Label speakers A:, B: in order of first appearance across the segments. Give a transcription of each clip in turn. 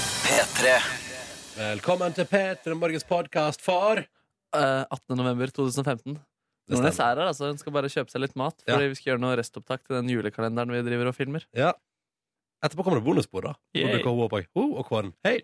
A: P3
B: Velkommen til P3 Morgens podkast for
C: Eh, 18. november 2015.
B: Det
C: Nordnes
B: stemmer.
C: er her, altså. Hun skal bare kjøpe seg litt mat.
B: Ja.
C: Fordi vi skal gjøre noe restopptak til den julekalenderen vi driver og filmer.
B: Ja. Etterpå kommer det bonusspor, da. Hvor
C: Yay.
B: dukker hun opp og, ho og kvarn. Hei!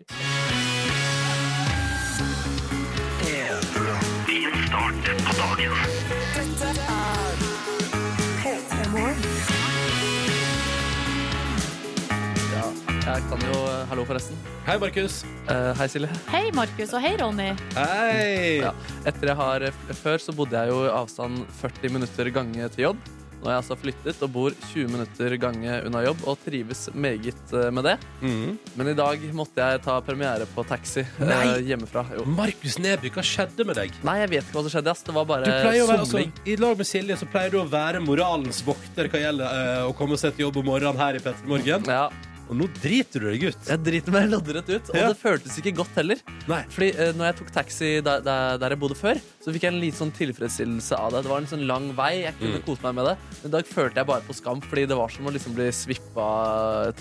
C: Jeg kan jo eh, Hallo, forresten.
B: Hei, Markus.
C: Eh, hei, Silje.
D: Hei, Markus, og hei, Ronny.
B: Hei!
C: Ja. Etter jeg har eh, f- Før så bodde jeg jo i avstand 40 minutter gange til jobb. Nå har jeg altså flyttet og bor 20 minutter gange unna jobb og trives meget eh, med det.
B: Mhm.
C: Men i dag måtte jeg ta premiere på taxi eh,
B: Nei.
C: hjemmefra. Jo.
B: Markus Neby, hva skjedde med deg?
C: Nei, jeg vet ikke hva som skjedde. Ass. Det var
B: Du
C: bare
B: pleier å være, altså,
C: somling.
B: I lag med Silje så pleier du å være moralens vokter hva gjelder eh, å komme seg til jobb om morgenen her i P3 Morgen.
C: Ja,
B: Og nå driter du deg ut.
C: jeg driter meg loddrett ut, og
B: Ja.
C: det føltes ikke godt heller.
B: Nei.
C: Fordi eh, når jeg tok taxi der, der, der jeg bodde før, så fikk jeg en litt sånn tilfredsstillelse av det. Det var en sånn lang vei. Jeg
B: Mm.
C: kunne kose meg med det. Men i dag følte jeg bare på skam, fordi det var som å liksom bli svippa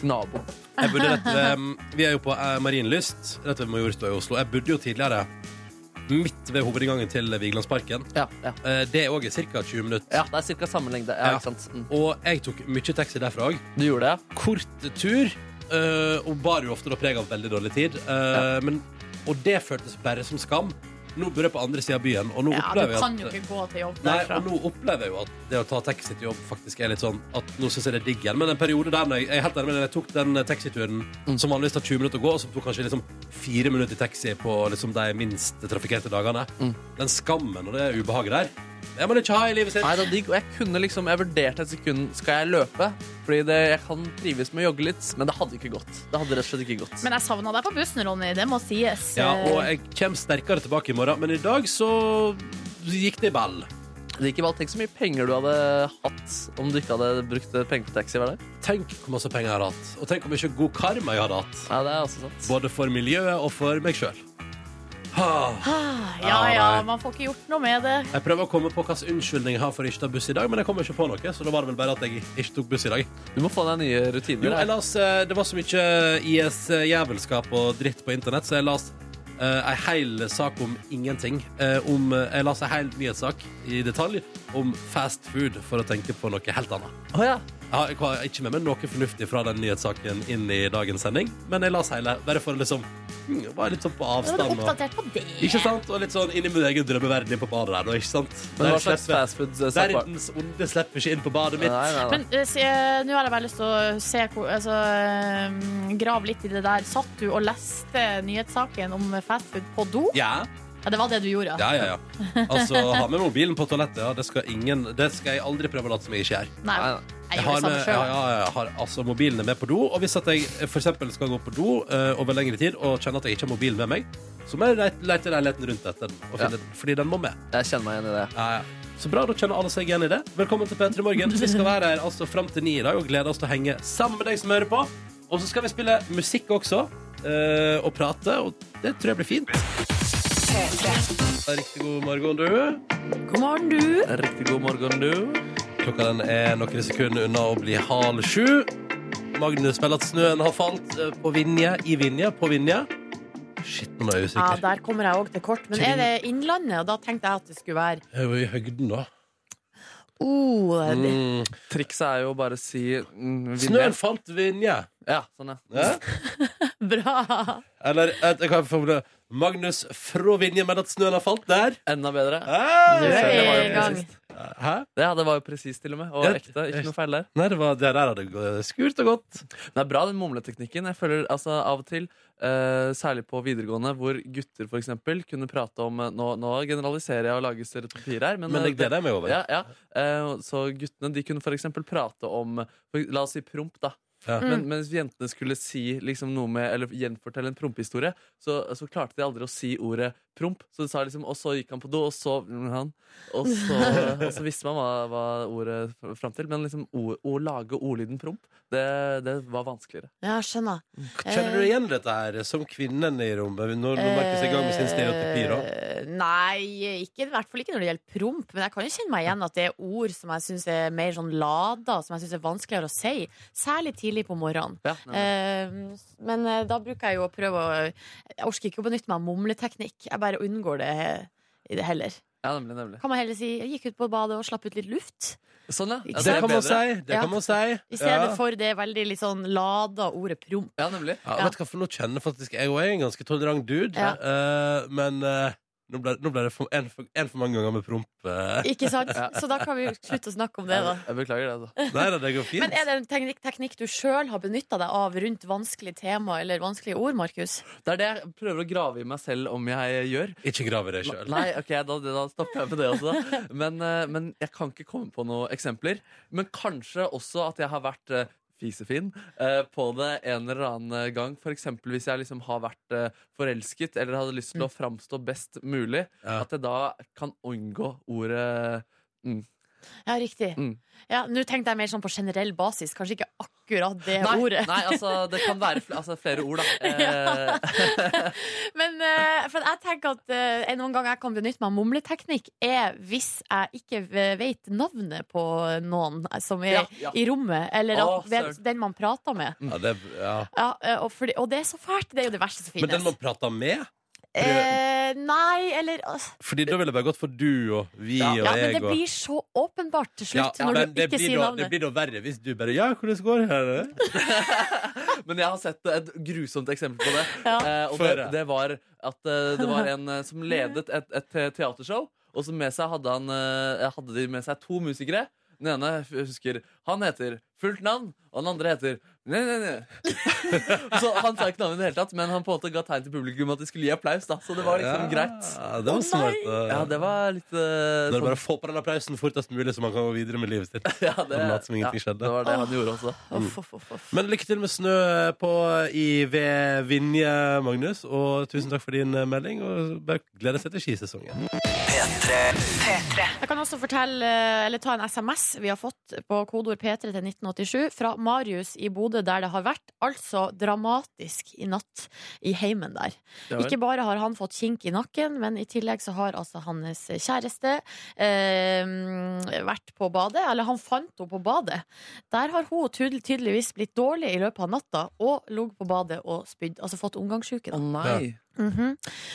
C: til naboen.
B: Jeg burde rett ved, Vi er jo på eh, Marienlyst, rett ved Majorstua i Oslo. Jeg bodde jo tidligere midt ved hovedinngangen til Vigelandsparken.
C: Ja, ja.
B: Eh, Det òg er ca. 20 minutter.
C: ja det er ca. samme lengde. Ja,
B: Ja.
C: Ikke sant? Mm.
B: Og jeg tok mye taxi derfra òg.
C: Du gjorde det, ja?
B: Kort tur, eh, og bar jo ofte da preg av veldig dårlig tid. Eh, men, og det føltes bare som skam. Nå bor jeg på andre sida av byen, og nå
D: Ja, du
B: opplever jeg
D: kan
B: at
D: jo ikke gå til jobb
B: Nei,
D: derfra.
B: og nå opplever jeg jo at det å ta taxi til jobb faktisk er litt sånn at nå syns jeg det er digg igjen. Men en periode der når jeg, jeg, er helt enig med deg, jeg tok den eh, taxituren som vanligvis tar 20 minutter å gå, og som tok kanskje liksom fire minutter i taxi på liksom de minst trafikkerte dagene. Den skammen og det ubehaget der, det må man ikke ha i livet sitt.
C: Nei, det var digg. Og jeg kunne liksom Jeg vurderte et sekund Skal jeg løpe. Fordi det, jeg kan trives med å jogge litt, men det hadde ikke gått. Det hadde rett og slett ikke gått.
D: Men jeg savna deg på bussen, Ronny. Det må sies.
B: Ja, og jeg kommer sterkere tilbake i morgen, men i dag så gikk det i ball.
C: Det gikk i valg. Tenk så mye penger du hadde hatt om du ikke hadde brukt penger på taxi hver dag.
B: Tenk hvor masse penger jeg har hatt, og tenk hvor mye god karma jeg hadde hatt.
C: Ja, det er også sant.
B: Både for miljøet og for meg sjøl.
D: Ah, ja, ja,
B: nei.
D: man får ikke gjort noe med det.
B: Jeg prøver å komme på hvilken unnskyldning jeg har for å ikke ta buss i dag, men jeg kommer ikke på noe, så da var det vel bare at jeg ikke tok buss i dag.
C: Du må få deg nye rutiner.
B: Jo,
C: her.
B: jeg las, eh, Det var så mye eh, IS-jævelskap og dritt på internett, så jeg las eh, ei hel sak om ingenting. Eh, om, eh, jeg las ei hel nyhetssak i detalj om fast food, for å tenke på noe helt annet.
C: Å ja.
B: Jeg har- Jeg har ikke med meg noe fornuftig fra den nyhetssaken inn i dagens sending, men jeg las hele, bare for å liksom hmm, Være litt sånn på
D: Nå er du
B: avstand. Og,
D: oppdatert på det.
B: ikke sant? Og litt sånn inn i min egen drømmeverden på badet der, nå, ikke sant?
C: Men
B: Der
C: hva slags
B: slipper-
C: fastfood-sak var det?
B: Verdens onde slipper ikke inn på badet
C: Nei,
B: mitt.
C: nei, nei.
D: Men eh, se, nå har jeg bare lyst til å se hvor altså, eh, Grav litt i det der. Satt du og leste nyhetssaken om fastfood på do?
B: Ja,
D: Ja, det var det du gjorde.
B: ja, ja, ja. Altså, ha med mobilen på toalettet, ja. Det skal, ingen, det skal jeg aldri prøve å late som jeg ikke gjør.
D: Nei,
C: Nei, nei.
D: jeg
B: Jeg
D: gjorde
B: har,
D: det
B: med,
D: samme
B: ja,
D: sjøl.
B: ja, ja, har altså mobilen er med på do, og hvis at jeg for eksempel skal gå på do eh, over lengre tid og kjenner at jeg ikke har mobilen med meg, så må jeg lete- lete i leiligheten rundt etter den,
C: Ja.
B: og finne den, fordi den må med.
C: Jeg kjenner meg igjen i det.
B: Ja, ja. Så bra, da kjenner alle seg igjen i det. Velkommen til P3 Morgen. Vi skal være her altså fram til ni i dag og gleder oss til å henge sammen med deg som hører på. Og så skal vi spille musikk også, eh, og prate, og det tror jeg blir fint. Riktig god morgen, du.
D: God morgen, du.
C: Riktig god morgen, du.
B: Klokka den er noen sekunder unna å bli halv sju. Magnus melder at snøen har falt eh, på Vinje, i Vinje, på Vinje. Shit, nå er jeg
D: Ja,
B: usikker.
D: Der kommer jeg òg til kort. Men er det Innlandet? Og da tenkte jeg at det skulle være
B: Jeg er jo i høgden, da.
D: oh, det.
B: Mm.
C: Trikset er jo å bare si mm, vinner.
B: Snøen falt Vinje.
C: Ja, sånn, ja.
B: Ja? Mm.
D: Bra!
B: Eller et, jeg kan formulere Magnus fra Vinje med at snøen har falt der.
C: Enda bedre.
D: Du
B: Hæ?
C: Det
D: er
C: var jo
D: i gang.
C: presist.
B: Hæ?
C: Ja, det var jo presis, til og med. Og
B: Ja,
C: ekte. Ikke noe feil der.
B: Nei, det, var, det der hadde gått skurt og godt.
C: Det er bra, den mumleteknikken. Jeg føler altså av og til, eh, særlig på videregående, hvor gutter for eksempel kunne prate om eh, Nå, nå generaliserer jeg og lager stereotypier her, men,
B: Men
C: eh,
B: jeg gleder meg over.
C: ja, ja. Eh, Så guttene de kunne for eksempel prate om for- La oss si promp, da.
B: Ja.
C: Men, mens jentene skulle si liksom noe med Eller gjenfortelle en prompehistorie, så, så klarte de aldri å si ordet promp. Så det sa liksom, og så gikk han på do, og så mm, han, og så, og så visste man hva, hva ordet f- fram til. Men liksom o, å lage ordlyden promp, det, det var vanskeligere.
D: Ja, skjønner. Eh,
B: Kjenner du igjen dette her som kvinnen i rommet når når Markus er i gang med sin stereotypi? da?
D: Eh, Nei, ikke, i hvert fall ikke når det gjelder promp. Men jeg kan jo kjenne meg igjen at det er ord som jeg syns er mer sånn lada, som jeg syns er vanskeligere å si. Særlig tidlig på morgenen.
C: Ja, nei, nei.
D: Eh, Men eh, da bruker jeg jo å prøve å Jeg orker ikke å benytte meg av mumleteknikk. Jeg bare unngår det he- heller.
C: ja nemlig, nemlig.
D: Kan man heller si 'jeg gikk ut på badet og slapp ut litt luft',
C: Sånn, ja. ja
D: Ikke
B: Det
C: er
B: kan
C: bedre.
B: man si. Det
D: Ja.
B: kan man si.
D: i stedet
B: Ja.
D: for det veldig litt sånn lada ordet promp.
C: Ja, nemlig.
B: Ja,
D: Ja.
B: Vet du hva, for nå kjenner faktisk jeg og jeg er en ganske tolerant dude,
D: Ja.
B: eh, men eh, nå ble, nå ble det for, en, for, en for mange ganger med promp. eh.
D: Ikke sant?
C: Ja.
D: Så da kan vi jo slutte å snakke om det, da.
C: Jeg, jeg beklager det, altså. da.
B: Nei da, det går fint.
D: Men er det en teknikk, teknikk du sjøl har benytta deg av rundt vanskelige tema eller vanskelige ord, Markus?
C: Det er det jeg prøver å grave i meg selv om jeg gjør.
B: Ikke grav i deg sjøl.
C: Nei, ok, da, da stopper jeg med det også. da. Men, eh, men jeg kan ikke komme på noen eksempler. Men kanskje også at jeg har vært eh, fisefin eh, på det en eller annen eh, gang. For eksempel hvis jeg liksom har vært eh, forelsket eller hadde lyst til å framstå best mulig.
B: Ja.
C: At jeg da kan unngå ordet
D: Ja, riktig.
C: Mm.
D: Ja, Nå tenkte jeg mer sånn på generell basis, kanskje ikke akkurat det
C: Nei,
D: ordet.
C: nei altså, det kan være fl altså, flere ord, da. Eh,
D: Men eh, for jeg tenker at eh, noen ganger jeg kan benytte meg av mumleteknikk, er hvis jeg ikke v- vet navnet på noen som er
C: Ja, ja.
D: i rommet, eller at
C: Å,
D: ved,
C: søren. Mm.
D: den man prater med.
B: Ja, det, ja.
D: Ja, eh, og, fordi, og det er så fælt. Det er jo det verste som
B: Men den
D: finnes.
B: man prater med?
D: altså. Eh, nei, eller
B: Fordi da ville det bare gått for du og vi
C: Ja.
B: og
D: Ja, men
B: jeg.
D: det
B: og...
D: blir så åpenbart til
B: Ja,
D: slutt når
B: men
D: du
B: det
D: ikke
B: blir
D: sier
B: da, Det
D: navnet.
B: blir da verre hvis du bare Ja, hvordan går det? her?»
C: Men jeg har sett et grusomt eksempel på det.
D: Ja.
C: Eh, og
B: Få
C: det,
B: høre.
C: det var at eh, det var en eh, som ledet et, et te- teatershow, og som med seg hadde, han, eh, hadde de med seg to musikere. Den ene f- husker han heter fullt navn, og den andre heter Nei, nei, nei. Så han sa ikke navnet i det hele tatt, men han på en måte ga tegn til publikum at de skulle gi applaus. da, Så det var liksom
B: Ja,
C: greit.
B: Det var
D: Å,
B: smart. da.
C: Ja, det var litt eh,
B: Da er det
C: sånn-
B: bare å få på den applausen fortest mulig, så man kan gå videre med livet sitt.
C: ja, det,
B: Han lot som
C: ja,
B: ingenting skjedde.
C: det var det han gjorde også.
D: Uff, uff, uff, uff.
B: Men lykke til med snø på i ved Vinje, Magnus. Og tusen takk for din eh, melding. Og bare gleder seg til skisesongen.
D: Jeg kan også fortelle, eller ta en SMS vi har fått på kodeord P3 til 1987 fra Marius i Bodø, der det har vært altså dramatisk i natt i heimen der.
C: Ja, vel.
D: Ikke bare har han fått kink i nakken, men i tillegg så har altså hans kjæreste eh, vært på badet. Eller han fant henne på badet. Der har hun tydel tydeligvis blitt dårlig i løpet av natta og ligget på badet og spydd. Altså fått omgangssjuke.
C: Å
D: da.
C: nei.
D: Mhm.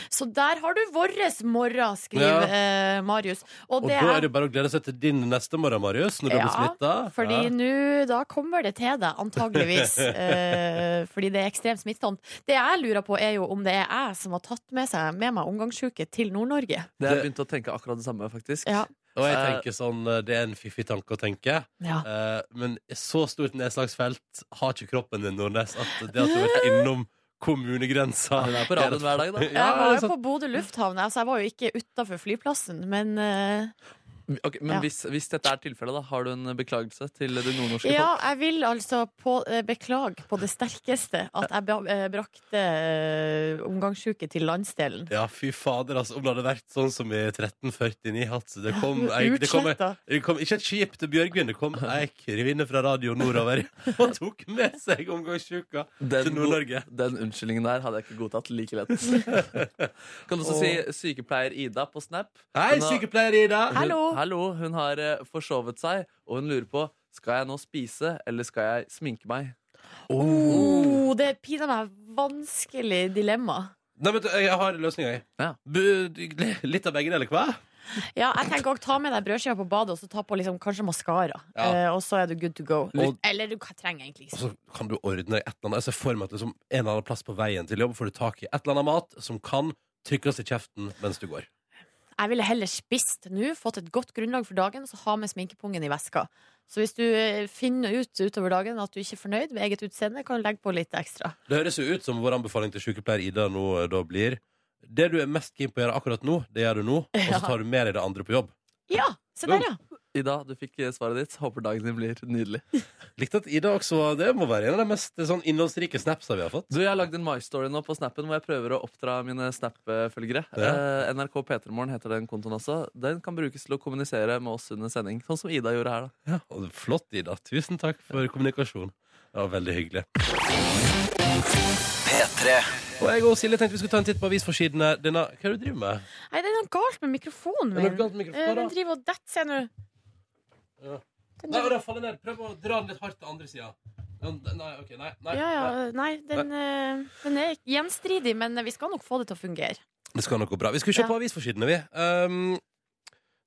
D: Så der har du vårres morgen, skriver eh, Marius.
B: Og da er det bare å glede seg til din neste morgen, Marius, når du blir
D: Ja,
B: smitta.
D: Fordi nå, da kommer det til deg, antageligvis. eh, fordi det er ekstremt smittsomt. Det jeg lurer på, er jo om det er jeg som har tatt med, seg, med meg omgangssjuke til Nord-Norge.
C: Det jeg begynte å tenke akkurat det samme, faktisk.
D: Ja.
B: Og jeg tenker sånn, eh, det er en fiffig tanke å tenke.
D: Ja.
B: Eh, men så stort nedslagsfelt har ikke kroppen din, Nordnes, at det at du har vært innom kommunegrensa
C: Han er på radioen hver dag, da.
D: jeg var
B: det er
D: jo
B: sant.
D: på Bodø lufthavn, altså, jeg, så jeg var jo ikke utafor flyplassen. Men eh,
C: Ok,
D: Ja.
C: men hvis, hvis dette er tilfellet, da, har du en beklagelse til det nordnorske
D: ja,
C: folk?
D: jeg vil altså på, eh, beklage på det sterkeste at jeg bra- eh, brakte uh, omgangssjuke til landsdelen.
B: Ja, fy fader, altså. Om det hadde vært sånn som i 1349 hatt det kom, ei- det, kom, ei-
D: Utsletta.
B: det kom ikke et skip til Bjørgvin, det kom ei kvinne fra radio nordover og tok med seg omgangssjuka til
C: Den,
B: Nord-Norge.
C: den unnskyldningen der hadde jeg ikke godtatt like lett. kan du også si sykepleier Ida på Snap?
B: Hei, sykepleier Ida!
C: Hun,
D: Hallo.
C: hallo! Hun har eh, forsovet seg, og hun lurer på skal jeg nå spise eller skal jeg sminke meg.
D: Oh, det er pinadø meg vanskelig dilemma.
B: Nei, men du, jeg har løsninga, jeg.
C: Ja.
B: Bu- du- Litt av begge deler, hva?
D: Ja, jeg tenker også, Ta med deg brødskiva på badet og så ta på liksom, kanskje maskara.
B: Ja.
D: Eh, og så er du good to go.
B: Litt-
D: Eller du kan- trenger egentlig
B: Og
D: ikke
B: så kan du ordne et eller annet. Jeg ser for meg at liksom, en eller annen plass på veien til jobb får du tak i et eller annet mat som kan trykkes i kjeften mens du går.
D: Jeg ville heller spist nå, fått et godt grunnlag for dagen, og så ha med sminkepungen i veska. Så hvis du eh, finner ut utover dagen at du ikke er fornøyd med eget utseende, kan du legge på litt ekstra.
B: Det høres jo ut som vår anbefaling til sykepleier Ida nå eh, da blir Det du er mest keen på å gjøre akkurat nå, det gjør du nå, og så
D: Ja.
B: tar du med deg det andre på jobb.
D: Ja, se der, ja.
C: Ida, du fikk eh, svaret ditt. Håper dagen din blir nydelig.
B: Likte at Ida også var Det må være en av de mest eh, sånn innholdsrike snapsa vi har fått.
C: Du, Jeg har lagd en My Story nå på Snappen hvor jeg prøver å oppdra mine Snap-følgere.
B: Ja.
C: Eh, NRK P3morgen heter den kontoen også. Den kan brukes til å kommunisere med oss under sending. Sånn som Ida gjorde her, da.
B: Og Flott, Ida. Tusen takk for kommunikasjon. Det var veldig hyggelig. Og jeg og Silje tenkte vi skulle ta en titt på avisforsidene. Denne, hva er det du driver med?
D: Nei, det er noe galt med mikrofonen
B: Er det
D: min.
B: noe galt med mikrofonen,
D: Eh,
B: da?
D: Den driver og detter seg nå.
B: Nei, og den faller ned. Prøv å dra den litt hardt til andre sida. Nei, ok, nei, nei,
D: Ja, ja. Nei, den, eh, den er gjenstridig, men vi skal nok få det til å fungere.
B: Det skal nok gå bra. Vi skal se
D: Ja.
B: på avisforsidene, vi. Um,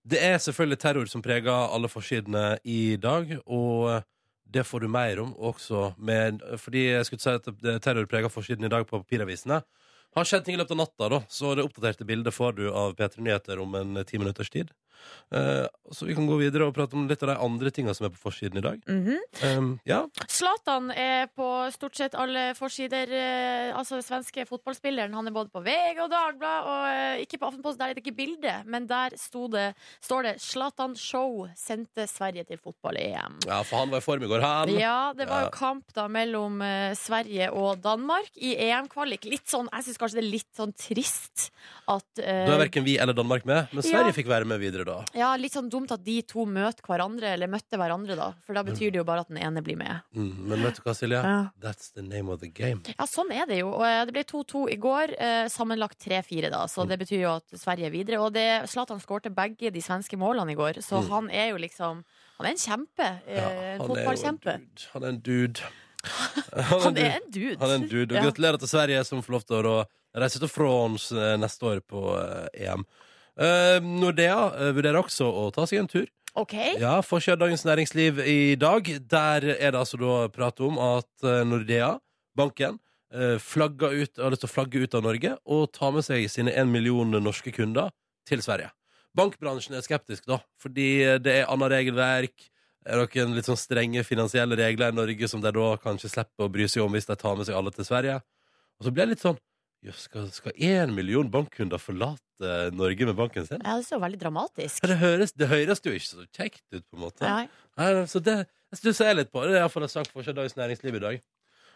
B: det er selvfølgelig terror som preger alle forsidene i dag, og det får du mer om også med Fordi jeg skulle si at det- terror preger forsiden i dag på papiravisene. Har skjedd ting i løpet av natta, da, så det oppdaterte bildet får du av P3 Nyheter om en ti minutters tid. Eh, så vi kan gå videre og prate om litt av de andre tinga som er på forsiden i dag.
D: Mhm.
B: Um, ja,
D: Zlatan er på stort sett alle forsider. eh, Altså den svenske fotballspilleren. Han er både på VG og Dagbladet, og eh, ikke på Aftenposten. Der er det ikke bilde, men der sto det, står det 'Zlatan Show sendte Sverige til fotball-EM'.
B: ja, for han var i form i går, han.
D: Ja, det var
B: Ja.
D: jo kamp da mellom eh, Sverige og Danmark i EM-kvalik. Litt sånn, Jeg syns kanskje det er litt sånn trist at eh,
B: Da er verken vi eller Danmark med, men Sverige
D: Ja.
B: fikk være med videre da.
D: ja, Litt sånn dumt at de to møter hverandre, eller møtte hverandre, da. For da betyr det jo bare at den ene blir med.
B: Mm, men vet du hva, Silje?
D: Ja.
B: That's the name of the game.
D: Ja, sånn er det jo. Og eh, det ble 2-2 i går. eh, Sammenlagt 3-4, da.
B: Mm.
D: Så det betyr jo at Sverige er videre. Og det- Zlatan skårte begge de svenske målene i går, så
B: Mm.
D: han er jo liksom Han er en kjempe. eh,
B: Ja,
D: En
B: han er jo en
D: fotballkjempe.
B: dude. Han er en dude. Han
D: Han er
B: er en dude.
D: en dude.
B: Han er en dude. Og
D: Ja.
B: gratulerer til Sverige som får lov til å reise til France eh, neste år på eh, EM. Eh, Nordea eh, vurderer også å ta seg en tur.
D: OK.
B: Ja, Forsida av Dagens Næringsliv i dag. Der er det altså da prat om at eh, Nordea, banken, eh, flagger ut, har lyst til å flagge ut av Norge og ta med seg sine én million norske kunder til Sverige. Bankbransjen er skeptisk, da, fordi det er annet regelverk. Er noen litt sånn strenge finansielle regler i Norge som de da kanskje slipper å bry seg om hvis de tar med seg alle til Sverige? Og så blir det litt sånn Jøss, skal- skal én million bankkunder forlate Norge med banken sin?
D: Ja, det er jo veldig dramatisk.
B: Ja, Det høres, det høres jo ikke så kjekt ut, på en måte.
D: Nei.
B: Nei, så det det stusser jeg litt på. Det er iallfall en sak for seg Dagens Næringsliv i dag.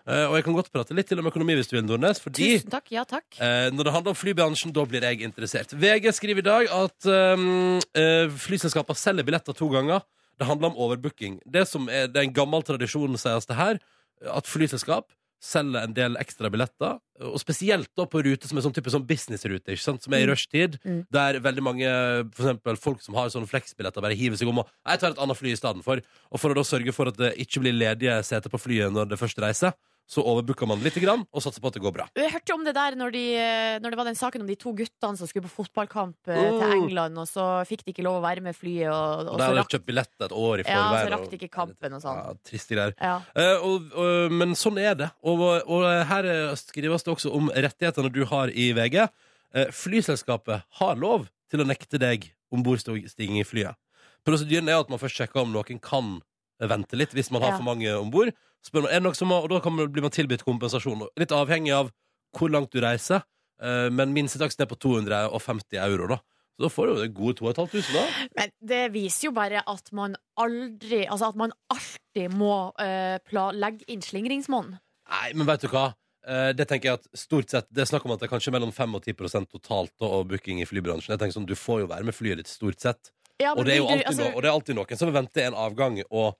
B: Eh, og jeg kan godt prate litt til om økonomi hvis du vil, Nordnes, fordi
D: Tusen takk. Ja takk.
B: eh, når det handler om flybransjen, da blir jeg interessert. VG skriver i dag at um, eh, flyselskaper selger billetter to ganger. Det handler om overbooking. Det, som er, det er en gammel tradisjon, sies det her, at flyselskap selger en del ekstra billetter, og spesielt da på ruter som er sånn type sånn businessrute, ikke sant, som er i
D: Mm.
B: rushtid,
D: Mm.
B: der veldig mange, for eksempel folk som har sånne flexbilletter, bare hiver seg om og «Nei, jeg tar et annet fly i stedet for, og for å da sørge for at det ikke blir ledige seter på flyet når det først reiser, så overbooker man litt grann, og satser på at det går bra.
D: Jeg hørte jo om det der når, de, eh, når det var den saken om de to guttene som skulle på fotballkamp eh,
B: Mm.
D: til England, og så fikk de ikke lov å være med flyet, og,
B: Og
D: og
B: der
D: så
B: har du
D: rakk,
B: kjøpt billetter et år i
D: ja,
B: forveien.
D: så rakk
B: og-
D: de ikke kampen og sånn.
B: Ja, triste greier.
D: Ja.
B: Eh, og, og, men sånn er det. Og, og her eh, skrives det også om rettighetene du har i VG. Eh, flyselskapet har lov til å nekte deg ombordstigning i flyet. Prosedyren er at man først sjekker om noen kan vente litt hvis man har
D: Ja.
B: for mange om bord. Og da kan man, blir man tilbudt kompensasjon. Og Litt avhengig av hvor langt du reiser. Eh, men minstetaksten er på 250 euro, da. Så da får du jo gode 2500, da.
D: Men det viser jo bare at man aldri Altså at man alltid må eh, pla- legge inn slingringsmonn.
B: Nei, men vet du hva? Eh, Det tenker jeg at stort sett Det er snakk om at det er kanskje mellom 5 og 10 totalt da, av booking i flybransjen. Jeg tenker sånn, Du får jo være med flyet ditt stort sett.
D: Ja,
B: Og det er jo
D: vil du- altså-
B: alltid, no, og det er alltid noen som vil vente en avgang og,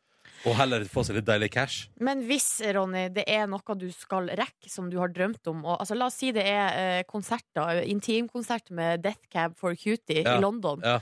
B: og heller få seg litt deilig cash.
D: Men hvis, Ronny, det er noe du skal rekke som du har drømt om og, altså, La oss si det er eh, konserter, intimkonsert med Death Cab for Cutie
B: Ja.
D: i London.
B: Ja.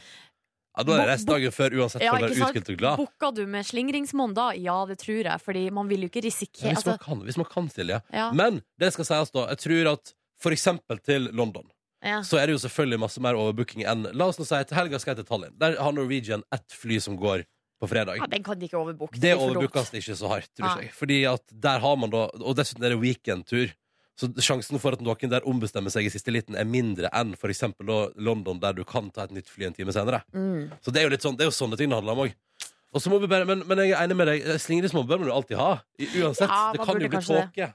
B: Ja, Da er det reist dagen før uansett for å være utskilt og glad.
D: Booka du med slingringsmonn da? Ja, det tror jeg, fordi man vil jo ikke
B: Ja,
D: risikere
B: hvis, man
D: altså,
B: kan, hvis man kan, Silje.
D: ja,
B: Men det skal sies, da. Jeg tror at for eksempel til London
D: ja.
B: så er det jo selvfølgelig masse mer overbooking enn La oss nå si til helga skal jeg til Tallinn. Der har Norwegian ett fly som går på fredag.
D: ja, den kan de ikke overbooke.
B: Det
D: blir for dumt.
B: overbookes det ikke så hardt, tror
D: Nei.
B: jeg. Fordi at der har man da Og dessuten er det weekendtur. Så sjansen for at noen der ombestemmer seg i siste liten, er mindre enn for eksempel da London, der du kan ta et nytt fly en time senere.
D: Mm.
B: Så det er jo litt sånn, det er jo sånne ting det handler om òg. Og så må vi bare, men, men jeg er enig med deg, eh, slingresmå bør man jo alltid ha. I, uansett.
D: Ja,
B: det
D: man
B: kan
D: burde
B: jo bli
D: kanskje
B: tåke.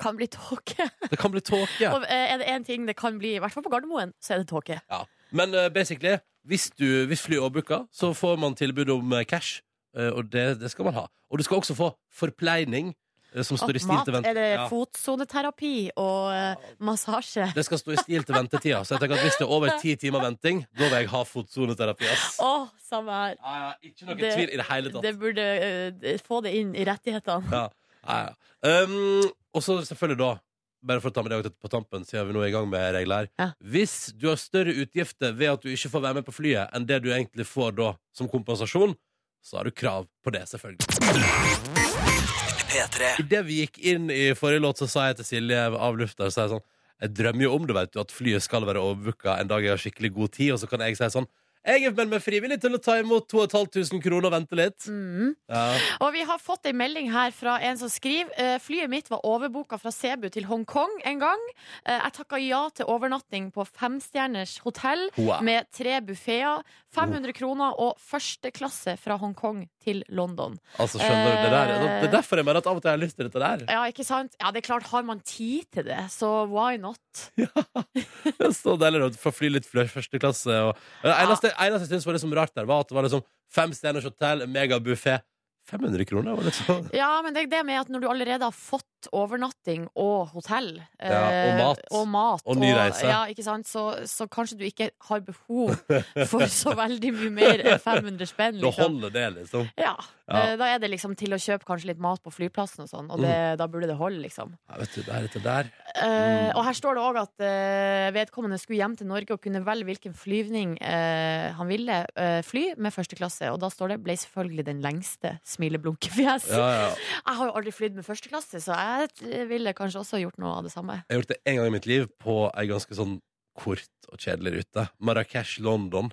D: Kan bli tåke.
B: Det kan bli tåke.
D: Og eh, er det én ting det kan bli, i hvert fall på Gardermoen, så er det tåke.
B: Ja. Men eh, basically, hvis, du, hvis flyet overbooker, så får man tilbud om eh, cash. eh, og det, det skal man ha. Og du skal også få forpleining, eh, som står i stil
D: mat,
B: til vent-
D: er det
B: Ja.
D: fotsoneterapi og eh, massasje?
B: Det skal stå i stil til ventetida. Så jeg tenker at hvis det er over ti timer venting, da vil jeg ha fotsoneterapi. ass.
D: Å, samme her.
B: Ja, ja, ikke noe
D: Det-
B: tvil i det hele tatt.
D: Det burde eh, få det inn i rettighetene.
B: Ja, ja, ja. Um, og så selvfølgelig da bare for å ta med det også på tampen, siden vi nå er i gang med regler her.
D: Ja.
B: Hvis du har større utgifter ved at du ikke får være med på flyet, enn det du egentlig får da som kompensasjon, så har du krav på det, selvfølgelig. Idet vi gikk inn i forrige låt, så sa jeg til Silje av lufta så sa jeg sånn Jeg drømmer jo om det, vet du, at flyet skal være overbooka en dag jeg har skikkelig god tid, og så kan jeg si sånn Jeg er meldt meg frivillig til å ta imot 2500 kroner og vente litt.
D: Mm.
B: Ja.
D: Og vi har fått en melding her fra en som skriver eh, Flyet mitt var overboka fra Sebu til Hongkong en gang. Eh, jeg takka ja til overnatting på femstjerners hotell
B: Wow.
D: med tre buffeer, 500 kroner og førsteklasse fra Hongkong til London. Eh,
B: Altså, skjønner du, det der Det er derfor jeg mener at av og til har jeg lyst til dette der.
D: Ja, ikke sant? Ja, det er klart, har man tid til det, så why not?
B: Det er Så deilig å få fly litt flør første klasse. Og, det eneste, eneste jeg syntes var liksom rart der, var at det var liksom fem stjerners hotell, megabuffé 500 kroner? Var det sånn?
D: Ja, men det er det med at når du allerede har fått overnatting og hotell
B: Ja, og
D: eh,
B: mat.
D: og, mat,
B: Og ny reise.
D: Ja, ikke sant? Så, så kanskje du ikke har behov for så veldig mye mer enn 500 spenn.
B: Da
D: Liksom.
B: holder det, liksom.
D: Ja.
B: Ja.
D: eh, Da er det liksom til å kjøpe kanskje litt mat på flyplassen og sånn, og det, da burde det holde, liksom.
B: Ja, vet du, det er dette der.
D: Eh,
B: Mm.
D: og her står det òg at eh, vedkommende skulle hjem til Norge og kunne velge hvilken flyvning eh, han ville eh, fly med første klasse. Og da står det 'ble selvfølgelig den lengste smileblunkefjes'.
B: Ja, ja.
D: Jeg har jo aldri flydd med første klasse, så jeg eh, ville kanskje også gjort noe av det samme.
B: Jeg har gjort det én gang i mitt liv på ei ganske sånn kort og kjedelig rute. Marrakech, London.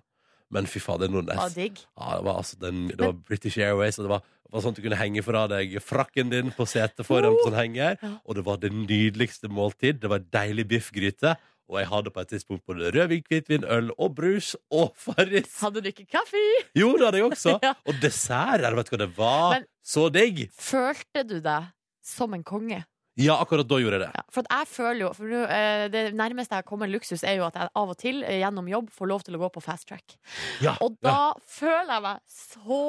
B: Men fy fader, Nordnes.
D: Ah, digg.
B: Ja, det var, altså den, det var British Airways, og det var, det var sånn at du kunne henge fra deg frakken din på setet foran på sånn henger.
D: Ja.
B: Og det var det nydeligste måltid. Det var deilig biffgryte. Og jeg hadde på et tidspunkt både rødvin, hvitvin, øl og brus og Farris.
D: Hadde du ikke kaffe?
B: Jo, det hadde jeg også.
D: Ja.
B: Og dessert. Jeg vet du hva det var.
D: Men-
B: Så digg.
D: Følte du deg som en konge?
B: Ja, akkurat da gjorde jeg det.
D: Ja, for at jeg føler jo for nå, eh, Det nærmeste jeg kommer luksus, er jo at jeg av og til eh, gjennom jobb får lov til å gå på fast track.
B: Ja,
D: Og
B: ja.
D: da føler jeg meg så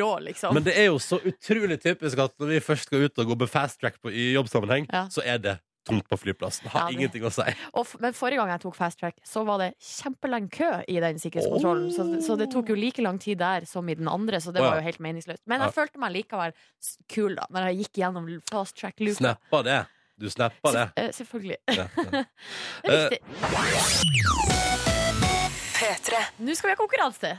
D: rå, liksom.
B: Men det er jo så utrolig typisk at når vi først skal ut og gå på fast track på, i jobbsammenheng,
D: Ja.
B: så er det tomt på flyplassen. Har
D: Ja, det-
B: ingenting å si.
D: Og f men forrige gang jeg tok fast track, så var det kjempelang kø i den sikkerhetskontrollen. Så, det- så det tok jo like lang tid der som i den andre, så det
B: Å, ja.
D: var jo helt meningsløst. Men jeg følte meg likevel s- kul da, når jeg gikk gjennom fast track-luka.
B: Snappa det. Du snappa det.
D: Selvf- eh, selvfølgelig.
B: Ja, Eh. ja.
D: Det er viktig. Nå skal vi ha konkurranse.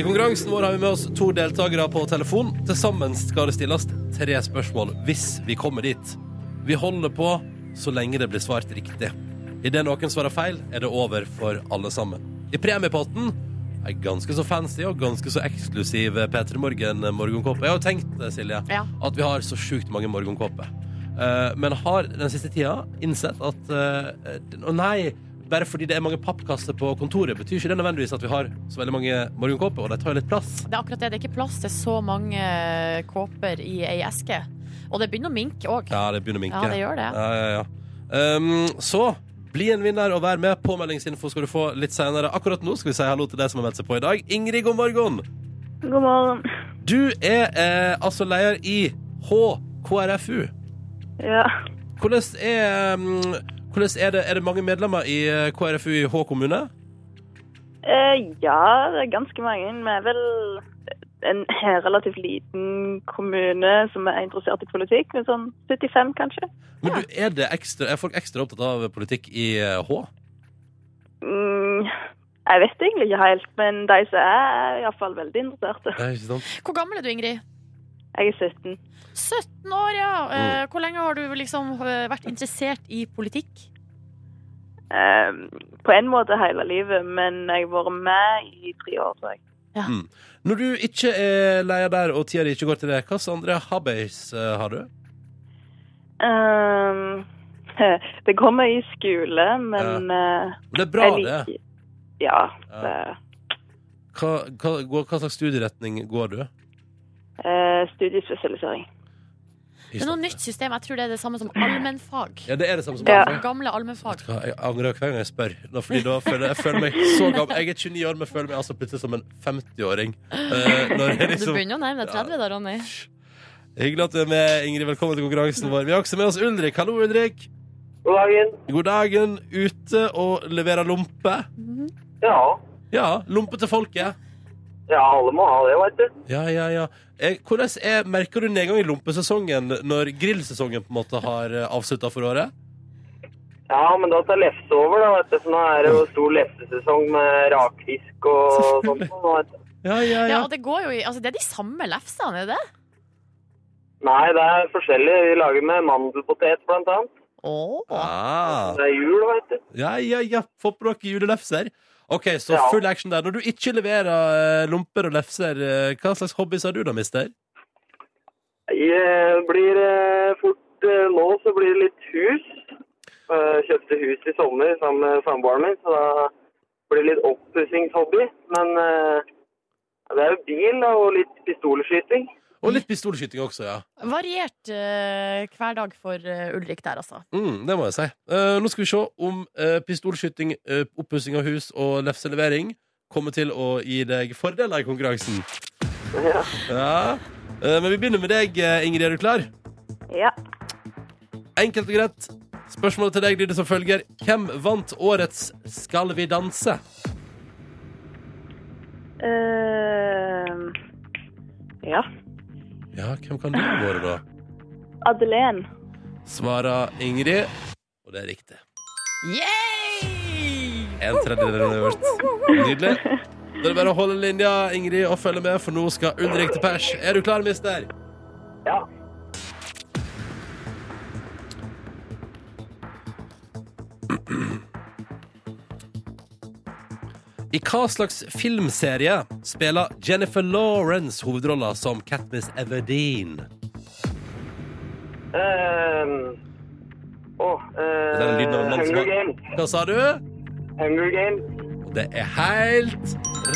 B: I konkurransen vår har vi med oss to deltakere på telefon. Til sammen skal det stilles tre spørsmål hvis vi kommer dit. Vi holder på så lenge det blir svart riktig. Idet noen svarer feil, er det over for alle sammen. I premiepotten er ganske så fancy og ganske så eksklusiv eh, P3 Morgen-morgenkåpe. Jeg har jo tenkt, eh, Silje,
D: Ja.
B: at vi har så sjukt mange morgenkåper. Eh, men har den siste tida innsett at eh, den- Å nei! Bare fordi det er mange pappkasser på kontoret, betyr ikke det nødvendigvis at vi har så veldig mange morgenkåper, og de tar jo litt plass.
D: Det er akkurat det. Det er ikke plass til så mange eh, kåper i ei eske. Og det begynner å minke òg.
B: Ja, det begynner å minke.
D: Ja, det gjør det.
B: Ja, ja, ja. Um, så bli en vinner og vær med. Påmeldingsinfo skal du få litt senere. Akkurat nå skal vi si hallo til deg som har meldt seg på i dag. Ingrid, god morgen.
A: God morgen.
B: Du er eh, altså leder i HKRFU.
A: Ja.
B: Hvordan er, um, hvordan er, det, er det mange medlemmer i eh, KrFU i Hå kommune?
A: Eh, ja, det er ganske mange. Vi er vel en relativt liten kommune som er interessert i politikk, med sånn 75 kanskje.
B: Men du, er, det ekstra, er folk ekstra opptatt av politikk i eh, Hå?
A: Mm, jeg vet egentlig ikke helt, men de som er, er iallfall veldig interesserte.
B: Ja, ikke sant?
D: Hvor gammel er du, Ingrid?
A: Jeg er 17.
D: 17 år, ja. Eh,
B: Mm.
D: Hvor lenge har du liksom eh, vært interessert i politikk?
A: Eh, på en måte hele livet, men jeg har vært med i tre år, tror jeg.
B: Mm. Når du ikke er leder der, og tida di ikke går til det, hvilke andre hobbies eh, har du?
A: Ehm, det kommer i skole, men eh,
B: Men Det er bra,
A: jeg
B: det.
A: liker Ja.
B: Ja.
A: det
B: Hva, hva, går- hva slags studieretning går du?
A: eh, Studiespesialisering.
D: Det er noe nytt system. Jeg tror det er det samme som allmennfag.
B: Ja, det er det samme som
A: Ja.
B: andre.
D: Gamle
B: Vet
D: allmennfag.
B: du hva, Jeg angrer hver gang jeg spør. Da, fordi da føler jeg, jeg føler meg så gammel. Jeg er 29 år, men føler meg altså plutselig som en 50-åring. Eh, når jeg
D: Du
B: liksom
D: begynner å nærme deg 30 da, Ronny.
B: Hyggelig at du er med, Ingrid. Velkommen til konkurransen vår. Vi har også med oss Ulrik. Hallo, Ulrik.
E: God dagen.
B: God dagen. Ute og leverer lompe.
E: Mhm. Ja.
B: Ja, lompe til folket.
E: Ja, alle må ha det, veit du.
B: Ja, ja, ja. Eh, Hvordan er, merker du nedgang i lompesesongen når grillsesongen på en måte har avslutta for året?
E: Ja, men da tar lefse over, da, vet du. For nå er det jo stor lefsesesong med rakfisk og sånt.
B: Selvfølgelig.
E: nå, vet du.
B: Ja, ja,
D: Ja,
B: ja.
D: og det, går jo i, altså, det er de samme lefsene, er det det?
E: Nei, det er forskjellig. Vi lager med mandelpotet, blant annet.
D: Åh.
B: Ah.
E: Det er jul, veit du.
B: Ja, ja, ja. Få på dere julelefser. OK, så
E: Ja.
B: full action der. Når du ikke leverer eh, lomper og lefser, eh, hva slags hobbies har du da, mister?
E: Jeg blir eh, fort eh, Nå så blir det litt hus. Eh, kjøpte hus i sommer sammen med samboeren min, så da blir det litt oppussingshobby. Men eh, det er jo bil da, og litt pistolskyting.
B: Og litt pistolskyting også, ja.
D: Variert eh, hverdag for eh, Ulrik der, altså.
B: Mm, det må jeg si. Eh, nå skal vi se om eh, pistolskyting, uh, oppussing av hus og lefselevering kommer til å gi deg fordeler i konkurransen.
E: Ja.
B: Ja. Eh, men vi begynner med deg, eh, Ingrid. Er du klar?
A: Ja.
B: Enkelt og greit. Spørsmålet til deg lyder som følger. Hvem vant årets Skal vi danse?
A: Eh, ja.
B: Ja, hvem kan du være, da?
A: Adeleen.
B: Svarer Ingrid. Og det er riktig.
D: Yay!
B: En tredjedel øverst. Nydelig. Da er det bare å holde linja, Ingrid, og følge med, for nå skal Ulrik til pers. Er du klar, mister?
E: ja.
B: I hva slags filmserie spiller Jennifer Lawrence hovedrolla som Katniss Everdeen?
E: Ehm, Åh, eh,
B: Det er lyden av en mann som
E: Hunger
B: har-
E: Games.
B: Hva sa du?
E: Hunger Games.
B: Og det er helt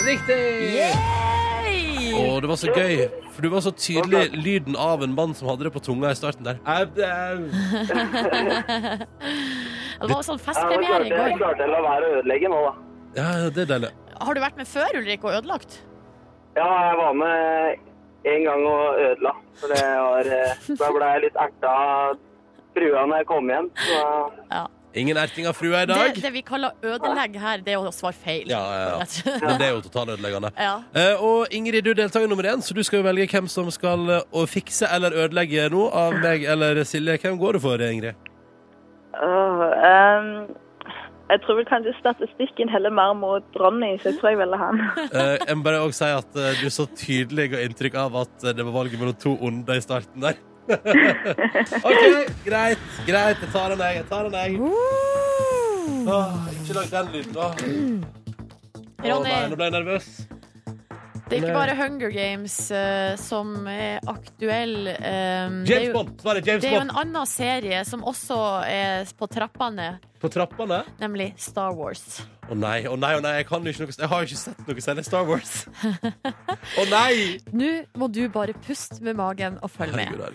B: riktig!
D: Yay!
B: Å, det var så gøy, for du var så tydelig lyden av en mann som hadde det på tunga i starten der. Au, au.
D: Det var sånn
E: Ja, nå
D: festpremiere
E: klarte
D: i
E: jeg,
D: går.
E: klarte jeg å la være å ødelegge nå, da.
B: Ja, det er deilig.
D: Har du vært med før, Ulrik, og ødelagt?
E: Ja, jeg var med en gang og ødela. For det var, eh, da ble jeg litt erta av frua når jeg kom hjem. Så
B: Ingen erting av frua i dag.
D: Det, det vi kaller ødelegg her, det er å svare feil.
B: Ja, ja, ja.
D: ja.
B: Men det er jo totalødeleggende.
D: ja.
B: Eh, og Ingrid, du er deltaker nummer én, så du skal jo velge hvem som skal eh, å fikse eller ødelegge noe av meg eller Silje. Hvem går du for, Ingrid?
A: Åh, ehm, jeg tror vel kanskje statistikken heller mer mot Ronny, så jeg tror jeg velger han.
B: Eh, jeg må bare også si at eh, du så tydelig ga inntrykk av at eh, det var valget mellom to onde i starten der. OK, greit. Greit, jeg tar den, jeg. jeg tar den, jeg. Åh, ikke lag den lyden, da. Å
D: Ronny.
B: nei, nå ble jeg nervøs.
D: Det er ikke bare Hunger Games eh, som er aktuell. eh, det er
B: James
D: jo-
B: Bond! Svaret er
D: Det
B: James
D: er jo en
B: Bond.
D: annen serie som også er på trappene,
B: På trappene.
D: nemlig Star Wars.
B: Å nei, å nei, å nei, jeg kan jo ikke noe Jeg har jo ikke sett noe særlig Star Wars. Å nei!
D: Nå må du bare puste med magen og følge med.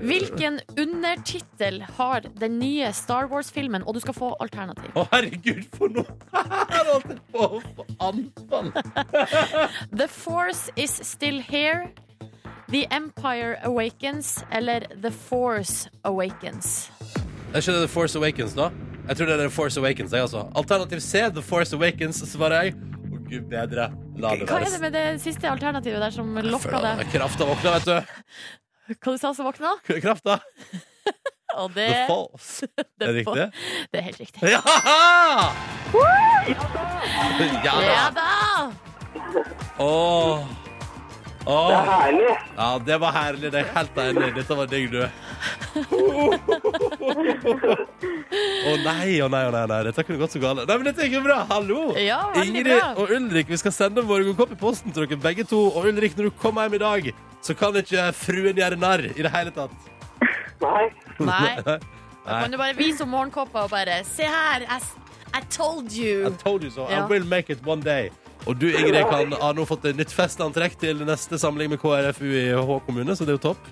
D: Hvilken undertittel har den nye Star Wars-filmen? Og du skal få alternativ.
B: Å herregud, for noe! Jeg holdt jeg på å få anfall.
D: The Force Is Still Here. The Empire Awakens eller The Force Awakens.
B: Er ikke det The Force Awakens, da? Jeg tror det er The Force Awakens. Jeg, altså. Alternativ C, The Force Awakens, svarer jeg. Å gud bedre. La det
D: Hva er det
B: være.
D: med det siste alternativet der som lokka
B: Føler
D: deg?
B: jeg- Krafta våkna, vet du.
D: Hva du sa som våkna?
B: Krafta.
D: Og
B: The
D: det,
B: Falls.
D: The
B: Er det
D: Fo-
B: riktig?
D: det er helt riktig.
B: Ja! Ja da.
D: Ja da!
B: Åh.
E: det er
B: Åh.
E: herlig.
B: Ja, det var herlig. Det er helt enig. Dette var digg, du. Å nei, å nei, å nei, nei. Dette kunne gått så galt. Nei, men dette gikk jo bra. Hallo!
D: Ja, veldig
B: Ingrid
D: bra.
B: og Ulrik, vi skal sende morgenkopp i posten til dere begge to. Og Ulrik, når du kommer hjem i dag, så kan ikke fruen gjøre narr i det hele tatt.
E: Nei.
D: Nei. Da
B: Nei.
D: kan du bare vise om morgenkåpa og bare Se her, I, s- I told
B: I
D: you.
B: told you so.
D: Ja.
B: I will make it one day. Og du, Ingrid, kan, har nå fått et nytt festantrekk til neste samling med KrFU i Hå kommune, så det er jo topp.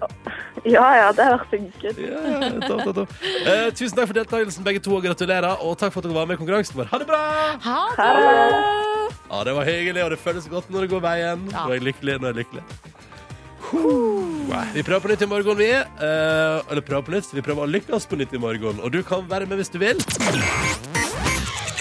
A: Ja, ja, det har vært sikkert.
B: Ja, ja, topp, topp, topp. Eh, tusen takk for deltakelsen, begge to, og gratulerer. Og takk for at dere var med i konkurransen vår. Ha det bra!
D: Ha
A: Ha
D: det!
A: det.
B: Ja, det var hyggelig, og det føles godt når det går veien.
D: Ja.
B: Nå er jeg lykkelig, nå er jeg lykkelig. Wow. Vi prøver på nytt i morgen, vi. Eh, eller prøver på nytt. Vi prøver å lykkes på nytt i morgen. Og du kan være med hvis du vil.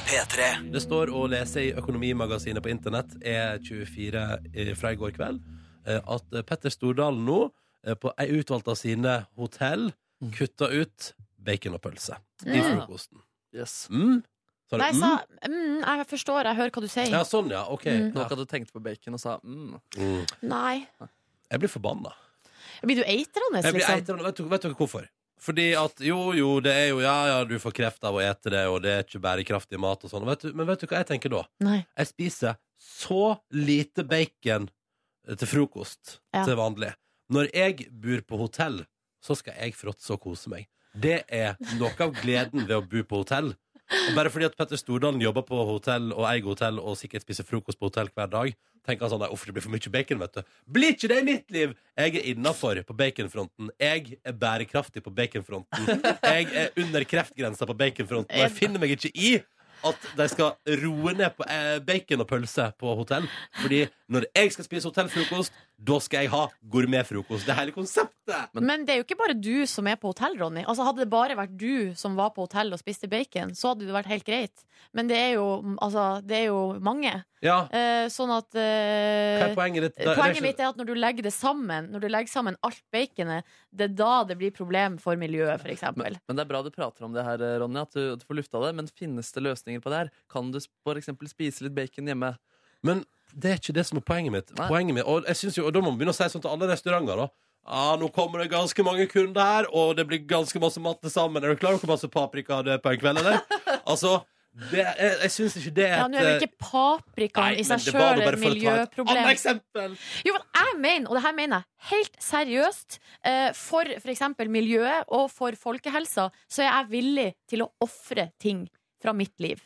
B: Det står å lese i Økonomimagasinet på internett E24 eh, fra i går kveld eh, at eh, Petter Stordalen nå, eh, på ei utvalgt av sine hotell, kutter ut bacon og pølse i
D: Mm.
B: frokosten.
C: Yes.
B: Mm. Sa du
D: Nei, jeg sa
B: mm?
D: mm, Jeg forstår, jeg hører hva du sier.
B: Ja, sånn, ja. OK.
D: Mm.
C: Nå
B: Ja.
C: hadde du tenkt på bacon og sa mm.
B: Mm.
D: Nei.
B: Jeg blir forbanna.
D: Blir du eitrende,
B: Jeg blir
D: liksom?
B: eitrende. Vet, dere- vet dere hvorfor? Fordi at jo, jo, det er jo Ja, ja, du får kreft av å ete det, og det er ikke bærekraftig mat og sånn. Vet du- Men vet du hva jeg tenker da?
D: Nei.
B: Jeg spiser så lite bacon eh, til frokost
D: Ja.
B: til vanlig. Når jeg bor på hotell, så skal jeg fråtse og kose meg. Det er noe av gleden ved å bo på hotell. Og bare fordi at Petter Stordalen jobber på hotell og eier hotell og sikkert spiser frokost på hotell hver dag, tenker han sånn Uff, det blir for mye bacon, vet du. Blir ikke det i mitt liv! Jeg er innafor på baconfronten. Jeg er bærekraftig på baconfronten. Jeg er under kreftgrensa på baconfronten, og jeg finner meg ikke i at de skal roe ned på eh, bacon og pølse på hotell. Fordi når jeg skal spise hotellfrokost, da skal jeg ha gourmetfrokost. Det er hele konseptet!
D: Men det er jo ikke bare du som er på hotell, Ronny. Altså, hadde det bare vært du som var på hotell og spiste bacon, så hadde det vært helt greit. Men det er jo, altså, det er jo mange.
B: Ja,
D: Eh, sånn at
B: hva er
D: eh,
B: poenget ditt? Det- det er
D: Poenget
B: ikke-
D: mitt er at når du legger det sammen Når du legger sammen alt baconet, det er da det blir problem for miljøet, f.eks.
C: Men, men det er bra du prater om det her, eh, Ronny, at du, at du får lufta det. Men finnes det løsninger på det her? Kan du f.eks. spise litt bacon hjemme?
B: Men det er ikke det som er poenget mitt.
C: Nei.
B: Poenget mitt og, jeg synes jo, og da må man begynne å si sånn til alle restauranter, da. Ja, nå kommer det ganske mange kunder her, og det blir ganske masse mat til sammen. Er du klar over hvor masse paprika det er på en kveld, eller? altså, det, jeg, jeg syns ikke det er
D: Ja, nå er jo
B: et, eh,
D: ikke paprikaen i seg
B: det
D: sjøl
B: var nå
D: et
B: bare for å ta et
D: miljøproblem.
B: annet eksempel!
D: Jo, men jeg mener, og det her mener jeg helt seriøst, eh, for f.eks. miljøet og for folkehelsa, så er jeg villig til å ofre ting fra mitt liv.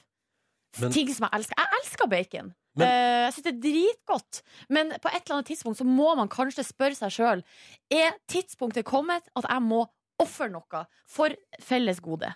B: Men-
D: ting som jeg elsker. Jeg elsker bacon.
B: Men-
D: Eh, jeg syns det er dritgodt. Men på et eller annet tidspunkt så må man kanskje spørre seg sjøl Er tidspunktet kommet at jeg må ofre noe for felles gode.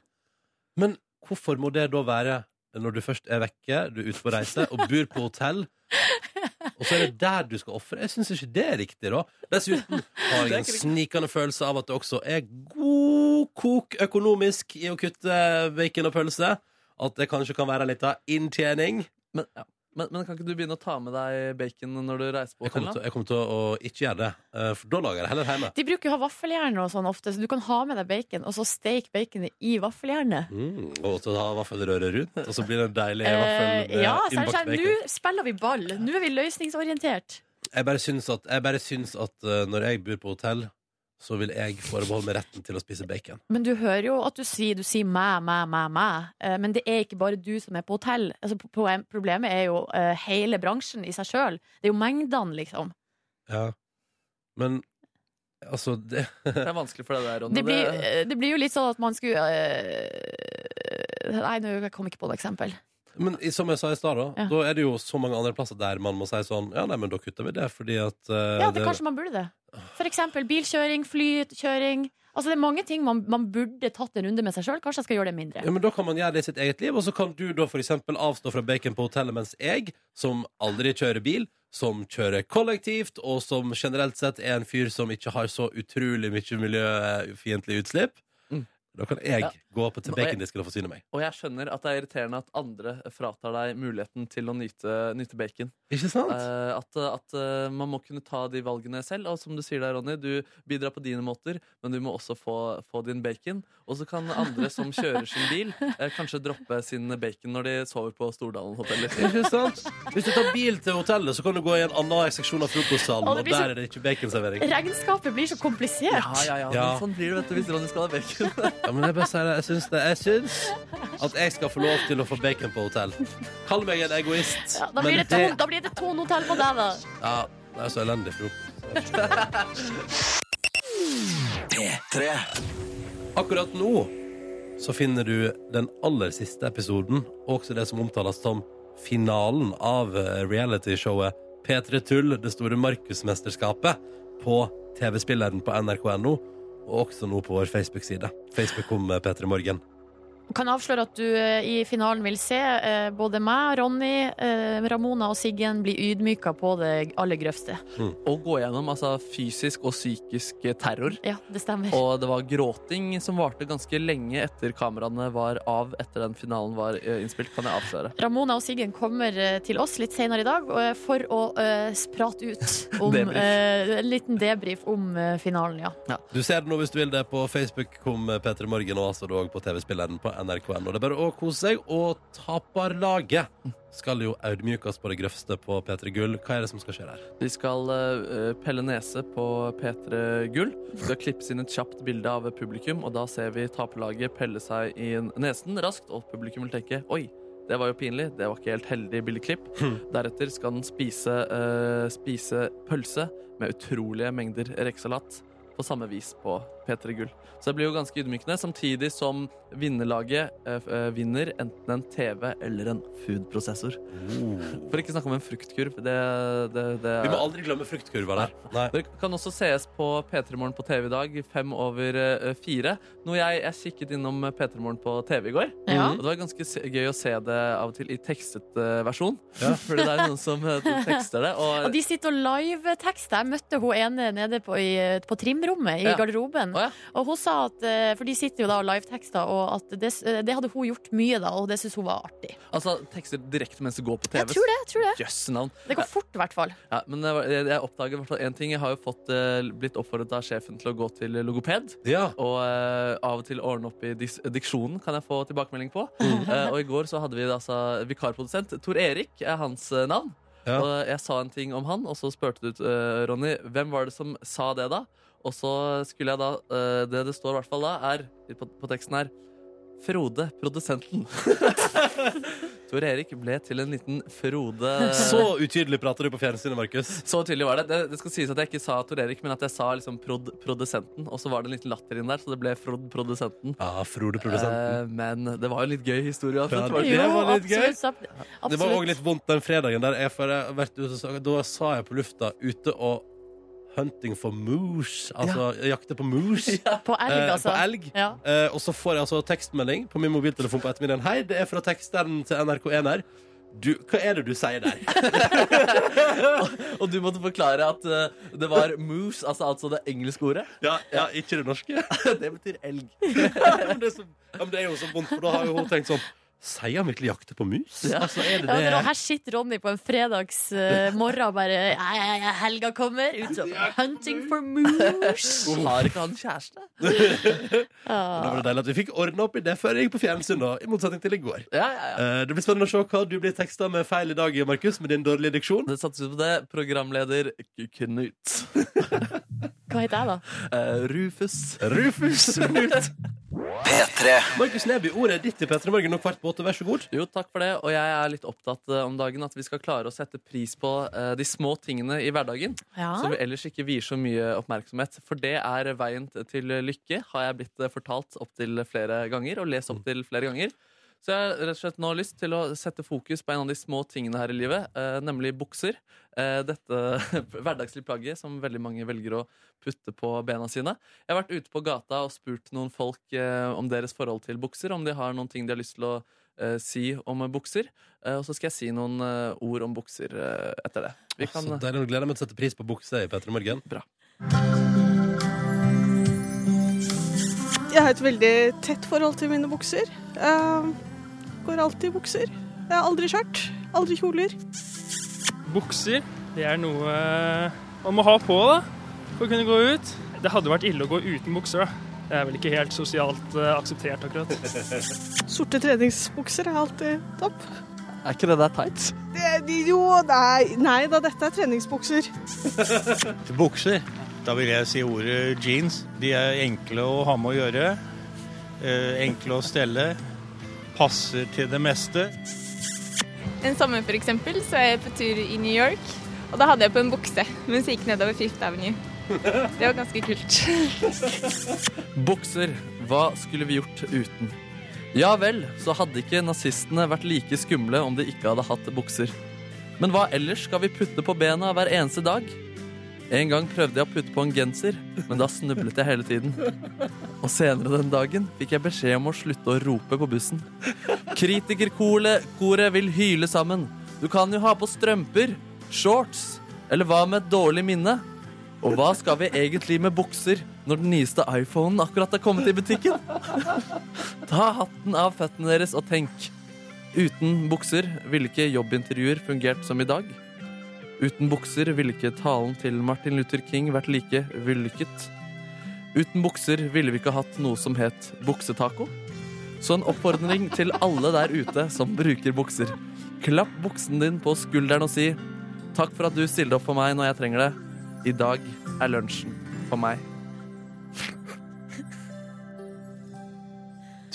B: Men hvorfor må det da være når du først er vekke, du er ute på reise og bor på hotell, og så er det der du skal ofre? Jeg syns ikke det er riktig, da. Dessuten har jeg en snikende følelse av at det også er god kok økonomisk i å kutte bacon og pølse. At det kanskje kan være litt av inntjening.
C: Men, ja. men, men kan ikke du begynne å ta med deg bacon når du reiser på
B: Jeg
C: hotell?
B: kommer til,
C: da?
B: jeg kommer til å ikke gjøre det, eh, for da lager jeg det heller hjemme.
D: De bruker jo å ha vaffeljern og sånn ofte, så du kan ha med deg bacon, og så steike baconet i vaffeljernet.
B: Mm, og så ha vaffelrøret rundt, og så blir det en deilig vaffel
D: Eh,
B: med
D: ja, så er det
B: innbakt
D: sånn,
B: bacon.
D: nå spiller vi ball. Nå er vi løsningsorientert.
B: Jeg bare syns at, jeg bare syns at eh, når jeg bor på hotell, så vil jeg forbeholde meg retten til å spise bacon.
D: Men du hører jo at du sier, du sier mæ, mæ, mæ, mæ. Eh, Men det er ikke bare du som er på hotell. Altså, pro- pro- problemet er jo eh, hele bransjen i seg sjøl. Det er jo mengdene, liksom.
B: Ja. Men altså det,
C: Det er vanskelig for deg der, Ronny.
D: Det blir,
C: Det-
D: eh, det blir jo litt sånn at man skulle eh, Nei, nå jeg kom jeg ikke på noe eksempel.
B: Men i- som jeg sa i stad, da,
D: Ja.
B: da er det jo så mange andre plasser der man må si sånn Ja, nei, men da kutter vi det, fordi at eh,
D: Ja, det, kanskje man burde det. For eksempel bilkjøring, flykjøring. Altså, det er mange ting man, man burde tatt en runde med seg sjøl. Kanskje jeg skal gjøre det mindre.
B: Ja, men Da kan man gjøre det i sitt eget liv, og så kan du da for eksempel avstå fra bacon på hotellet, mens jeg, som aldri kjører bil, som kjører kollektivt, og som generelt sett er en fyr som ikke har så utrolig mye miljøfiendtlig utslipp,
C: Mm.
B: da kan jeg
C: Ja.
B: gå opp til
C: Og jeg-
B: bacondisken og forsyne meg.
C: Og jeg skjønner at det er irriterende at andre fratar deg muligheten til å nyte, nyte bacon.
B: Ikke sant?
C: Eh, at at eh, man må kunne ta de valgene selv. Og som du sier der, Ronny, du bidrar på dine måter, men du må også få, få din bacon. Og så kan andre som kjører sin bil, eh, kanskje droppe sin bacon når de sover på Stordalen hoteller.
B: Ikke sant? Hvis du tar bil til hotellet, så kan du gå i en annen seksjon av frokostsalen,
D: Å, det
B: og
D: blir så-
B: der er det ikke baconservering.
D: Regnskapet blir så komplisert.
C: Ja, ja, ja.
B: Ja.
C: Men sånn blir det vet du, hvis Ronny skal ha bacon.
B: Ja, men jeg bare sier det. Jeg syns det. Jeg syns at jeg skal få lov til å få bacon på hotell. Kall meg en egoist,
D: Ja, da, blir det
B: men
D: to, da blir det Tone Hotell på deg, da.
B: Ja, det er så elendig frokost. Akkurat nå så finner du den aller siste episoden, og også det som omtales som finalen av eh, realityshowet P3 Tull, det store Markusmesterskapet, på TV-spilleren på nrk.no, og også nå på vår Facebook-side. Facebook kom med P3 Morgen.
D: Kan avsløre at du eh, i finalen vil se eh, både meg, Ronny, eh, Ramona og Siggen bli ydmyka på det aller grøvste.
B: Hm.
C: Og gå gjennom altså, fysisk og psykisk terror.
D: Ja, det stemmer.
C: Og det var gråting som varte ganske lenge etter kameraene var av etter den finalen var eh, innspilt, kan jeg avsløre.
D: Ramona og Siggen kommer eh, til oss litt senere i dag eh, for å eh, prate ut om
C: Debrief.
D: eh, En liten debrief om eh, finalen, ja.
B: Du ser det nå hvis du vil det på Facebook kom eh, P3 Morgen, og altså da også på TV-spilleren på nrk.no. Det er bare å kose seg. Og taperlaget skal jo audmykes på det grøvste på P3 Gull. Hva er det som skal skje der?
C: De skal eh, pelle nese på P3 Gull. Skal klippes inn et kjapt bilde av publikum, og da ser vi taperlaget pelle seg i nesen raskt, og publikum vil tenke oi. Det var jo pinlig. Det var ikke helt heldig bildeklipp. Deretter skal den spise, eh, spise pølse med utrolige mengder rekesalat. På samme vis på P3 Gull. Så det blir jo ganske ydmykende, samtidig som vinnerlaget eh, f- eh, vinner enten en TV eller en foodprosessor. For ikke snakke om en fruktkurv. Det, det, det
B: Vi må aldri glemme fruktkurva der. Nei.
C: det kan også sees på P3 Morgen på TV i dag, fem over eh, fire. Noe jeg, jeg kikket innom eh, P3 Morgen på TV i går.
D: Ja.
C: Og det var ganske se- gøy å se det av og til i tekstet eh, versjon.
B: Ja.
C: Fordi det er noen som eh, tekster det.
D: Og
C: Og,
D: de sitter og live-tekster. Jeg møtte hun ene nede på, i, på trimrommet i
C: Ja.
D: garderoben.
C: Å, ja.
D: Og hun sa at eh, For de sitter jo da og live-tekster, og at det, eh, det hadde hun gjort mye, da, og det syntes hun var artig.
C: altså tekster direkte mens det går på TV.
D: Jeg tror det. jeg tror det
C: Jøss, navn.
D: Det går fort, i hvert fall.
C: Ja, men det var- jeg, jeg oppdager i hvert fall én ting. Jeg har jo fått, eh, blitt oppfordret av sjefen til å gå til logoped.
B: Ja.
C: Og eh, av og til ordne opp i dis diksjonen, kan jeg få tilbakemelding på.
B: Mm.
C: Eh, og i går så hadde vi da altså vikarprodusent. Tor Erik er hans eh, navn.
B: Ja.
C: Og jeg sa en ting om han, og så spurte du, eh, Ronny, hvem var det som sa det da? Og så skulle jeg da eh, Det det står i hvert fall da, er på, på teksten her Frode, produsenten. Tor Erik ble til en liten Frode
B: Så utydelig prater du på fjernsynet, Markus.
C: så tydelig var det. det. Det skal sies at jeg ikke sa Tor Erik, men at jeg sa liksom prod produsenten. Og så var det en liten latter inn der, så det ble Frod produsenten.
B: Ja, Frode produsenten.
C: Eh, men det var jo litt gøy historie. uansett,
B: Ja,
C: var det
B: det
C: ikke?
B: var litt gøy.
D: absolutt, ab- absolutt.
B: Det var òg litt vondt den fredagen der jeg, for jeg, vet du, så, sa- Da sa jeg på lufta ute og Hunting for moose. Altså jakte på moose.
D: På elg,
B: Eh,
D: altså.
B: På elg.
D: Ja.
B: Eh, og så får jeg altså tekstmelding på min mobiltelefon på ettermiddagen. Hei, det er fra teksteren til NRK1 her. Du, hva er det du sier der?
C: Og du måtte forklare at eh, det var moose, altså, altså det engelske ordet.
B: Ja, ja ikke det norske?
C: Det betyr elg.
B: men, det er så, ja, men det er jo så vondt, for da har jo hun tenkt sånn Sier han virkelig jakte på mus? Altså, er det
D: Ja,
B: det?
D: men her sitter Ronny på en fredags eh, morgen og bare ja, ja, ja, Helga kommer! Ut og Hunting for moose!
C: Har ikke han kjæreste?
B: Da
D: Ja.
B: var det deilig at vi fikk ordna opp i det før jeg gikk på fjernsyn, da, i motsetning til i går.
C: Ja, ja, ja.
B: Eh, det blir spennende å se hva du blir teksta med feil i dag, Markus, med din dårlige diksjon.
C: Det satses på det. Programleder K- Knut.
D: Hva heter jeg, da?
C: Eh, Rufus.
B: Rufus Knut. Markus Neby, ordet er ditt i P3 Morgen nå kvart på åtte, vær så god.
C: Jo, takk for det. Og jeg er litt opptatt eh, om dagen at vi skal klare å sette pris på eh, de små tingene i hverdagen. Som
D: Ja.
C: vi ellers ikke vier så mye oppmerksomhet. For det er veien t- til lykke, har jeg blitt eh, fortalt opptil flere ganger. Og lest opptil flere ganger. Så jeg har rett og slett nå lyst til å sette fokus på en av de små tingene her i livet, eh, nemlig bukser. Eh, dette hverdagslige plagget som veldig mange velger å putte på bena sine. Jeg har vært ute på gata og spurt noen folk eh, om deres forhold til bukser, om de har noen ting de har lyst til å eh, si om bukser. Eh, og så skal jeg si noen eh, ord om bukser eh, etter det. Vi kan, eh,
B: Så deilig, nå gleder jeg meg til å sette pris på bukse i P3 Morgen.
F: Jeg har et veldig tett forhold til mine bukser. Eh, går alltid i bukser. Jeg har aldri skjørt, aldri kjoler.
G: Bukser, det er noe eh, man må ha på da, for å kunne gå ut. Det hadde vært ille å gå uten bukser. da. Det er vel ikke helt sosialt eh, akseptert akkurat.
F: Sorte treningsbukser er alltid topp.
C: er ikke det der tights?
F: Det, de, jo, nei, nei da, dette er treningsbukser.
H: Til bukser, da vil jeg si ordet jeans. De er enkle å ha med å gjøre. eh, Enkle å stelle. Passer til det meste.
I: En sommer for eksempel, så er jeg på tur i New York, og da hadde jeg på en bukse mens jeg gikk nedover Fifth Avenue. Det var ganske kult.
C: Bukser. Hva skulle vi gjort uten? Ja vel, så hadde ikke nazistene vært like skumle om de ikke hadde hatt bukser. Men hva ellers skal vi putte på bena hver eneste dag? En gang prøvde jeg å putte på en genser, men da snublet jeg hele tiden. Og senere den dagen fikk jeg beskjed om å slutte å rope på bussen. Kritikerkoret vil hyle sammen. Du kan jo ha på strømper, shorts, eller hva med et dårlig minne? Og hva skal vi egentlig med bukser når den nyeste iPhonen akkurat er kommet i butikken? Ta hatten av føttene deres og tenk. Uten bukser ville ikke jobbintervjuer fungert som i dag. Uten bukser ville ikke talen til Martin Luther King vært like vellykket. Uten bukser ville vi ikke hatt noe som het buksetaco. Så en oppfordring til alle der ute som bruker bukser. Klapp buksen din på skulderen og si takk for at du stilte opp for meg når jeg trenger det. I dag er lunsjen for meg.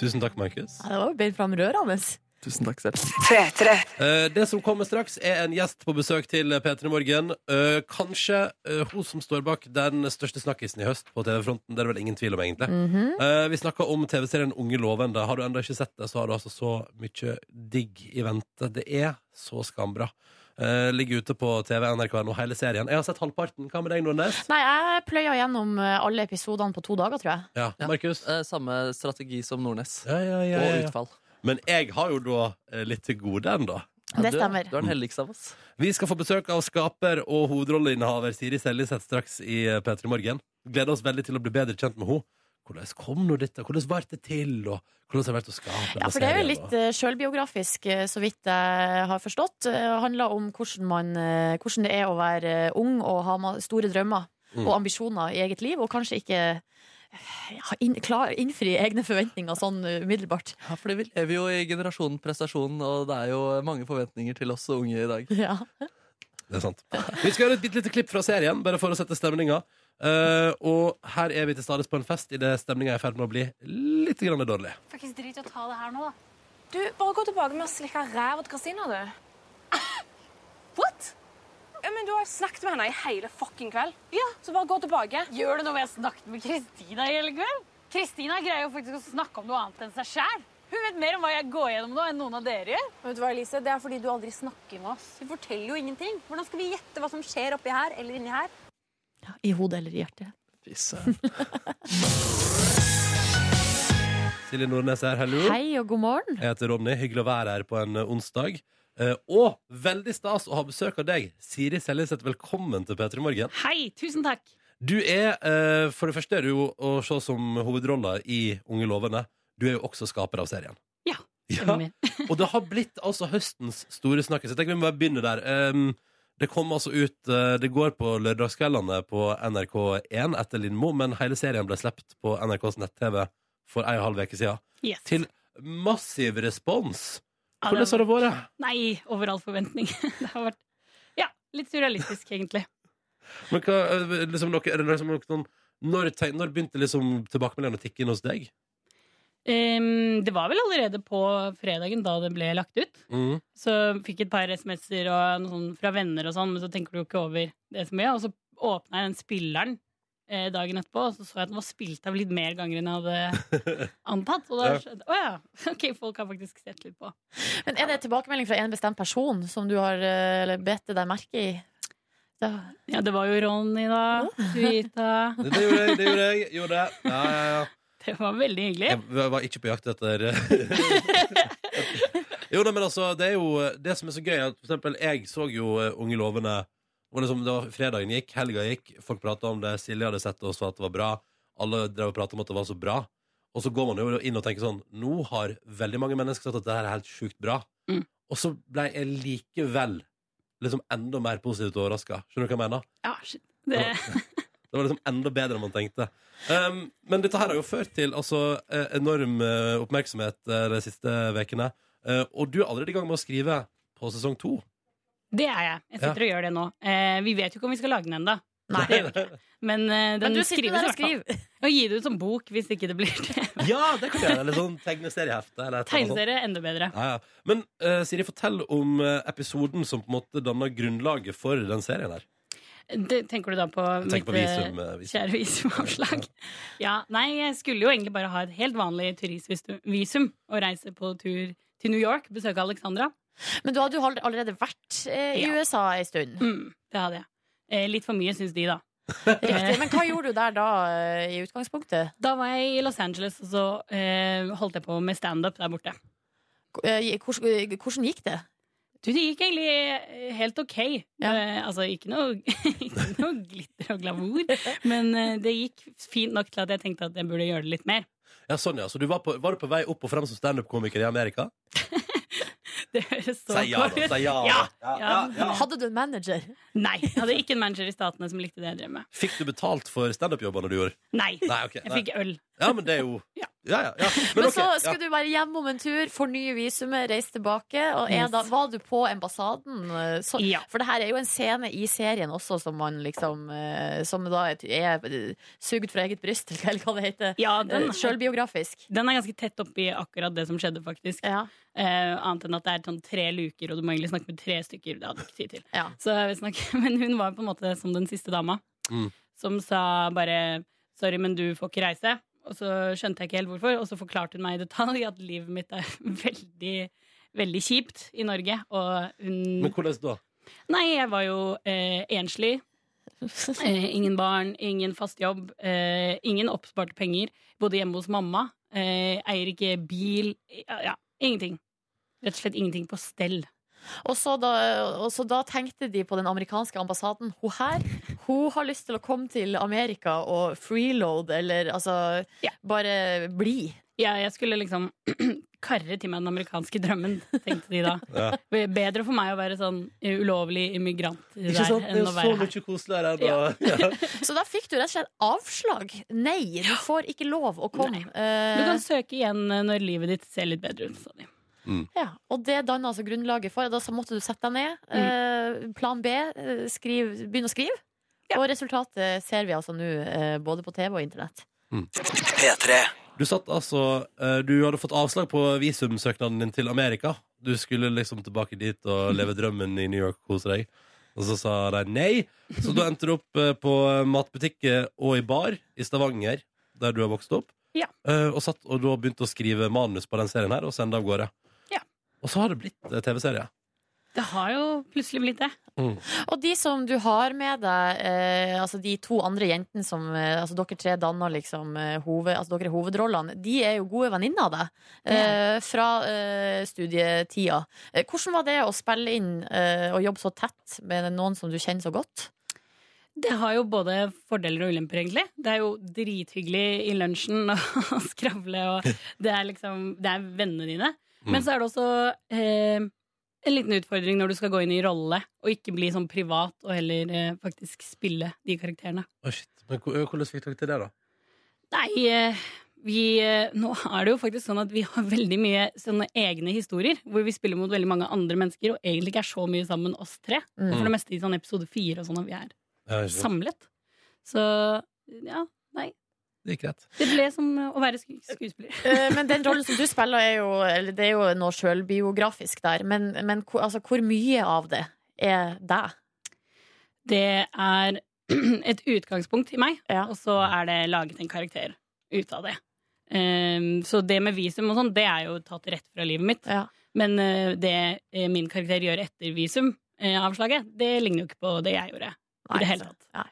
B: Tusen takk, Markus.
D: Ja, det var jo bedre fram rørende.
C: Tusen takk selv.
B: Eh, Det som kommer straks, er en gjest på besøk til P3 Morgen. Eh, Kanskje eh, hun som står bak den største snakkisen i høst på TV-fronten. Det er det vel ingen tvil om, egentlig.
D: Mhm.
B: Eh, Vi snakka om TV-serien Unge lovende. Har du ennå ikke sett det, så har du altså så mye digg i vente. Det er så skambra. Eh, ligger ute på TV, NRK nå, hele serien. Jeg har sett halvparten. Hva med deg, Nordnes?
D: Nei, jeg pløya gjennom eh, alle episodene på to dager, tror jeg.
B: Ja,
C: Ja.
B: Markus?
C: Eh, Samme strategi som Nordnes.
B: Ja, ja, ja,
C: Og
B: ja, ja.
C: utfall.
B: Men jeg har jo da eh, litt til gode ennå.
C: Ja,
D: Det
C: du er-
D: stemmer.
C: Du er den heldigste av oss.
B: Vi skal få besøk av skaper og hovedrolleinnehaver Siri Seljeseth straks i eh, P3 Morgen. Gleder oss veldig til å bli bedre kjent med henne. Hvordan kom nå dette? Hvordan ble det til? Og hvordan har det vært å skape
D: Ja,
B: denne
D: for det er jo
B: serien,
D: litt
B: og-
D: eh, sjølbiografisk, eh, så vidt jeg har forstått. Det handler om hvordan, man, eh, hvordan det er å være eh, ung og ha ma- store drømmer
B: Mm.
D: og ambisjoner i eget liv, og kanskje ikke eh, ha inn, klar, innfri egne forventninger sånn eh, umiddelbart.
C: Ja, fordi vi lever jo i generasjonen prestasjon, og det er jo mange forventninger til oss unge i dag.
D: Ja.
B: Det er sant. Vi skal gjøre et bitte lite klipp fra serien, bare for å sette stemninga. Eh, og her er vi til stades på en fest idet stemninga er i ferd med å bli litt grann dårlig.
J: Fuckings drit i å ta det her nå, da. Du, bare gå tilbake med å slikke ræv og Kristina, du. What? Ja, men Du har snakket med henne i hele fucking kveld. Ja. Så bare gå tilbake. Gjør det når vi har snakket med Kristina i hele kveld? Kristina greier jo faktisk å snakke om noe annet enn seg sjæl. Hun vet mer om hva jeg går gjennom nå, enn noen av dere gjør. Vet du hva, Elise? Det er fordi du aldri snakker med oss. Du forteller jo ingenting. Hvordan skal vi gjette hva som skjer oppi her eller inni her?
D: I hodet eller i hjertet.
C: Fy søren.
B: Silje Nordnes her, hallo.
D: Hei og god morgen.
B: Jeg heter Ronny. Hyggelig å være her på en eh, onsdag. Eh, og veldig stas å ha besøk av deg. Siri Seljeseth, velkommen til P3 Morgen.
J: Hei, tusen takk.
B: Du er, eh, for det første er du jo å se som hovedrolla i Unge lovende. Du er jo også skaper av serien.
J: Ja,
B: Ja, og det har blitt altså høstens store snakkes. Jeg tenker vi må bare begynne der. Um, det kom altså ut, eh, det går på lørdagskveldene på NRK1 etter Lindmo, men hele serien ble sluppet på NRKs nett-TV for en og en halv uke siden.
J: Yes.
B: Til massiv respons.
J: Ja,
B: Hvordan
J: det-
B: har det vært?
J: Nei, over all forventning. Det har vært ja, litt surrealistisk, egentlig.
B: Men hva, eh, liksom, dere- er det liksom, noen- når, tenk- når begynte liksom tilbakemeldingene å tikke inn hos deg?
J: Ehm, det var vel allerede på fredagen da det ble lagt ut.
B: Mm.
J: Så fikk et par SMS-er og noe sånn fra venner og sånn, men så tenker du jo ikke over det så mye. Og så åpna jeg den spilleren eh, dagen etterpå, og så så jeg at den var spilt av litt mer ganger enn jeg hadde antatt. Og da
B: Ja.
J: skjønte jeg Å ja, ok, folk har faktisk sett litt på.
D: Men er det en tilbakemelding fra en bestemt person som du har eh, eller bedt deg merke i? Da,
J: Ja, det var jo Ronny, da. Suita.
B: Det, det gjorde jeg, det gjorde jeg. Gjorde det. Ja, ja, ja.
J: Det var veldig hyggelig.
B: Jeg var ikke på jakt etter eh, Jo da, men altså, det er jo Det som er så gøy, er at for eksempel jeg så jo eh, Unge lovende og liksom, det var Fredagen gikk, helga gikk, folk prata om det, Silje hadde sett det og sa at det var bra. Alle drev og prata om at det var så bra. Og så går man jo inn og tenker sånn Nå har veldig mange mennesker sagt at det her er helt sjukt bra.
J: Mm.
B: Og så ble jeg likevel liksom enda mer positivt overraska. Skjønner du hva jeg mener?
J: Ja, shit. Det,
B: Det var liksom enda bedre enn man tenkte. Um, men dette her har jo ført til altså, eh, enorm eh, oppmerksomhet eh, de siste vekene. Eh, og du er allerede i gang med å skrive på sesong to.
J: det er jeg. Jeg sitter og gjør det nå. Eh, vi vet jo ikke om vi skal lage den ennå.
D: nei.
J: Men eh, den
D: Men du sitter der
J: skrives i
D: og
J: hvert fall.
D: skriver.
J: Og gi det ut som bok hvis ikke det blir det.
B: Ja, det kan du gjøre! Eller sånn tegneseriehefte. Eller et eller annet sånt.
J: Tegneserie enda bedre.
B: Ja, ja. Men eh, Siri, fortell om eh, episoden som på en måte danna grunnlaget for den serien her.
J: Det, tenker du da på
B: Jeg tenker på
J: mitt eh,
B: visum, eh, visum.
J: kjære visumavslag? Ja, nei, jeg skulle jo egentlig bare ha et helt vanlig turistvisum og reise på tur til New York, besøke Alexandra.
D: Men du hadde jo all- allerede vært eh, i USA ei stund.
J: Mm, det hadde jeg. Eh, litt for mye, syns de, da.
D: Riktig. Men hva gjorde du der da, eh, i utgangspunktet?
J: Da var jeg i Los Angeles, og så eh, holdt jeg på med standup der borte.
D: eh, Hvordan, gikk det?
J: Du, det gikk egentlig eh, helt ok. Eh, altså, ikke noe, ikke noe glitter og glamour, men eh, det gikk fint nok til at jeg tenkte at jeg burde gjøre det litt mer.
B: Ja, sånn, ja. Så du var, på, var du på vei opp og frem som standup-komiker i Amerika?
J: Det høres så
B: Si ja, da. Si ja, da.
J: Ja,
B: Ja,
J: ja, ja.
D: Hadde du en manager?
J: Nei, jeg hadde ikke en manager i Statene som likte det jeg drev med.
B: Fikk du betalt for standup-jobbene du gjorde?
J: Nei.
B: Nei, ok,
J: Jeg
B: nei.
J: fikk øl.
B: Ja, men det er jo Ja, ja. ja.
D: Men, så
B: ok,
D: skulle
B: ja.
D: du være hjemme om en tur, fornye visumet, reise tilbake. Og er
J: Yes.
D: da, var du på ambassaden? eh, Så,
J: Ja.
D: For det her er jo en scene i serien også som man liksom eh, Som da er, er sugd fra eget bryst, eller hva det heter.
J: Ja, den-
D: Eh, Selvbiografisk.
J: Den er ganske tett oppi akkurat det som skjedde, faktisk. Eh, annet enn at det er sånn tre luker, og du må egentlig snakke med tre stykker. Det hadde jeg ikke tid til. Så jeg vil snakke- men hun var på en måte som den siste dama,
K: Mm.
J: som sa bare 'sorry, men du får ikke reise'. Og så skjønte jeg ikke helt hvorfor, og så forklarte hun meg i detalj at livet mitt er veldig, veldig kjipt i Norge. Og hun
B: Men hvordan da?
J: Nei, jeg var jo eh, enslig. Eh, ingen barn, ingen fast jobb, eh, ingen oppsparte penger. Bodde hjemme hos mamma. Eh, eier ikke bil. Ja, ja, ingenting. Rett og slett ingenting på stell.
D: Og så, da, og så da tenkte de på den amerikanske ambassaden Hun her, hun har lyst til å komme til Amerika og freeload, eller altså bare bli.
J: Ja, jeg skulle liksom karre til meg den amerikanske drømmen, tenkte de da.
B: Ja.
J: Bedre for meg å være sånn eh, ulovlig immigrant der
B: Ikke sant? Det er
J: enn
B: jo
J: å
B: så
J: være her.
B: mye koseligere enn å
D: Så da fikk du rett og slett avslag. Nei, du får ikke lov å komme.
J: Du
D: Eh,
J: kan søke igjen eh, når livet ditt ser litt bedre ut, sa de.
B: Mm.
D: ja, og det danna altså grunnlaget for. Da så måtte du sette deg ned.
J: Mm.
D: eh, plan B, eh, skriv, begynn å skrive. Og resultatet ser vi altså nå, eh, både på TV og internett.
B: P3. Mm. Du satt altså eh, Du hadde fått avslag på visumsøknaden din til Amerika. Du skulle liksom tilbake dit og leve drømmen i New York og kose deg. Og så sa de nei. Så da endte du opp eh, på matbutikker og i bar i Stavanger, der du har vokst opp.
J: Ja.
B: Eh, og satt og da begynte å skrive manus på den serien her og sende av gårde.
J: Ja.
B: Og så har det blitt eh, TV-serie.
J: Det har jo plutselig blitt det.
D: Og de som du har med deg, eh, altså de to andre jentene som eh, Altså dere tre danner liksom eh, hoved, Altså dere er hovedrollene, de er jo gode venninner av deg. Eh, fra eh, studietida. Eh, hvordan var det å spille inn eh, og jobbe så tett med noen som du kjenner så godt?
J: Det har jo både fordeler og ulemper, egentlig. Det er jo drithyggelig i lunsjen å skravle, og det er liksom Det er vennene dine. Men så er det også eh, en liten utfordring når du skal gå inn i rolle, og ikke bli sånn privat, og heller eh, faktisk spille de karakterene.
B: Å, shit. Men hvor- hvordan fikk dere til det, da?
J: Nei, eh, vi eh, Nå er det jo faktisk sånn at vi har veldig mye sånne egne historier, hvor vi spiller mot veldig mange andre mennesker, og egentlig ikke er så mye sammen oss tre.
B: Mm.
J: For det meste i sånn episode fire og sånn, at vi er
B: Ja, ikke sant.
J: samlet. Så ja, nei.
B: Det gikk rett.
J: Det ble som eh, å være sku- skuespiller.
D: Eh, men den rollen som du spiller, er jo, eller det er jo noe sjølbiografisk der. Men, men hvor- altså, hvor mye av det er deg?
J: Det er et utgangspunkt i meg, og så er det laget en karakter ut av det. Ehm, så det med visum og sånn, det er jo tatt rett fra livet mitt. Men eh, det eh, min karakter gjør etter visumavslaget, det ligner jo ikke på det jeg gjorde. I det hele tatt.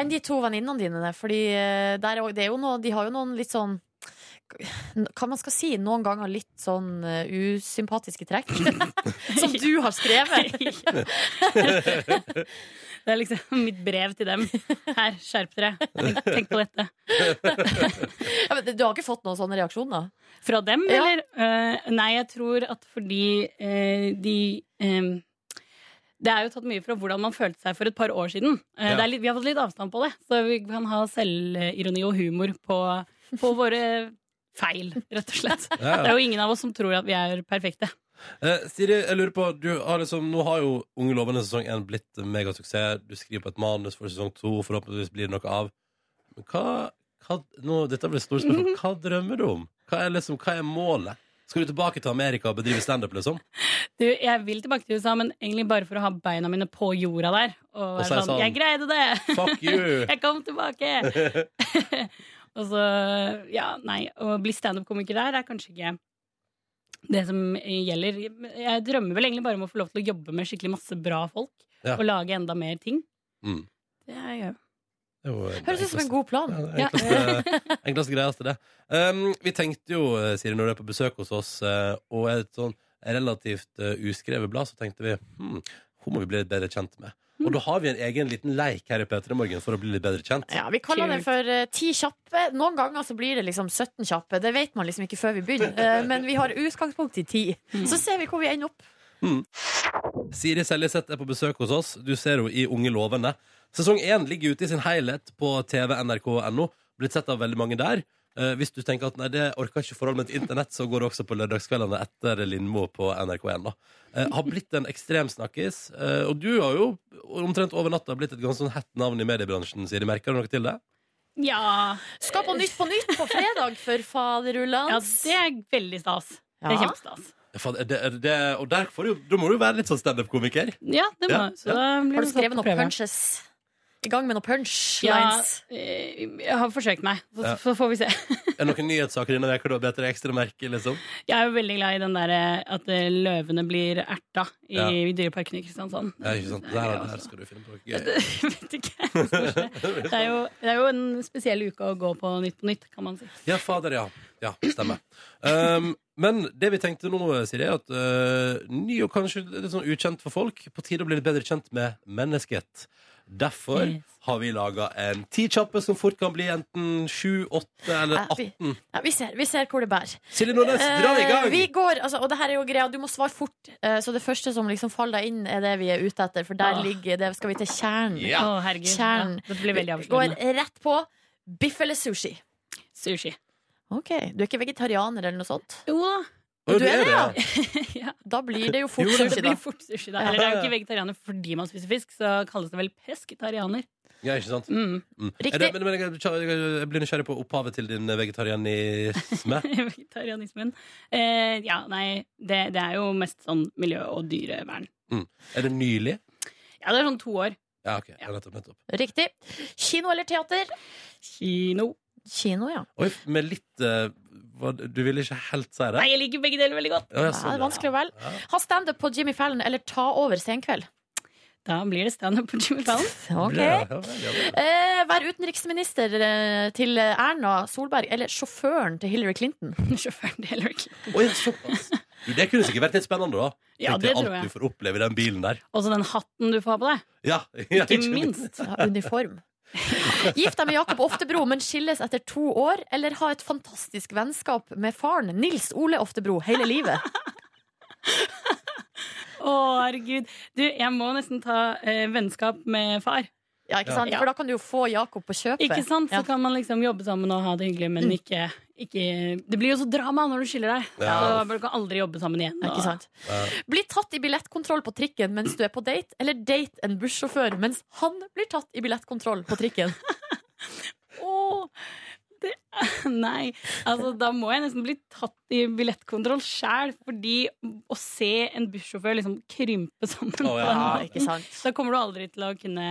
D: enn de to venninnene dine. der, Fordi eh, der, er jo- det er jo noe, de har jo noen litt sånn hva man skal si, noen ganger litt sånn eh, usympatiske trekk. som du har skrevet!
J: Det er liksom mitt brev til dem. Her, skjerp dere. Tenk, tenk på dette.
D: ja, men du har ikke fått noen sånne reaksjoner?
J: Fra dem,
D: Ja.
J: eller? Eh, nei, jeg tror at fordi eh, de eh, Det er jo tatt mye fra hvordan man følte seg for et par år siden. Eh,
D: Ja.
J: det er litt, vi har fått litt avstand på det, så vi kan ha selvironi og humor på, på våre feil, rett og slett.
B: Ja.
J: Det er jo ingen av oss som tror at vi er perfekte.
B: Eh, Siri, jeg lurer på du har liksom, Nå har jo Unge lovende sesong 1 blitt en megasuksess. Du skriver på et manus for sesong 2, forhåpentligvis blir det noe av. Men hva, hva nå, Dette blir et stort spørsmål. Hva drømmer du om? Hva er, liksom, hva er målet? Skal du tilbake til Amerika og bedrive standup, liksom?
J: Du, jeg vil tilbake til USA, men egentlig bare for å ha beina mine på jorda der.
B: Og
J: Og være
B: si
J: sånn
B: sånn,
J: Jeg greide det!
B: Fuck you!
J: jeg kom tilbake! Og så Altså, Ja, nei. Å bli standup-komiker der er kanskje ikke det som gjelder. Jeg drømmer vel egentlig bare om å få lov til å jobbe med skikkelig masse bra folk.
B: Ja.
J: Og lage enda mer ting.
B: Mm.
J: Det er jeg.
B: Det er jo
J: Høres ut som en
B: enkleste-
J: god plan.
B: Ja, det er enkleste, eh, enkleste greia til det. Um, vi tenkte jo, eh, Siri, når du er på besøk hos oss, eh, og er et sånn relativt eh, uskrevet blad, så tenkte vi hm, hun må vi bli litt bedre kjent med.
J: Mm.
B: Og da har vi en egen liten leik her i P3 Morgen for å bli litt bedre kjent.
D: Ja, vi kaller den for eh, ti kjappe. Noen ganger så blir det liksom 17 kjappe. Det vet man liksom ikke før vi begynner. Eh, men vi har utgangspunkt i ti. Så ser vi hvor vi ender opp.
B: Mm. Siri Seljeseth er på besøk hos oss. Du ser henne i Unge lovende. Sesong 1 ligger ute i sin helhet på TV, nrk.no. Blitt sett av veldig mange der. Eh, hvis du tenker at nei, det orker ikke forholdet mitt til internett, så går det også på lørdagskveldene etter Lindmo på NRK1. da. Eh, har blitt en ekstremsnakkis. Eh, og du har jo omtrent over natta blitt et ganske sånn hett navn i mediebransjen, Siri. Merker du noe til det?
J: Ja.
D: Skal på Nytt på Nytt på fredag, for faderullans.
J: Ja, det er veldig stas. Det er
B: Ja.
J: kjempestas.
B: Faen, er Det, er det, og der får du, da må du være litt sånn standup-komiker.
J: Ja, det må
B: Ja,
J: så da blir
D: Har du
J: det satt
D: skrevet
J: på
D: noen
J: prøve.
D: punches? I gang med noen punchlines?
J: Ja, eh, jeg har forsøkt meg. Så,
B: Ja.
J: så får vi se.
B: Er det noen nyhetssaker denne veka du har bedt deg ekstra merke? liksom?
J: Jeg er jo veldig glad i den der eh, at eh, løvene blir erta i,
B: Ja.
J: i Dyreparken i Kristiansand.
B: Ja, ikke sant? Der, der skal du finne på noe gøy.
J: Det er, jo, det er jo en spesiell uke å gå på Nytt på Nytt, kan man si.
B: Ja, fader, ja. Ja, stemmer. Um, men det vi tenkte nå, eh, Siri, er at uh, ny og kanskje litt sånn ukjent for folk, på tide å bli litt bedre kjent med mennesket. Derfor
D: Yes.
B: har vi laga en ti kjappe som fort kan bli enten sju, åtte eller
D: Ja, vi-
B: atten.
D: Ja, vi, ser, vi ser hvor det bærer.
B: Silje Nordnes, dra i gang!
D: Eh, Vi går, altså, og det her er jo greia, du må svare fort. Eh, Så det første som liksom faller deg inn, er det vi er ute etter. For der
J: Ah.
D: ligger det, skal vi til kjernen.
J: Ja. Å, herregud.
D: Kjernen.
J: Ja, det blir veldig
D: vi
J: avslørende.
D: går rett på biff eller sushi.
J: Sushi.
D: Ok, Du er ikke vegetarianer eller noe sånt?
J: Jo da.
D: Du
J: det
D: er
J: er
D: det, ja?
J: ja.
D: Da blir det jo fort
J: Jo,
D: sushi,
J: Det blir
D: da.
J: fort sushi, da. Eller det er jo ikke vegetarianer fordi man spiser fisk, så kalles det vel presketarianer.
B: Ja, ikke sant?
J: Mm.
B: Er det, men, men, jeg- jeg blir nysgjerrig på opphavet til din vegetarianisme.
J: Vegetarianismen. Eh, ja, nei, det, det er jo mest sånn miljø- og dyrevern.
B: Mm. Er det nylig?
J: Ja, det er sånn to år.
B: Ja, OK. Ja, nettopp. nettopp.
D: Riktig. Kino eller teater?
J: Kino.
D: Kino, ja.
B: Oi, med litt eh, hva, Du ville ikke helt si det?
J: Nei, jeg liker begge deler veldig godt.
B: Ja, jeg
D: Nei,
B: så
D: det er
B: det.
D: vanskelig å velge. Ha standup på Jimmy Fallon eller ta over Senkveld.
J: Da blir det standup på Jimmy Fallon.
D: Ok. Eh, vær utenriksminister eh, til Erna Solberg, eller sjåføren til Hillary Clinton.
J: sjåføren til Hillary Clinton.
B: Oi, såpass. Du, det kunne sikkert vært litt spennende, da.
J: Ja,
B: Tenk
J: det
B: deg
J: tror jeg.
B: Alt du får oppleve i den bilen der.
J: Og så den hatten du får ha på deg.
B: Ja, ja,
J: Ikke minst.
D: Ja, uniform. Gift deg med Jakob Oftebro, men skilles etter to år, eller ha et fantastisk vennskap med faren, Nils Ole Oftebro, hele livet.
J: Å, herregud. Du, jeg må nesten ta eh, vennskap med far.
D: Ja, ikke sant? For da kan du jo få Jakob på kjøpet.
J: Ikke sant? Så
D: Ja. Mm.
J: kan man liksom jobbe sammen og ha det hyggelig, men ikke, ikke Det blir jo så drama når du skiller deg.
D: Ja.
J: Så du kan aldri jobbe sammen igjen.
D: Ja, ikke sant? Bli tatt i billettkontroll på trikken mens du er på date, eller date en bussjåfør mens han blir tatt i billettkontroll på trikken.
J: Åh, det, nei, altså da må jeg nesten bli tatt i billettkontroll sjæl, fordi å se en bussjåfør liksom krympe sammen på
D: Å, ja.
J: den
D: Ja,
J: måten,
D: ikke sant.
J: Da kommer du aldri til å kunne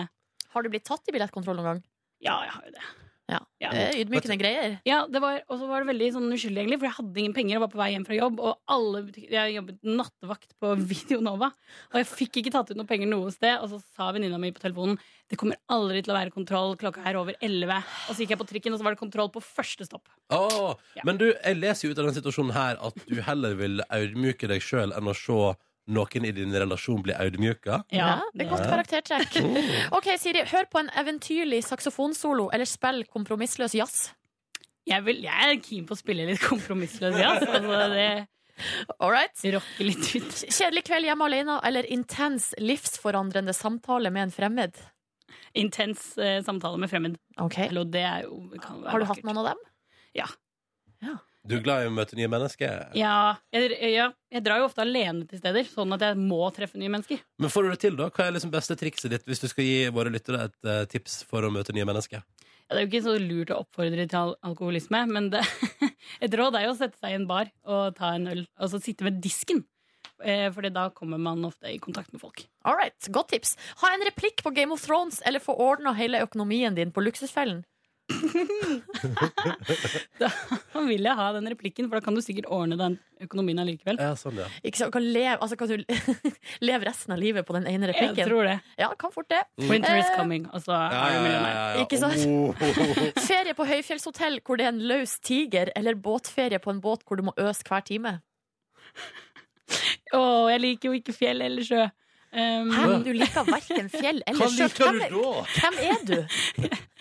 D: Har du blitt tatt i billettkontroll noen gang?
J: Ja, jeg har jo det.
D: Ja. Det er ydmykende greier.
J: Ja, det var, og så var det veldig sånn uskyldig, egentlig, for jeg hadde ingen penger og var på vei hjem fra jobb. Og alle butik- Jeg jobbet nattevakt på Videonova, og jeg fikk ikke tatt ut noe penger noe sted. Og så sa venninna mi på telefonen det kommer aldri til å være kontroll, klokka er over 11. Og så gikk jeg på trikken, og så var det kontroll på første stopp.
B: Å, Men du, jeg leser jo ut av den situasjonen her at du heller vil audmyke deg sjøl enn å se noen i din relasjon bli audmyka.
D: Ja, det er godt
B: Ja.
D: karaktertrekk. Ok, Siri, hør på en eventyrlig saksofonsolo, eller spill kompromissløs jazz.
J: Jeg, vil, jeg er keen på å spille litt kompromissløs jazz. Altså det
D: All right.
J: rocker litt ut.
D: Kjedelig kveld hjemme alene, eller intens livsforandrende samtale med en fremmed.
J: Intens eh, samtale med fremmed.
D: Ok.
J: Eller, og det er jo, kan være
D: Har du hatt
J: vakkert.
D: noen av dem?
J: Ja.
B: Du er glad i å møte nye mennesker.
J: Ja, jeg, ja. Jeg drar jo ofte alene til steder, sånn at jeg må treffe nye mennesker.
B: Men får du det til, da? Hva er liksom beste trikset ditt hvis du skal gi våre lyttere et eh, tips for å møte nye mennesker?
J: Ja, det er jo ikke så lurt å oppfordre til al alkoholisme, men det, Et råd er jo å sette seg i en bar og ta en øl, og så sitte ved disken. Eh, Fordi da kommer man ofte i kontakt med folk.
D: All right, godt tips. Ha en replikk på Game of Thrones, eller få ordna hele økonomien din på Luksusfellen.
J: Da vil jeg ha den replikken, for da kan du sikkert ordne den økonomien allikevel.
B: Ja, sånn, ja.
D: Ikke sant? Kan leve, altså, kan du leve resten av livet på den ene replikken?
J: Jeg tror det.
D: Ja, kan fort det.
J: Mm. Winter is
D: Eh,
J: coming, og så er du millionær.
D: Ikke sant?
B: Oh.
D: Ferie på høyfjellshotell hvor det er en løs tiger, eller båtferie på en båt hvor du må øse hver time.
J: Å, jeg liker jo ikke fjell eller sjø. Um,
D: Hæ? Du liker verken fjell eller sjø. Hvem er- Hvem er du?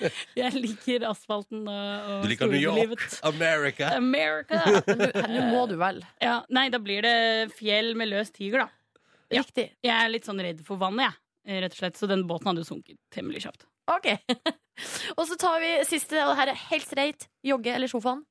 J: Jeg liker asfalten og, og
B: Du liker New York,
J: storbylivet.
B: America.
J: America!
D: Men du- her- nå må du vel.
J: Ja, nei, da blir det fjell med løs tiger, da. Ja.
D: Riktig.
J: Jeg er litt sånn redd for vannet, jeg. Rett og slett. Så den båten hadde jo sunket temmelig kjapt.
D: Ok. Og så tar vi siste, og det her er helt streit. Jogge eller sofaen?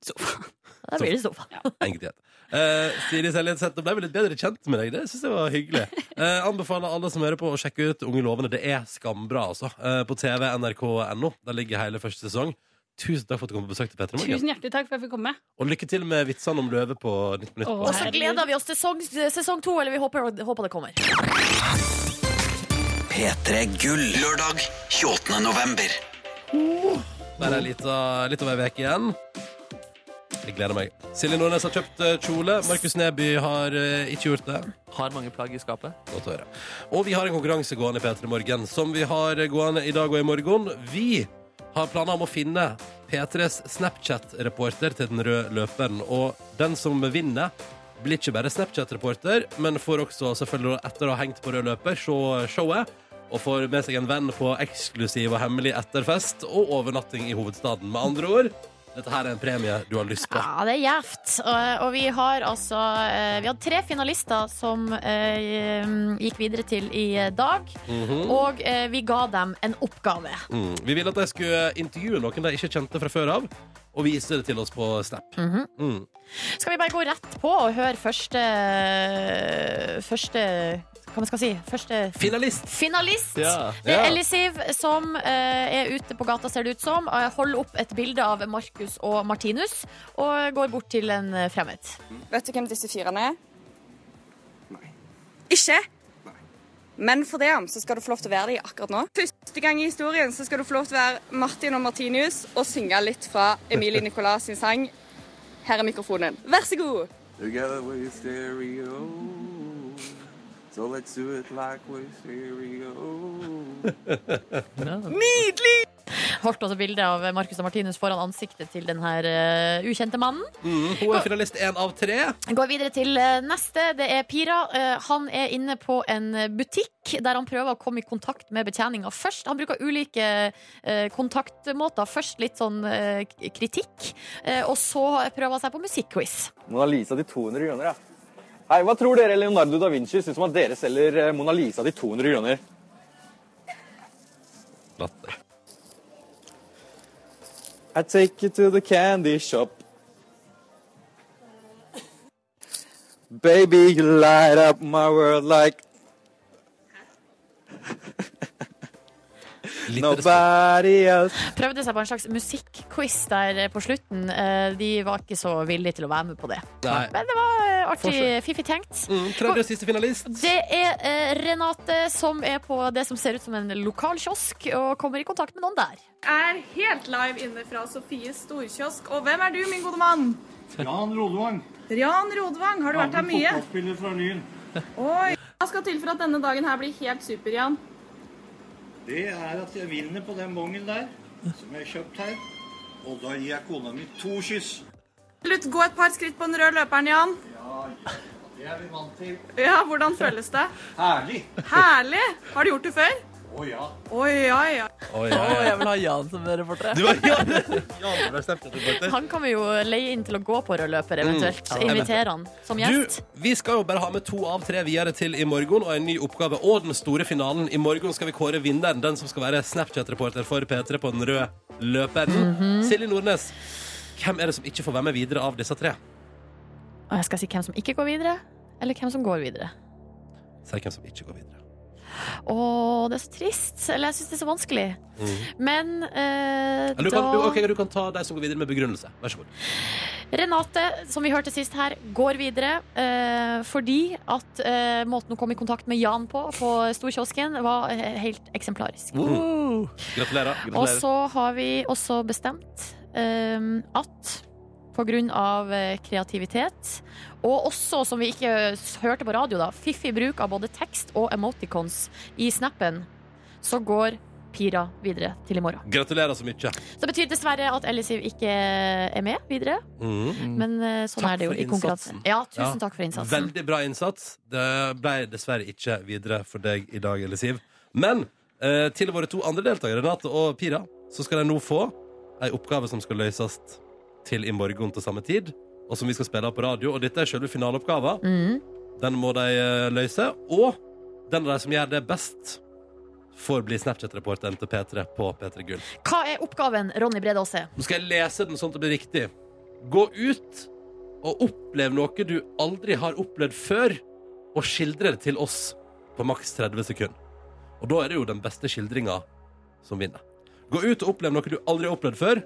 D: Da blir det sofa.
B: Enkelt. Uh, Siri Selje Seth, nå ble vi litt bedre kjent med deg. Det synes jeg var hyggelig. Eh, anbefaler alle som hører på, å sjekke ut Unge lovende. Det er skambra, altså. Eh, på TV, nrk.no. Der ligger hele første sesong. Tusen takk for at du kom på besøk til Petter Morgen.
J: Tusen hjertelig takk for at jeg fikk komme.
B: Og lykke til med vitsene om løve på Nytt på Nytt.
D: Og så gleder vi oss til sesong, sesong to, eller vi håper, håper det kommer.
K: P3 Gull. Lørdag 28. november.
B: Bare ei lita, litt over ei uke igjen. Jeg gleder meg. Silje Nordnes har kjøpt eh, kjole. Markus Neby har eh, ikke gjort det.
C: Har mange plagg i skapet.
B: Godt å høre. Og vi har en konkurranse gående i P3 Morgen, som vi har eh, gående i dag og i morgen. Vi har planer om å finne P3s Snapchat-reporter til den røde løperen. Og den som vinner, blir ikke bare Snapchat-reporter, men får også, selvfølgelig etter å ha hengt på rød løper, se showet. Og får med seg en venn på eksklusiv og hemmelig etterfest og overnatting i hovedstaden. Med andre ord, dette her er en premie du har lyst på.
D: Ja, det er gjevt. Og, og vi har altså eh, Vi hadde tre finalister som eh, gikk videre til i dag.
B: Mhm.
D: Og eh, vi ga dem en oppgave.
B: Mm. Vi ville at de skulle intervjue noen de ikke kjente fra før av, og vise det til oss på Snap.
D: Mhm.
B: Mm.
D: Skal vi bare gå rett på og høre første Første Hva man skal si? Første
B: Finalist.
D: Finalist.
B: Ja.
D: Det er
B: Ja.
D: Ellie Siv som eh, er ute på gata, ser det ut som. eh, holder opp et bilde av Markus og Martinus og går bort til en eh, fremmed.
L: Vet du hvem disse firene er? Nei. Ikke? Men for det så skal du få lov til å være de akkurat nå. Første gang i historien så skal du få lov til å være Martin og Martinius og synge litt fra Emilie Nicolas sin sang. Her er mikrofonen. Vær så god.
M: Together we're stereo. So let's do it like we're stereo.
D: Nydelig! Holdt også bilde av Markus og Martinus foran ansiktet til den her eh, ukjente mannen.
B: Mm, hun er finalist én av tre.
D: Går videre til eh, neste. Det er Pira. Eh, Han er inne på en butikk der han prøver å komme i kontakt med betjeninga først. Han bruker ulike eh, kontaktmåter. Først litt sånn eh, k- kritikk, eh, og så prøver han seg på musikkquiz.
N: Mona Lisa til 200 kroner, ja. Hei, hva tror dere Leonardo da Vinci syns om at dere selger eh, Mona Lisa til 200 kroner?
B: Latter.
N: I take you to the candy shop. Baby, you light up my world like Nobody else.
D: Prøvde seg på en slags musikkquiz der eh, på slutten. Eh, De var ikke så villige til å være med på det.
B: Nei.
D: Men det var eh, artig,
B: Forsøk.
D: fiffig tenkt.
B: Mm, tredje og siste finalist.
D: Det er eh, Renate som er på det som ser ut som en lokal kiosk, og kommer i kontakt med noen der.
L: Er helt live inne fra Sofies storkiosk. Og hvem er du, min gode mann?
O: Jan Rodvang.
L: Rian Rodvang. Har du vært her mye?
O: Fotballspiller fra Lyn.
L: Oi. Hva skal til for at denne dagen her blir helt super, Rian?
O: Det er at jeg vinner på den bongen der, som jeg har kjøpt her. Og da gir jeg kona mi to kyss.
L: Slutt, gå et par skritt på den røde løperen, Jan.
O: Det er vi vant til.
L: Ja, hvordan føles det?
O: Herlig.
L: Herlig! Har du gjort det før?
O: Å ja.
L: Oi, oi, oi.
C: Å, jeg vil ha Jan som reporter.
B: Du var Jan, Jan ble stemt etter Petter.
D: Han kan vi jo leie inn til å gå på rødløper, eventuelt.
B: Mm. Ja.
D: Invitere han som gjest.
B: Du, vi skal jo bare ha med to av tre videre til i morgen, og en ny oppgave. Og den store finalen. I morgen skal vi kåre vinneren, den som skal være Snapchat-reporter for P3 på den røde løperen.
D: Mhm.
B: Silje Nordnes, hvem er det som ikke får være med videre av disse tre?
D: Og jeg skal si hvem som ikke går videre, eller hvem som går videre.
B: Si hvem som ikke går videre.
D: Å, det er så trist. Eller jeg syns det er så vanskelig.
B: Mhm.
D: Men eh,
B: Ja, Du kan,
D: da
B: du, ok, du kan ta de som går videre med begrunnelse. Vær så god.
D: Renate, som vi hørte sist her, går videre eh, fordi at eh, måten hun kom i kontakt med Jan på på Storkiosken, var eh, helt eksemplarisk.
B: Mm. Gratulerer.
D: Og
B: Gratulerer.
D: så har vi også bestemt um, at på grunn av eh, kreativitet, og også, som vi ikke s- hørte på radio, da, fiffig bruk av både tekst og emoticons i snappen, så går Pira videre til i morgen.
B: Gratulerer så mye.
D: Så det betyr dessverre at Ellisiv ikke eh, er med videre.
B: Mm.
D: Men eh, sånn
B: Takk
D: er det jo
B: for
D: i konkurransen.
B: innsatsen.
D: Ja, tusen
B: Ja.
D: takk for innsatsen.
B: Veldig bra innsats. Det ble dessverre ikke videre for deg i dag, eller Siv. Men eh, til våre to andre deltakere, Renate og Pira, så skal de nå få ei oppgave som skal løses til i morgen til samme tid, og som vi skal spille av på radio. Og dette er selve finaleoppgaven.
D: Mm.
B: Den må de eh, løse. Og den av de som gjør det best, får bli Snapchat-reporteren til P3 på P3 Gull.
D: Hva er oppgaven, Ronny Brede Aase?
B: Nå skal jeg lese den sånn at det blir riktig. Gå ut og opplev noe du aldri har opplevd før, og skildre det til oss på maks 30 sekunder. Og da er det jo den beste skildringa som vinner. Gå ut og opplev noe du aldri har opplevd før,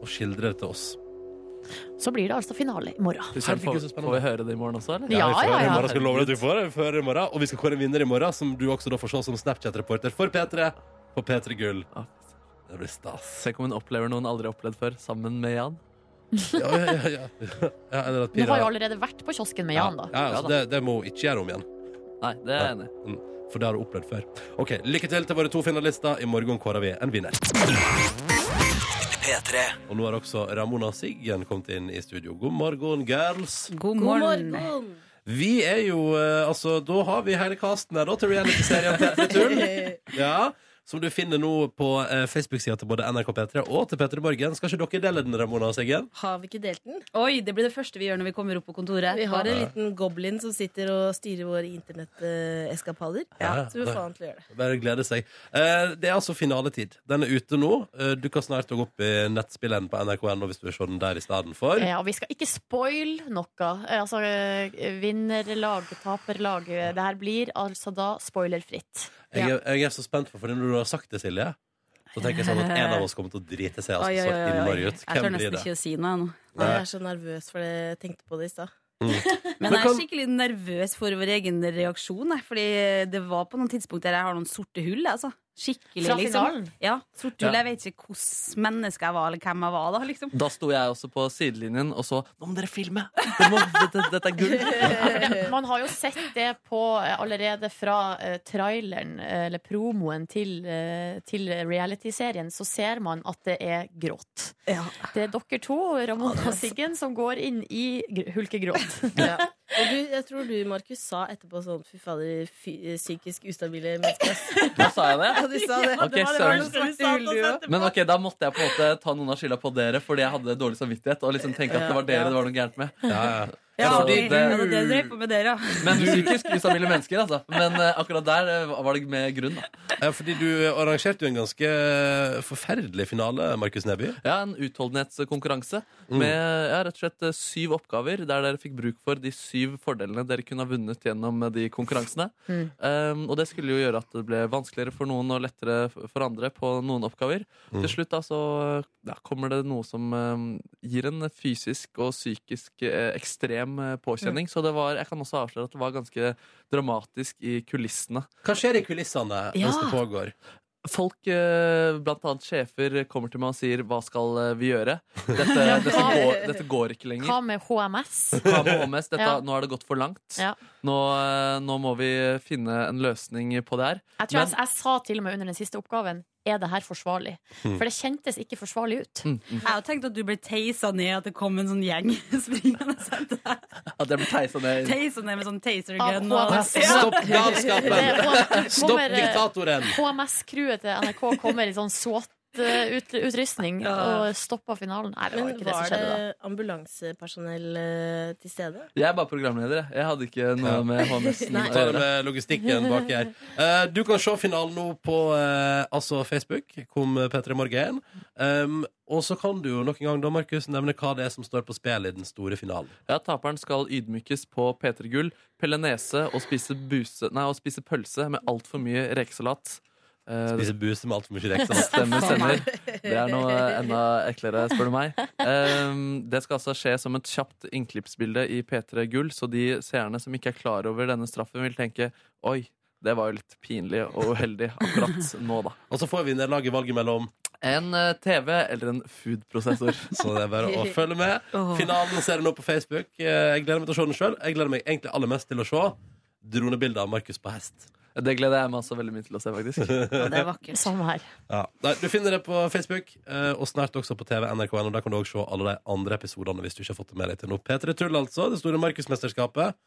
B: og skildre det til oss.
D: Så blir det altså finale i morgen.
B: Kristian, får-
C: Får vi høre det i morgen også, eller?
D: Ja,
B: vi får
D: ja,
B: høre i
D: ja.
B: morgen. Skal love deg at vi får det. Vi får høre i morgen. Og vi skal kåre en vinner i morgen, som du også da får se som Snapchat-reporter for P3 på P3 Gull. Det blir stas.
C: Tenk om hun opplever noe hun aldri har opplevd før, sammen med Jan.
B: Ja, ja, ja, ja. Ja, eller at
D: Du har
B: Pira-
D: jo allerede vært på kiosken med Jan, da.
B: Ja, altså, det, det må hun ikke gjøre om igjen.
C: Nei, det er jeg enig
B: i. For det har hun opplevd før. Ok, Lykke til til våre to finalister. I morgen kårer vi en vinner.
K: P3
B: Og nå har også Ramona Siggen kommet inn i studio. God morgen, girls.
P: God morgen.
B: Vi er jo eh, Altså, da har vi hele casten her, da, til realityserien P3 Tull. Ja. Som du finner nå på eh, Facebook-sida til både NRK P3 og til P3 Morgen. Skal ikke dere dele den, Ramona Siggen?
P: Har vi ikke delt den? Oi, Det blir det første vi gjør når vi kommer opp på kontoret. Vi har en
B: Ja.
P: liten goblin som sitter og styrer våre internetteskapader. Ja, så vi får han til å gjøre det.
B: Bare glede seg. Eh, det er altså finaletid. Den er ute nå. Eh, du kan snart gå opp i nettspillen på nrk.no hvis du vil se den der i stedet for.
D: Ja, Eh, og vi skal ikke spoil noe. Eh, Altså, eh, vinnerlag, taperlag. eh, Det her blir altså da spoilerfritt.
B: Jeg, er- jeg er så spent på, for når du har sagt det, Silje, så tenker jeg sånn at en av oss kommer til å drite seg altså,
P: Oi, oi,
B: så
P: oi, oi.
B: innmari ut.
P: Jeg tør
B: Hvem blir
P: nesten
B: det?
P: ikke å si noe ennå.
B: Nei. Mm.
P: Jeg er så nervøs for det. Jeg tenkte på det i stad. Men
J: Men
P: jeg
J: kan-
P: er skikkelig nervøs for vår egen reaksjon. jeg, Fordi det var på noen tidspunkt der jeg har noen sorte hull. Altså. Skikkelig,
J: Fra
P: liksom.
J: finalen?
P: Ja, sorte hull.
C: Ja.
P: Jeg vet ikke hvilket menneske jeg var, eller hvem jeg var da. liksom
C: Da sto jeg også på sidelinjen og så Nå må dere filme! Dere må, dette, dette er gull!
D: Ja, Eh, Man har jo sett det på eh, allerede fra eh, traileren, eh, eller promoen til, eh, til realityserien, så ser man at det er gråt. Det er dere to, Ramona og Siggen, som går inn i gr- hulkegråt.
P: Og du, jeg tror du, Markus, sa etterpå sånn Fy fader, fy- eh, psykisk ustabile mennesker.
C: Da sa jeg det?
P: Ja, du sa det.
C: Ok,
P: Det var det
C: søren.
P: første du sa til oss etterpå.
C: Men ok, da måtte jeg på en måte ta noen av skylda på dere fordi jeg hadde dårlig samvittighet. Og liksom tenke at det var dere det var noe gærent med.
P: Ja,
C: Så
P: fordi det er det dere på med dere, ja.
C: Men psykisk ustabile mennesker, altså. Men eh, akkurat der eh, var det med grunn, da.
B: Ja, fordi du arrangerte jo en ganske forferdelig finale, Markus Neby.
C: Ja, en utholdenhetskonkurranse
B: Mm.
C: med ja, rett og slett eh, syv oppgaver der dere fikk bruk for de syv fordelene dere kunne ha vunnet gjennom eh, de konkurransene.
Q: Mm.
C: Um, og det skulle jo gjøre at det ble vanskeligere for noen og lettere f- for andre på noen oppgaver.
Q: Mm.
C: Til slutt da så eh, ja, kommer det noe som eh, gir en fysisk og psykisk eh, ekstrem eh, påkjenning. Så det var, jeg kan også avsløre at det var ganske dramatisk i kulissene.
B: Hva skjer i kulissene mens det pågår?
C: Folk, eh, blant annet sjefer, kommer til meg og sier 'hva skal eh, vi gjøre'? Dette, dette,
D: hva-
C: går, dette går ikke lenger.
D: Hva med HMS?
C: Hva med HMS? Dette,
D: Ja.
C: Nå har det gått for langt.
D: Ja.
C: Nå, eh, nå må vi finne en løsning på det her.
D: Jeg tror jeg,
C: Men-
D: jeg sa til og med under den siste oppgaven er det her forsvarlig?
C: Mm.
D: For det kjentes ikke forsvarlig ut.
P: Jeg har jo tenkt at du ble teisa ned, at det kom en sånn gjeng springende
C: At jeg ble teisa ned.
P: Teisa ned med sånn taser
D: Av
P: gun.
D: HMS. Stopp galskapen! Det er- Stopp
P: diktatoren!
D: HMS-crewet til NRK kommer i sånn SWAT utrustning
Q: Ja.
D: og stoppa finalen. Nei, det var
Q: Men
D: ikke det som
Q: var
D: skjedde, da.
Q: det ambulansepersonell eh, til stede?
C: Jeg er bare programleder. jeg. Jeg hadde ikke noe med HMS-en
B: Vi
C: å
B: tar det
C: gjøre.
B: med logistikken bak her. Eh, du kan se finalen nå på eh, altså Facebook, kom P3 Morgen. Um, og så kan du jo nok en gang da, Markus, nevne hva det er som står på spill i den store finalen.
C: Ja, Taperen skal ydmykes på P3 Gull, pelle nese og spise, buse, nei, og spise pølse med altfor mye rekesalat. Eh,
B: Spise buse med altfor mye sånn rekesalat.
C: Stemmer, stemmer. Det er noe enda eklere, spør du meg. Ehm, Det skal altså skje som et kjapt innklippsbilde i P3 Gull, så de seerne som ikke er klar over denne straffen, vil tenke oi, det var jo litt pinlig og uheldig akkurat nå, da.
B: Og så får vinnerlaget valget mellom
C: En eh, TV eller en foodprosessor.
B: Så det er bare å følge med. Finalen ser du nå på Facebook. Eh, Jeg gleder meg til å se den sjøl. Jeg gleder meg egentlig aller mest til å se dronebildet av Markus på hest.
C: Det gleder jeg meg også veldig mye til å se, faktisk.
D: vakkert. Samme Sånn her.
B: Ja. Nei, du finner det på Facebook, eh, og snart også på TV NRK1. Og der kan du også se alle de andre episodene hvis du ikke har fått det med deg til nå. P3 Tull, altså. Det store Markusmesterskapet.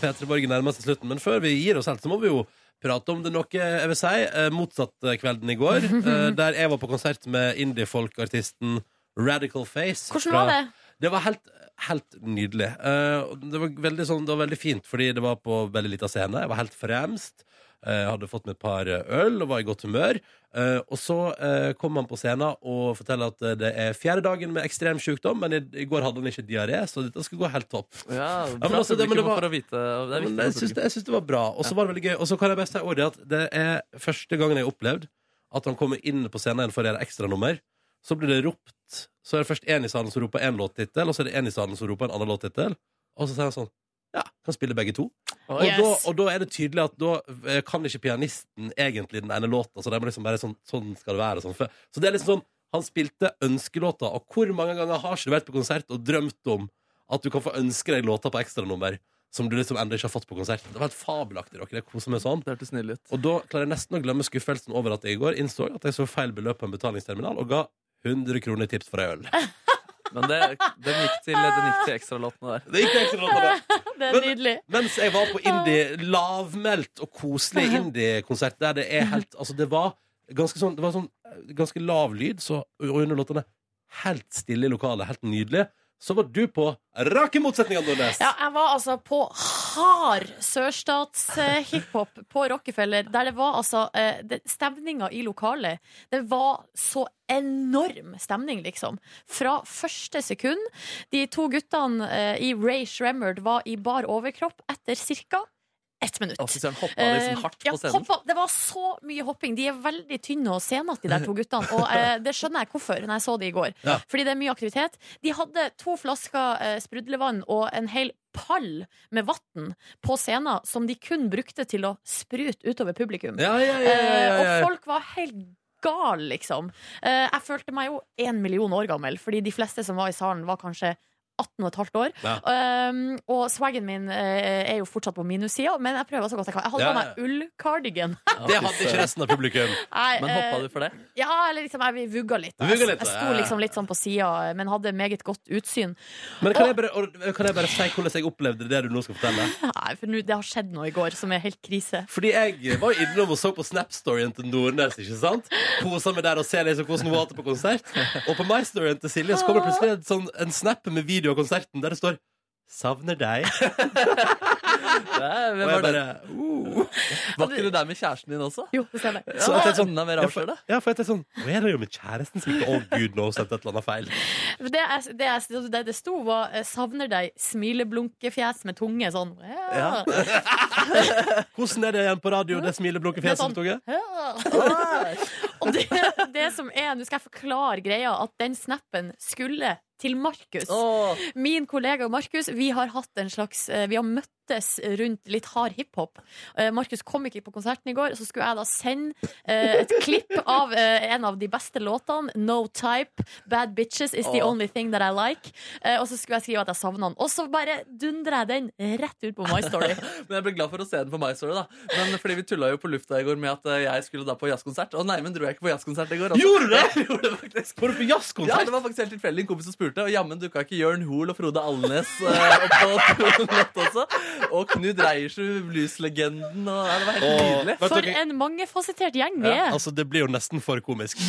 B: P3 Borgen nærmer seg slutten, men før vi gir oss helt, så må vi jo prate om det noe, jeg vil si, eh, motsatt eh, kvelden i går. eh, Der jeg var på konsert med indie-folkartisten Radical Face.
D: Hvordan var det?
B: Det var helt, helt nydelig. Eh, og Det var, veldig sånn, det var veldig fint, fordi det var på veldig lita scene. Jeg var helt fremst. Eh, Jeg hadde fått meg et par øl og var i godt humør. Eh, Og så eh, kom han på scenen og forteller at eh, det er fjerde dagen med ekstrem sykdom, men i, i går hadde han ikke diaré, så dette skal gå helt topp.
C: Ja,
B: men
C: bra
B: altså, det- men det
C: publikum
B: var-
C: for å vite. og Det er
B: Men
C: viktig
B: jeg
C: for
B: syns det,
C: publikum.
B: jeg syns det var bra. Og så var det veldig gøy. Og så kan jeg bare si ordet at det er første gangen jeg har opplevd at han kommer inn på scenen for å gjøre ekstranummer. Så blir det ropt Så er det først én i salen som roper én låttittel, og så er det én i salen som roper en annen låttittel. Og så sier han sånn Ja, kan spille begge to. Og,
C: Yes.
B: da, og da er det tydelig at da eh, kan ikke pianisten egentlig den ene låta, så det må liksom bare sånn Sånn skal det være. og Sånn. For- Så det er liksom sånn Han spilte ønskelåta, og hvor mange ganger har ikke du vært på konsert og drømt om at du kan få ønske deg låter på ekstranummer som du liksom ennå ikke har fått på konsert. Det var helt fabelaktig. dere. Jeg koser meg sånn. Og da klarer jeg nesten å glemme skuffelsen over at jeg i går innså at jeg så feil beløp på en betalingsterminal og ga 100 kroner i tips for ei øl.
C: Men det, den gikk til, den gikk til ekstralåtene der.
B: Det gikk til ekstralåtene.
D: Det er nydelig.
B: Mens jeg var på indie, lavmælt og koselig indie-konsert der det er helt Altså, det var ganske sånn, det var sånn eh, ganske lav lyd, så og under låtene helt stille i lokalet, helt nydelig. Så var du på rake motsetninger, Nordnes.
D: Ja, jeg var altså på hard sørstatshiphop på Rockefeller, der det var altså eh, det- Stemninga i lokalet Det var så enorm stemning, liksom. Fra første sekund. De to guttene eh, i Ray Shremmerd var i bar overkropp etter ca. ett minutt.
C: Offiserene hoppa liksom hardt
D: Eh, ja,
C: på scenen.
D: hoppa- det var så mye hopping. De er veldig tynne og senete, de der to guttene. Og eh, det skjønner jeg hvorfor, når jeg så de i går.
B: Ja.
D: Fordi det er mye aktivitet. De hadde to flasker eh, sprudlevann og en hel pall med vann på scenen som de kun brukte til å sprute utover publikum.
B: Ja, ja, ja, ja, ja, ja.
D: Eh, og folk var helt gal, liksom. Eh, jeg følte meg jo én million år gammel, fordi de fleste som var i salen, var kanskje 18 og et halvt år.
B: Ja.
D: Um, og swaggen min eh, er jo fortsatt på minussida, men jeg prøver så godt jeg kan. Jeg hadde
B: Ja,
D: på meg ullcardigan.
B: Det hadde ikke resten av publikum.
D: Nei, Men hoppa eh, du
C: for det?
D: Ja, eller liksom, jeg vugga litt.
B: Du vugga litt,
D: jeg, jeg
B: ja,
D: sto
B: ja, ja.
D: liksom litt sånn på sida, men hadde meget godt utsyn.
B: Men kan jeg, bare, og- kan jeg bare si hvordan jeg opplevde det du nå skal fortelle?
D: Nei, for nå- det har skjedd noe i går som er helt krise.
B: Fordi jeg var innom og så på Snap-storyen til Nordnes. ikke sant? Kosa meg der og ser liksom hvordan hun var til på konsert. Og på My-storyen til Silje så kommer det plutselig en, sånn, en snap med video av konserten der det står 'Savner deg'.
C: Hvem
B: Og jeg
C: var det?
B: bare,
C: Var ikke du der med kjæresten din også?
D: Jo, det stemmer.
C: Ja,
B: Så jeg tenkte sånn,
C: enda mer
B: ja, for-
C: avslørende.
B: Ja, for jeg tenkte sånn Nå er det jo med kjæresten som ikke Å, gud, nå har hun sendt et eller annet feil.
D: For Det, jeg, det, jeg, det det sto, var eh, 'savner deg smileblunkefjes med tunge'. Sånn.
B: Ja. Hvordan er det igjen på radio, det smileblunket
D: Det er
B: fjeset
D: sånn,
B: som tok jeg?
D: Og det, det som er, nå skal jeg forklare greia, at den snappen skulle til Markus. Min kollega Markus, vi har hatt en slags eh, Vi har møttes rundt litt hard hiphop. Eh, Markus kom ikke på konserten i går, så skulle jeg da sende eh, et klipp av eh, en av de beste låtene, No Type, Bad Bitches Is The
Q: Åh.
D: Only Thing That I Like. Eh, Og så skulle jeg skrive at jeg savna han. Og så bare dundrer jeg den rett ut på My Story.
C: Men jeg ble glad for å se den på My Story, da. Men fordi vi tulla jo på lufta i går med at eh, jeg skulle da på jazzkonsert. Og nei, men dro jeg ikke på jazzkonsert i går.
B: Gjorde du
C: det? Jeg gjorde det faktisk.
B: Var du på jazzkonsert?
C: Ja, det var faktisk helt tilfeldig. En kompis som spurte, og jammen dukka ikke Jørn Hoel og Frode Alnes eh, opp på tronen lett også. Og Knut Reiersrud, blueslegenden, og nei, det var helt
B: Og-
C: nydelig.
B: Vet
D: For
B: dere-
D: en mangefasettert gjeng vi
B: Ja,
D: er.
B: altså, det blir jo nesten for komisk.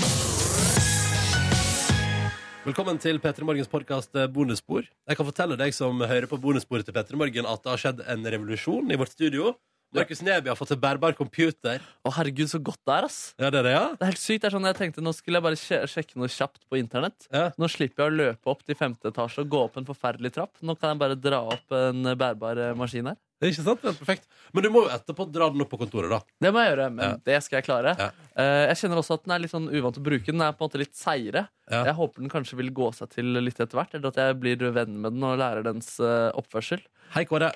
B: Velkommen til P3 Morgens podkast Bonusspor. Jeg kan fortelle deg som hører på bonussporet til P3 Morgen, at det har skjedd en revolusjon i vårt studio. Markus Neby har fått en bærbar computer.
C: Å, herregud, så godt det er, ass.
B: Ja, det er det, ja.
C: Det er helt sykt. det er sånn Jeg tenkte nå skulle jeg bare sje- sjekke noe kjapt på internett. Nå slipper jeg å løpe opp til femte etasje og gå opp en forferdelig trapp. Nå kan jeg bare dra opp en eh, bærbar eh, maskin her.
B: Det er ikke sant? Det er perfekt. Men du må jo etterpå dra den opp på kontoret, da.
C: Det må jeg gjøre, men det skal jeg klare. Eh, Jeg kjenner også at den er litt sånn uvant å bruke. Den er på en måte litt seigere. Jeg håper den kanskje vil gå seg til litt etter hvert, eller at jeg blir venn med den og lærer dens eh, oppførsel.
B: Hei, Kåre.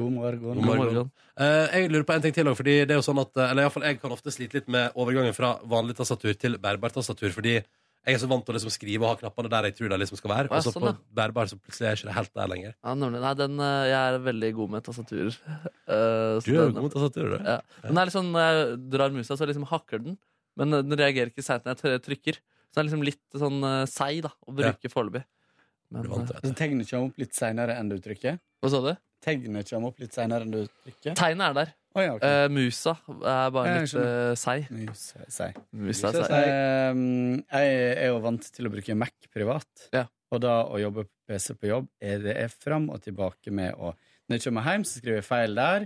C: God morgen.
B: God morgen. Eh, jeg lurer på en ting til også, fordi det er jo sånn at, eh, eller i hvert fall jeg kan ofte slite litt med overgangen fra vanlig tastatur til bærbar tastatur, fordi jeg er så vant til å liksom skrive og ha knappene der jeg tror det liksom skal være,
C: Ja,
B: og så
C: sånn,
B: på
C: ja.
B: bærbar så plutselig er jeg ikke det helt der lenger.
C: Ja, nemlig. Nei, den, eh, jeg er veldig god med tastaturer. Eh,
B: Du er jo god med tastaturer, du.
C: Ja. Den er litt sånn, Når jeg drar musa, så liksom hakker den, men eh, den reagerer ikke seint når jeg tr- trykker. Så den er liksom litt sånn eh, seig da, å bruke foreløpig. Men, eh,
R: Så tegner ikke han opp litt seinere enn du trykker?
C: Hva sa du?
R: Tegner ikke han opp litt seinere enn du trykker?
C: Tegnet er der.
R: Å, ja, ok.
C: Eh, musa er bare
R: Ja, jeg
C: litt
R: skjønner.
C: eh, seig.
R: Musa er seig.
C: Musa er seig.
R: Ehm, jeg er jo vant til å bruke Mac privat, og da å jobbe på PC på jobb er det er fram og tilbake med å Når jeg kommer hjem, så skriver jeg feil der.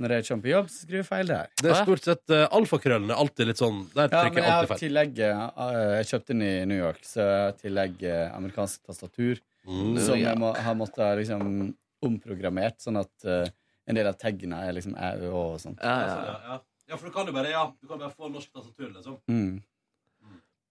R: Når jeg kommer på jobb, så skriver jeg feil der.
B: Det er stort sett uh, alfakrøllene, alltid litt sånn, der
R: Ja, men
B: trykker jeg
R: jeg har
B: alltid feil.
R: tillegget eh, Jeg kjøpte den i New York, så jeg har tillegg eh, amerikansk tastatur.
B: Mm.
R: som
B: Ja.
R: jeg må, har måttet ha liksom, omprogrammert, sånn at eh, en del av taggene er liksom au og sånt.
B: ja. Ja, for du kan jo bare, ja, du kan bare få norsk tastatur, liksom.
R: Mm.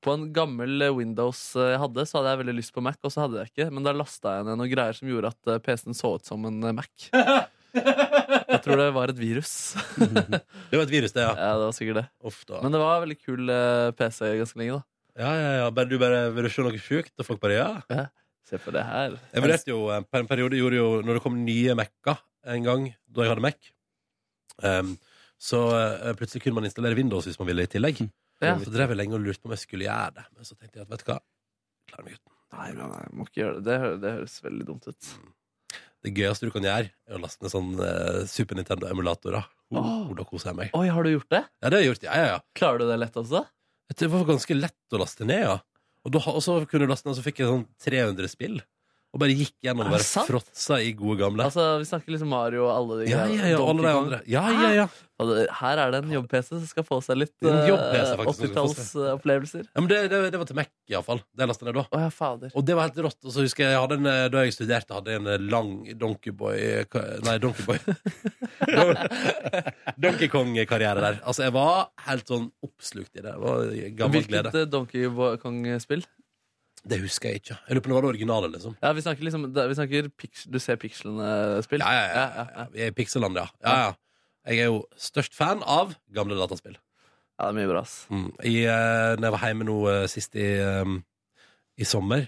C: På en gammel eh, Windows eh, jeg hadde, så hadde jeg veldig lyst på Mac, og så hadde jeg ikke. Men da lasta jeg ned noen greier som gjorde at eh, PC-en så ut som en eh, Mac. Jeg tror det var et virus.
B: det var et virus, det, ja.
C: det var sikkert det.
B: da.
C: Men det var veldig kul eh, PC ganske lenge, da.
B: Ja, ja, ja, bare du bare, vil du se noe sjukt, og folk bare, ja.
C: Se på det her.
B: Jeg vurderte jo eh, på en periode gjorde jo, Når det kom nye Mac-er en gang, da jeg hadde Mac, ehm, så eh, plutselig kunne man installere Windows hvis man ville i tillegg.
C: Mm. Ja.
B: Så drev jeg lenge og lurte på om jeg skulle gjøre det. Men så tenkte jeg at vet du hva, klarer meg uten. Mm.
C: Nei, nei, nei, må ikke gjøre det. Det, hø- det høres veldig dumt ut.
B: Det gøyeste du kan gjøre, er å laste ned sånn eh, Super Nintendo-emulatorer. Oh,
C: Åh.
B: Da koser jeg meg.
C: Oi, har du gjort det?
B: Ja, det har jeg gjort. Ja, ja, ja.
C: Klarer du det lett også?
B: Det var ganske lett å laste ned, ja. Og, da, og så kunne du laste ned, og så fikk jeg sånn 300 spill. Og bare gikk gjennom
C: Er
B: og
C: det
B: bare
C: sant?
B: fråtsa i gode gamle.
C: Altså, Vi snakker liksom Mario og alle de
B: Ja, ja, ja, alle de andre. Ja, ja, ja.
C: Og det- Altså, Her er det en jobb-PC som skal få seg litt
B: Det er en jobb-PC,
C: eh,
B: faktisk, som skal få seg.
C: 80-tallsopplevelser.
B: Ja, men det, det, det var til Mac, iallfall. Det lastet jeg ned da. Og det var helt rått. Og så husker jeg, jeg hadde en, eh, Da jeg studerte, hadde jeg en eh, lang Donkeyboy Nei, Donkeyboy. Donkey Kong-karriere der. Altså, jeg var helt sånn oppslukt i det. Det var gammel
C: Hvilket
B: glede.
C: eh, Donkey Kong-spill?
B: Det husker jeg ikke. Jeg lurer på om det var det originale, liksom.
C: Ja, Vi snakker liksom det- vi snakker pix, Du ser eh, pikslene-spill?
B: Ja, ja, ja. Vi er i Pixeland, ja. ja, ja. Jeg er jo størst fan av gamle dataspill.
C: Ja, det er mye bra, ass.
B: Mm. I, eh, når jeg var hjemme nå eh, sist i, eh, i sommer,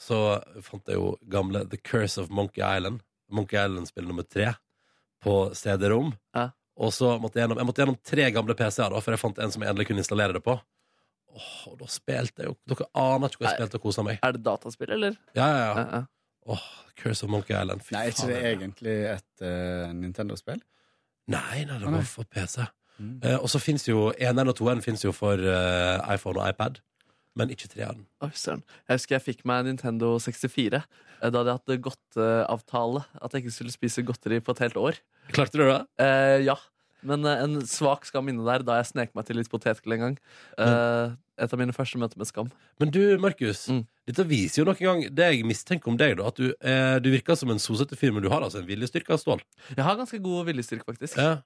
B: så fant jeg jo gamle The Curse of Monkey Island. Monkey Island-spill nummer tre på CD-rom. Og så måtte jeg gjennom, jeg måtte gjennom tre gamle PC-er, da, for jeg fant en som jeg endelig kunne installere det på. Åh, og da spilte jeg jo Dere aner ikke hvor jeg spilte og kosa meg.
C: Er det dataspill, eller?
B: Ja, ja, ja. Åh, Curse of Monkey Island. Fy
R: Nei, er ikke det
B: faen.
R: egentlig et eh, Nintendo-spill?
B: Nei, nei,
R: Å,
B: det
R: nei. Mm.
B: var for PC. Eh, og så fins jo 1-1 og 2-1 finnes jo for eh, iPhone og iPad, men ikke 3-en.
C: Oi, søren. Jeg husker jeg fikk meg en Nintendo 64. eh, Da hadde jeg hatt godteavtale. At jeg ikke skulle spise godteri på et helt år.
B: Klarte du det?
C: Eh, ja. Men eh, en svak skam inne der da jeg snek meg til litt potetgull en gang. Eh, et av mine første møter med skam. Mm.
B: Men Mm. du, Markus, dette viser jo nok en gang det jeg mistenker om deg, da, at du, eh, du virker som en sosete fyr, men du har altså en viljestyrke av stål.
C: Jeg har ganske god viljestyrke, faktisk.
B: Ja.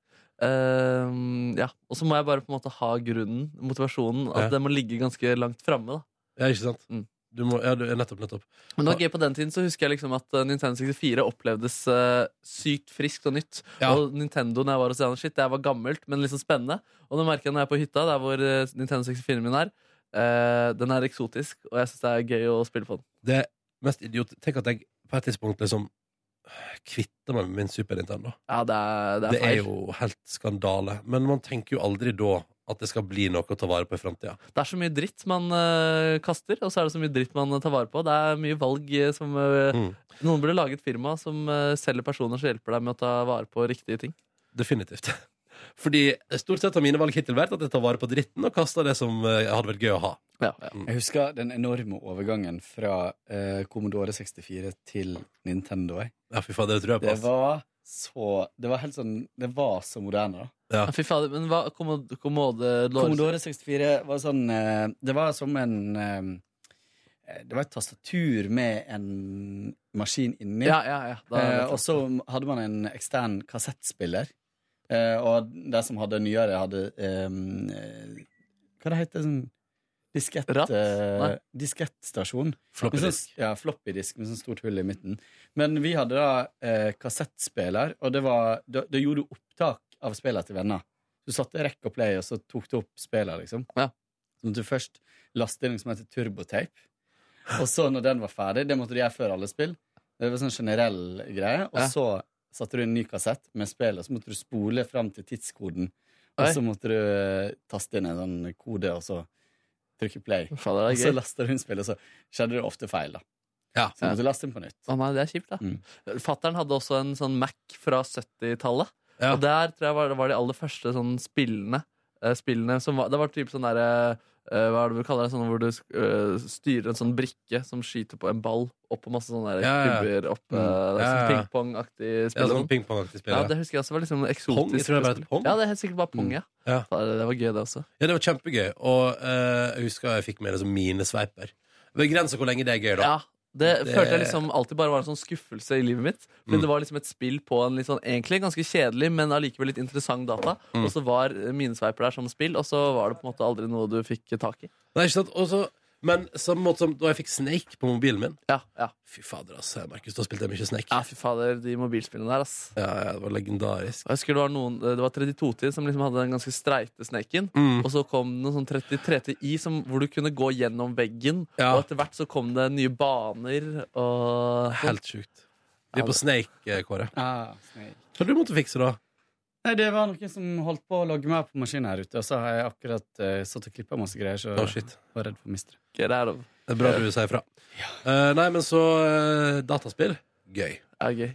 C: Eh, ja. Og så må jeg bare på en måte ha grunnen, motivasjonen. At
B: Ja.
C: den må ligge ganske langt framme. da.
B: Ja, ikke sant?
C: Mm.
B: Du må, ja, du, nettopp, nettopp.
C: Men det var gøy på den tiden så husker jeg liksom at eh, Nintendo 64 opplevdes eh, sykt friskt og nytt. Og Nintendo når jeg var hos Jan, shit, det var gammelt, men liksom spennende. Og nå merker jeg når jeg er på hytta, der hvor eh, Nintendo 64 min er, eh, den er eksotisk, og jeg syns det er gøy å spille på den.
B: Det mest idiot Tenk at jeg på et tidspunkt liksom kvitter meg med min Super Nintendo.
C: Ja, det er, det er feil.
B: jo helt skandale. Men man tenker jo aldri da at det skal bli noe å ta vare på i framtida.
C: Det er så mye dritt man eh, kaster, og så er det så mye dritt man eh, tar vare på. Det er mye valg eh, som eh, Noen burde lage et firma som eh, selger personer som hjelper deg med å ta vare på riktige ting.
B: Definitivt. Fordi stort sett har mine valg hittil vært at jeg tar vare på dritten og kaster det som eh, hadde vært gøy å ha.
R: Jeg husker den enorme overgangen fra eh, Commodore 64 til Nintendo. jeg.
B: Ja, fy faen, det tror jeg på,
R: Det
B: ass.
R: var så Det var helt sånn Det var så moderne, da.
C: Ja, Fy fader, men hva Kommode,
R: Commodore 64 var sånn eh, Det var som en eh, Det var et tastatur med en maskin inni.
C: Ja, ja, ja. Da-
R: Eh, og så hadde man en ekstern kassettspiller. Eh, og de som hadde nyere, hadde eh, Hva det heter det sånn Diskett, eh,
C: Nei.
R: diskettstasjon.
B: Floppy
R: Med sånn- Ja, floppy disk med sånn stort hull i midten. Men vi hadde da eh, kassettspiller, og det var, da, da gjorde du opptak av spillene til venner. Du satte rekk og play, og så tok du opp spillene, liksom. Så måtte du først laste inn noe som heter turbotape. Og så når den var ferdig, det måtte du gjøre før alle spill. Det var sånn generell greie. Og
C: Ja.
R: så satte du inn en ny kassett med spillet, og så måtte du spole fram til tidskoden. Og
C: Oi.
R: så måtte du eh, taste inn en sånn kode, og så trykke play.
C: er
R: og så
C: gøy.
R: lasta du inn spillet, og så skjedde det ofte feil, da. Så du
C: Ja.
R: måtte laste inn på nytt.
C: Å nei, det er kjipt, da.
B: Mm.
C: Fattern hadde også en sånn Mac fra 70-tallet. Og der tror jeg var, var de aller første sånn spillene. eh, spillene som var, det var typ sånn derre eh, Hva er det du kaller det? Sånn hvor du eh, styrer en sånn brikke som skyter på en ball oppå masse sånne der
B: Ja, ja.
C: kubber opp eh, sånn
B: Mm. Ja, ja, ja.
C: pingpongaktig
B: Ja,
C: spill.
B: sånn pingpongaktig spill,
C: Ja,
B: ja.
C: det husker jeg også var liksom eksotisk.
B: Pong? Jeg tror det var et pong. Mm.
C: Ja, det er helt sikkert bare pong, ja.
B: Ja.
C: Det var gøy, det også.
B: Ja, det var kjempegøy. Og eh, jeg husker jeg fikk med liksom mine sveiper. Begrensa hvor lenge det er gøy, da.
C: Ja, Det, følte jeg liksom alltid bare var en sånn skuffelse i livet mitt.
B: Mm.
C: Men det var liksom et spill på en litt sånn egentlig ganske kjedelig, men allikevel litt interessant data.
B: Mm.
C: Og så var minesveiper der som spill, og så var det på en måte aldri noe du fikk tak i.
B: Nei, ikke sant? Og så- men samme måte som da jeg fikk Snake på mobilen min.
C: Ja, ja.
B: Fy fader, ass. Markus, da spilte jeg mye Snake.
C: Ja, fy fader, de mobilspillene der, ass.
B: Ja, ja, det var legendarisk.
C: Og Jeg husker det var, noen, eh, det var 32-tid som liksom hadde den ganske streite snekken.
B: Mm.
C: Og så kom det noen sånn 33-i som, hvor du kunne gå gjennom veggen. Og etter hvert så kom det nye baner og
B: Helt sjukt. Vi er på Snake, eh, Kåre.
R: Ah, snake.
B: Hva du måtte fikse, da?
R: Nei, det var noen som holdt på å logge meg opp på maskinen her ute, og så har jeg akkurat eh, satt og klippa masse greier, så
B: Å, shit.
R: jeg var redd for å miste det.
C: Det er
B: bra du sier fra. Eh, nei, men så eh, Dataspill. Gøy. Jeg,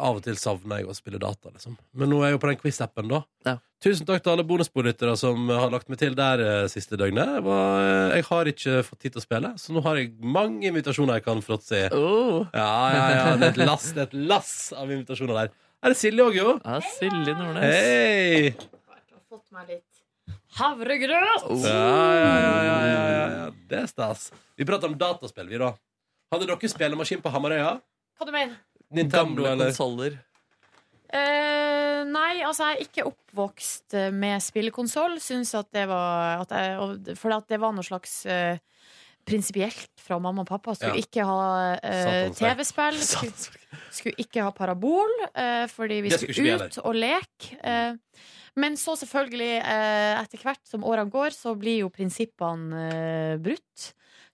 B: av og til savner jeg å spille data, liksom. Men nå er jeg jo på den quiz-appen, da. Tusen takk til alle bonusbordlyttere som har lagt meg til der eh, siste døgnet. Jeg, var, eh, jeg har ikke fått tid til å spille, så nå har jeg mange invitasjoner jeg kan fråtse i.
C: Oh.
B: Ja, ja, ja. Det er et lass, det er et lass av invitasjoner der. Er det Silje òg, jo?
C: Ja, Silje Nordnes.
B: Hei!
D: Fått meg litt
C: Oh.
D: havregrøt!
B: Ja, ja, ja, ja, ja, ja. Det er stas. Vi prater om dataspill, vi, da. Hadde dere spillemaskin på Hamarøya?
D: Hva du mener
B: Nintendo,
C: Gamle
B: eller?
C: konsoller.
D: Eh, nei, altså jeg er ikke oppvokst eh, med spillekonsoll. Syns at det var at jeg, og- For at det var noe slags eh, prinsipielt fra mamma og pappa. Skulle
B: Ja.
D: ikke ha eh,
B: Satansverk.
D: TV-spill. Skulle, skulle ikke ha parabol, eh, fordi vi
B: Det
D: skulle,
B: skulle ikke vi
D: ut og leke. eh. men så selvfølgelig, eh, etter hvert som årene går, så blir jo prinsippene eh, brutt.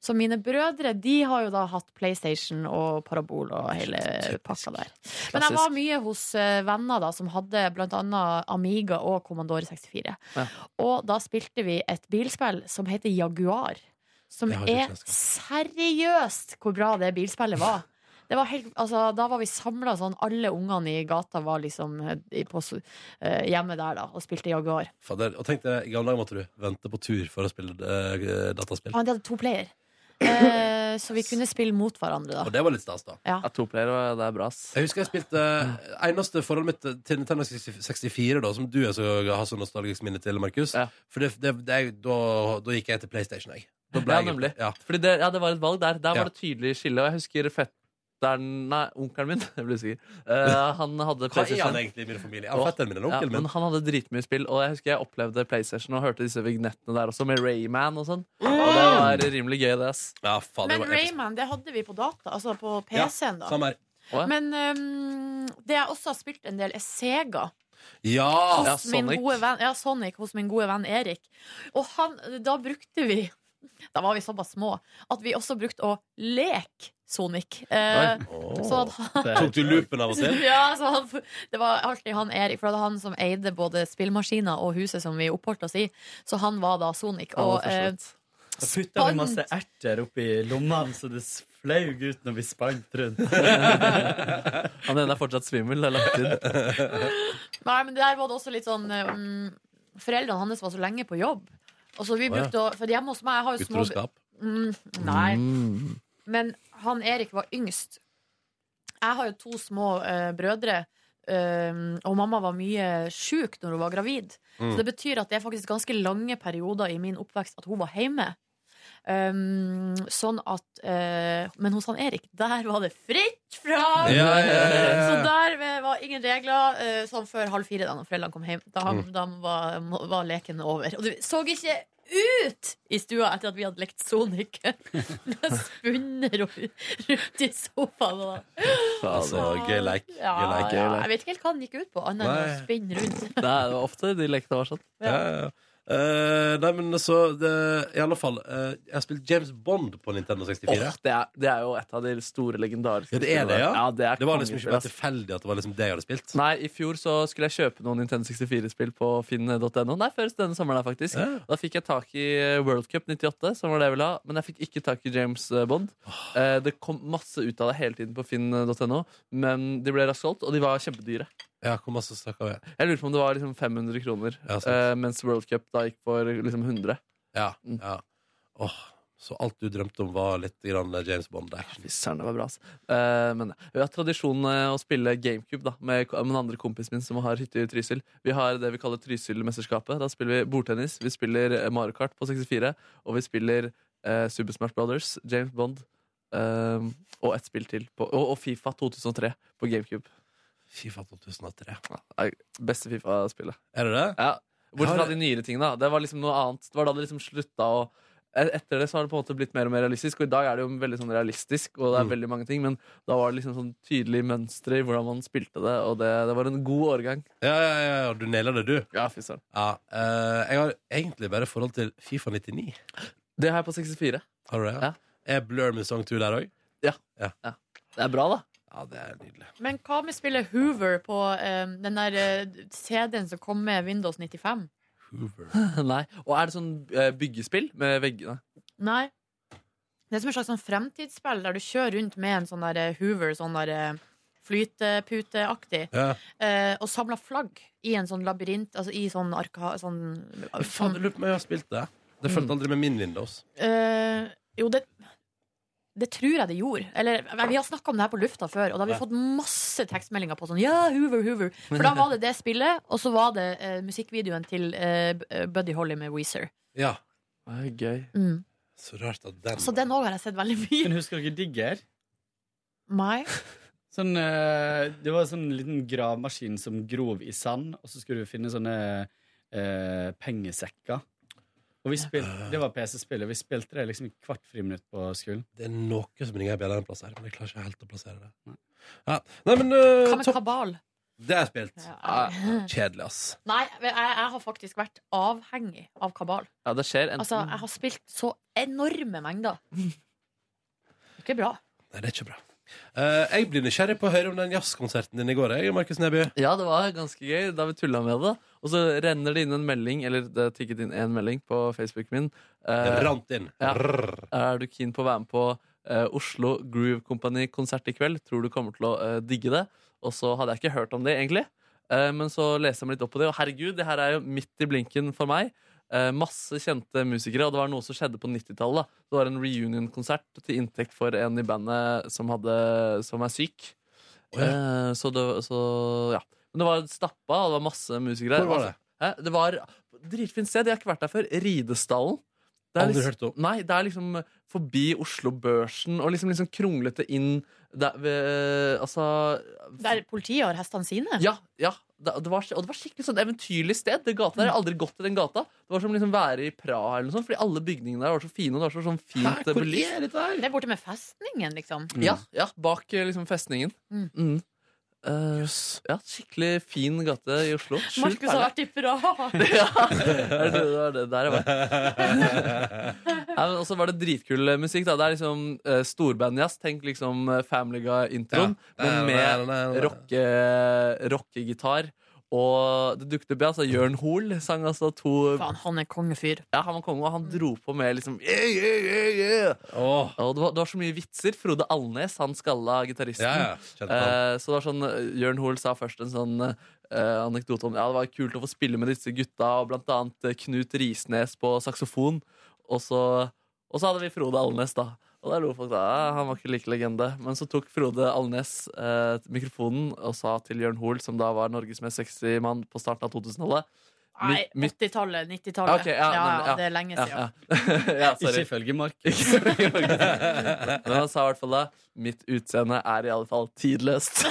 D: Så mine brødre de har jo da hatt PlayStation og parabol og hele pakka der. Men jeg
Q: Klassisk.
D: var mye hos eh, venner da som hadde blant annet Amiga og Commodore 64.
Q: Ja.
D: Og da spilte vi et bilspill som heter Jaguar. Som
Q: Det har jeg ikke
D: er seriøst hvor bra det bilspillet var. Det var helt, altså, da var vi samla sånn. Alle ungene i gata var liksom eh, i- på, s- eh, hjemme der da og spilte Jaguar.
B: Fader, og tenk deg, I gamle dager måtte du vente på tur for å spille eh, dataspill.
D: Ja, de hadde to player. Eh, så vi kunne spille mot hverandre, da.
B: Og det var litt stas, da.
D: Ja.
C: Toplayer, det er bra, ass.
B: Jeg husker jeg spilte Eneste forholdet mitt til Nintendo 64, da, som du er så, har så nostalgisk minne til, Markus For det, det, det, er jo- da, da gikk jeg til PlayStation, jeg. Da ble
C: Ja,
B: jeg-
C: nemlig.
B: Ja.
C: Fordi det, ja, det var et valg der. Der
B: Ja.
C: var det tydelig skille. Og jeg husker fetteren Nei, onkelen min. Jeg blir usikker. Eh, han hadde
B: Hva er
C: PlayStation.
B: han egentlig i min familie? Er han fetteren min eller onkelen min?
C: men han hadde dritmye spill, og jeg husker jeg opplevde PlayStation og hørte disse vignettene der også, med Rayman og sånn. Og det var rimelig gøy, det, ass.
B: Ja, faen,
D: Mm. Men Rayman, det hadde vi på data, altså på PC-en, da.
B: samme her. Å, ja.
D: Men um, det jeg også har spilt en del, er Sega.
B: Ja! Ah,
D: Hos min gode venn, ja, Sonic hos min gode venn Erik. Og han, da brukte vi Da var vi såpass små at vi også brukte å leke Sonic. Eh,
B: Oi.
D: så at han-
B: Tok du loopen av og til?
D: Ja, så han, det var alltid han Erik, for det var han som eide både spillmaskiner og huset som vi oppholdt oss i. Så han var da Sonic.
S: Han var
D: Og,
S: for
D: eh,
S: slutt. Jeg putta med masse erter oppi lommene, så det s- flaug ut når vi spant rundt.
C: Han ene er fortsatt svimmel. Det er lagt inn.
D: nei, men der var det også litt sånn eh, mm, Foreldrene hans var så lenge på jobb. Og så vi
B: Å, ja.
D: brukte å For hjemme hos meg jeg har jo små
B: Utroskap?
D: Mm, nei.
R: Mm.
D: Men han Erik var yngst. Jeg har jo to små eh, brødre, eh, og mamma var mye sjuk når hun var gravid.
P: Mm.
D: Så det betyr at det er faktisk ganske lange perioder i min oppvekst at hun var hjemme. Um, sånn at eh, Men hos han Erik, der var det fritt fram!
P: Ja, ja, ja, ja.
D: Så der eh, var ingen regler eh, sånn før halv fire, da når foreldrene kom hjem. Da,
P: Mm.
D: da var, var leken over. Og det så ikke ut i stua etter at vi hadde lekt Sonic. Med spunner og rundt i sofaen. Og
B: Altså, gøy leik. Gøy
D: ja,
B: leik.
D: ja, jeg vet ikke helt hva den gikk ut på, annet enn å
B: Nei.
D: spinne rundt.
C: Det er jo ofte de lekene var sånn.
B: Ja, ja, ja. Eh, nei, men så det, I alle fall, eh, jeg har spilt James Bond på Nintendo 64.
C: Åh, det, er, det er jo et av de store legendariske
B: Ja, det er det, ja.
C: spillene. det, er
B: Det var liksom ikke bare
C: tilfeldig at det var
B: liksom
C: det jeg hadde spilt. Nei, I fjor så skulle jeg kjøpe noen Nintendo 64-spill på finn.no. Nei, før denne sommeren her, faktisk. Da fikk jeg tak i eh, World Cup 98, som var det jeg ville ha. Men jeg fikk ikke tak i James eh, Bond. Eh, Det kom masse ut av det hele tiden på finn.no, men de ble raskt solgt, og de var kjempedyre.
B: Ja, hvor masse snakker vi?
C: Jeg lurte på om det var liksom 500 kroner,
B: Ja, sant.
C: eh, mens World Cup da gikk for liksom Mm. 100.
B: Ja, ja. Åh, så alt du drømte om, var litt grann James Bond?
C: Fy søren, det var bra. ass. Eh, men vi har tradisjon eh, å spille GameCube da, med ko- med den andre kompisen min som har hytte i Trysil. Vi har det vi kaller Trysil-mesterskapet. Da spiller vi bordtennis, vi spiller eh, Mario Kart på 64, og vi spiller eh, Super Smash Brothers, James Bond eh, og et spill til. På, og, og Fifa 2003 på GameCube.
B: Fifa 2003.
C: Ja, beste Fifa-spillet.
B: Er det det?
C: Ja. Bortsett
B: Har-
C: fra de nyere tingene. da. Det var liksom noe annet. Det var da det liksom slutta å e- etter det så har det på en måte blitt mer og mer realistisk, og i dag er det jo veldig sånn realistisk. Og det er
B: Mm.
C: veldig mange ting Men da var det liksom sånn tydelig mønster i hvordan man spilte det, og det, det var en god årgang.
B: Ja, ja, ja, ja, du naila det, du.
C: Ja, fy søren.
B: Ja, eh, jeg har egentlig bare forhold til Fifa 99.
C: Det har jeg på 64.
B: Har du det? Er Blur med Song 2 der òg?
C: Ja. Det er bra, da.
B: Ja, det er nydelig.
D: Men hva med spillet Hoover på eh, den der eh, CD-en som kom med Windows 95?
C: Nei. Og er det sånn eh, byggespill med veggene?
D: Nei. Det er som et slags sånn fremtidsspill der du kjører rundt med en sånn der eh, Hoover, sånn der eh, flyteputeaktig,
B: Ja.
D: eh, og samler flagg i en sånn labyrint, altså i sånn arka... Sånn,
B: Faen, jeg lurer på om jeg har spilt det. Det
C: Mm.
B: fulgte aldri med min Windows.
D: Eh, jo, det det tror jeg det gjorde. Eller, vi har snakka om det her på lufta før, og da har vi
B: Ja.
D: fått masse tekstmeldinger på sånn Ja, Hoover, Hoover. For da var det det spillet, og så var det eh, musikkvideoen til eh, B- eh, Buddy Holly med Weezer.
B: Ja.
C: Det er gøy.
D: Mm.
B: Så rart at den
D: Så den òg har jeg sett veldig mye.
R: Men husker dere Digger?
D: Nei.
R: Sånn, eh, det var en sånn liten gravemaskin som grov i sand, og så skulle du finne sånne eh, pengesekker. Og vi spilte, Det var PC-spillet. Vi spilte det liksom i hvert friminutt på skolen.
B: Det er noe som ringer i bjella en plass her, men jeg klarer ikke helt å plassere det. Ja. Nei, men eh,
D: Hva med
B: topp.
D: Kabal?
B: Det har jeg spilt.
D: Ja.
B: Kjedelig, ass.
D: Nei, jeg, jeg har faktisk vært avhengig av Kabal.
C: Ja, det skjer enten
D: Altså, jeg har spilt så enorme mengder. Ikke bra.
B: Nei, det er ikke bra. Eh, jeg blir nysgjerrig på å høre om den jazzkonserten din i går, jeg, Markus Neby.
C: Ja, det var ganske gøy da vi tulla med det. Og så renner det inn en melding, eller det tikket inn en melding på Facebooken min. Eh,
B: Det rant inn.
C: Ja. Er du keen på å være med på eh, Oslo Groove Company-konsert i kveld? Tror du kommer til å eh, digge det? Og så hadde jeg ikke hørt om det, egentlig. Eh, men så leste jeg meg litt opp på det, og herregud, det her er jo midt i blinken for meg. Eh, masse kjente musikere, og det var noe som skjedde på 90-tallet. da. Det var en reunion-konsert til inntekt for en i bandet som, hadde, som er syk. Eh, Så, det, så ja. Men det var stappa, og det var masse musikere. Altså,
B: Hvor var det?
C: Hæ? Det var dritfint sted. Jeg har ikke vært der før. Ridestallen. Det er
B: Aldri
C: liksom-
B: hørt om.
C: Nei, det er liksom forbi Oslo Børsen, og liksom, liksom kronglete inn der, ved, Altså
D: Der politiet har hestene sine.
C: ja, ja. Det, det var, og det var skikkelig sånn eventyrlig sted. Den gata der, Jeg har aldri gått i den gata. Det var som liksom være i Praha eller noe sånt, fordi alle bygningene der var så fine. Og det var så sånn fint eh, belyst.
D: Det er borte med festningen, liksom.
C: Ja, ja, bak eh, liksom festningen. Mm. Eh, ja, skikkelig fin gate i Oslo. Sjukt
D: Markus har
C: perle.
D: vært i Praha!
C: Ja, det var det, det var det. Der jeg var. Nei, men også var det dritkul musikk. da Det er liksom eh, storbandjazz. Tenk liksom eh, Family Guy-introen,
B: Ja.
C: men
B: Nei, nei, nei,
C: med
B: nei.
C: rocke- rockegitar. og det dukket opp ja, altså Jørn Hoel sang altså to
D: Faen, han er kongefyr.
C: Ja, han var konge, og han dro på med liksom yeah, yeah, yeah, yeah. Og det var, det var så mye vitser. Frode Alnes, han skalla gitaristen.
B: Ja, ja, kjente på
C: Eh, så det var sånn, eh, Jørn Hoel sa først en sånn eh, anekdote om ja, det var kult å få spille med disse gutta, og blant annet eh, Knut Risnes på saksofon. Og så, og så hadde vi Frode Alnes, da. Og der lo folk da, ja, han var ikke like legende. Men så tok Frode Alnes eh, mikrofonen og sa til Jørn Hoel, som da var Norges mest sexy mann på starten av 2000-tallet
D: Nei,
C: mitt- mitt-
D: 80-tallet, 90-tallet.
C: Ok,
D: ja,
C: nemlig,
D: ja, det er lenge siden.
C: Ja, ja.
S: Ikke
C: ifølge Markus. Men han sa i hvert fall da mitt utseende er i alle fall tidløst.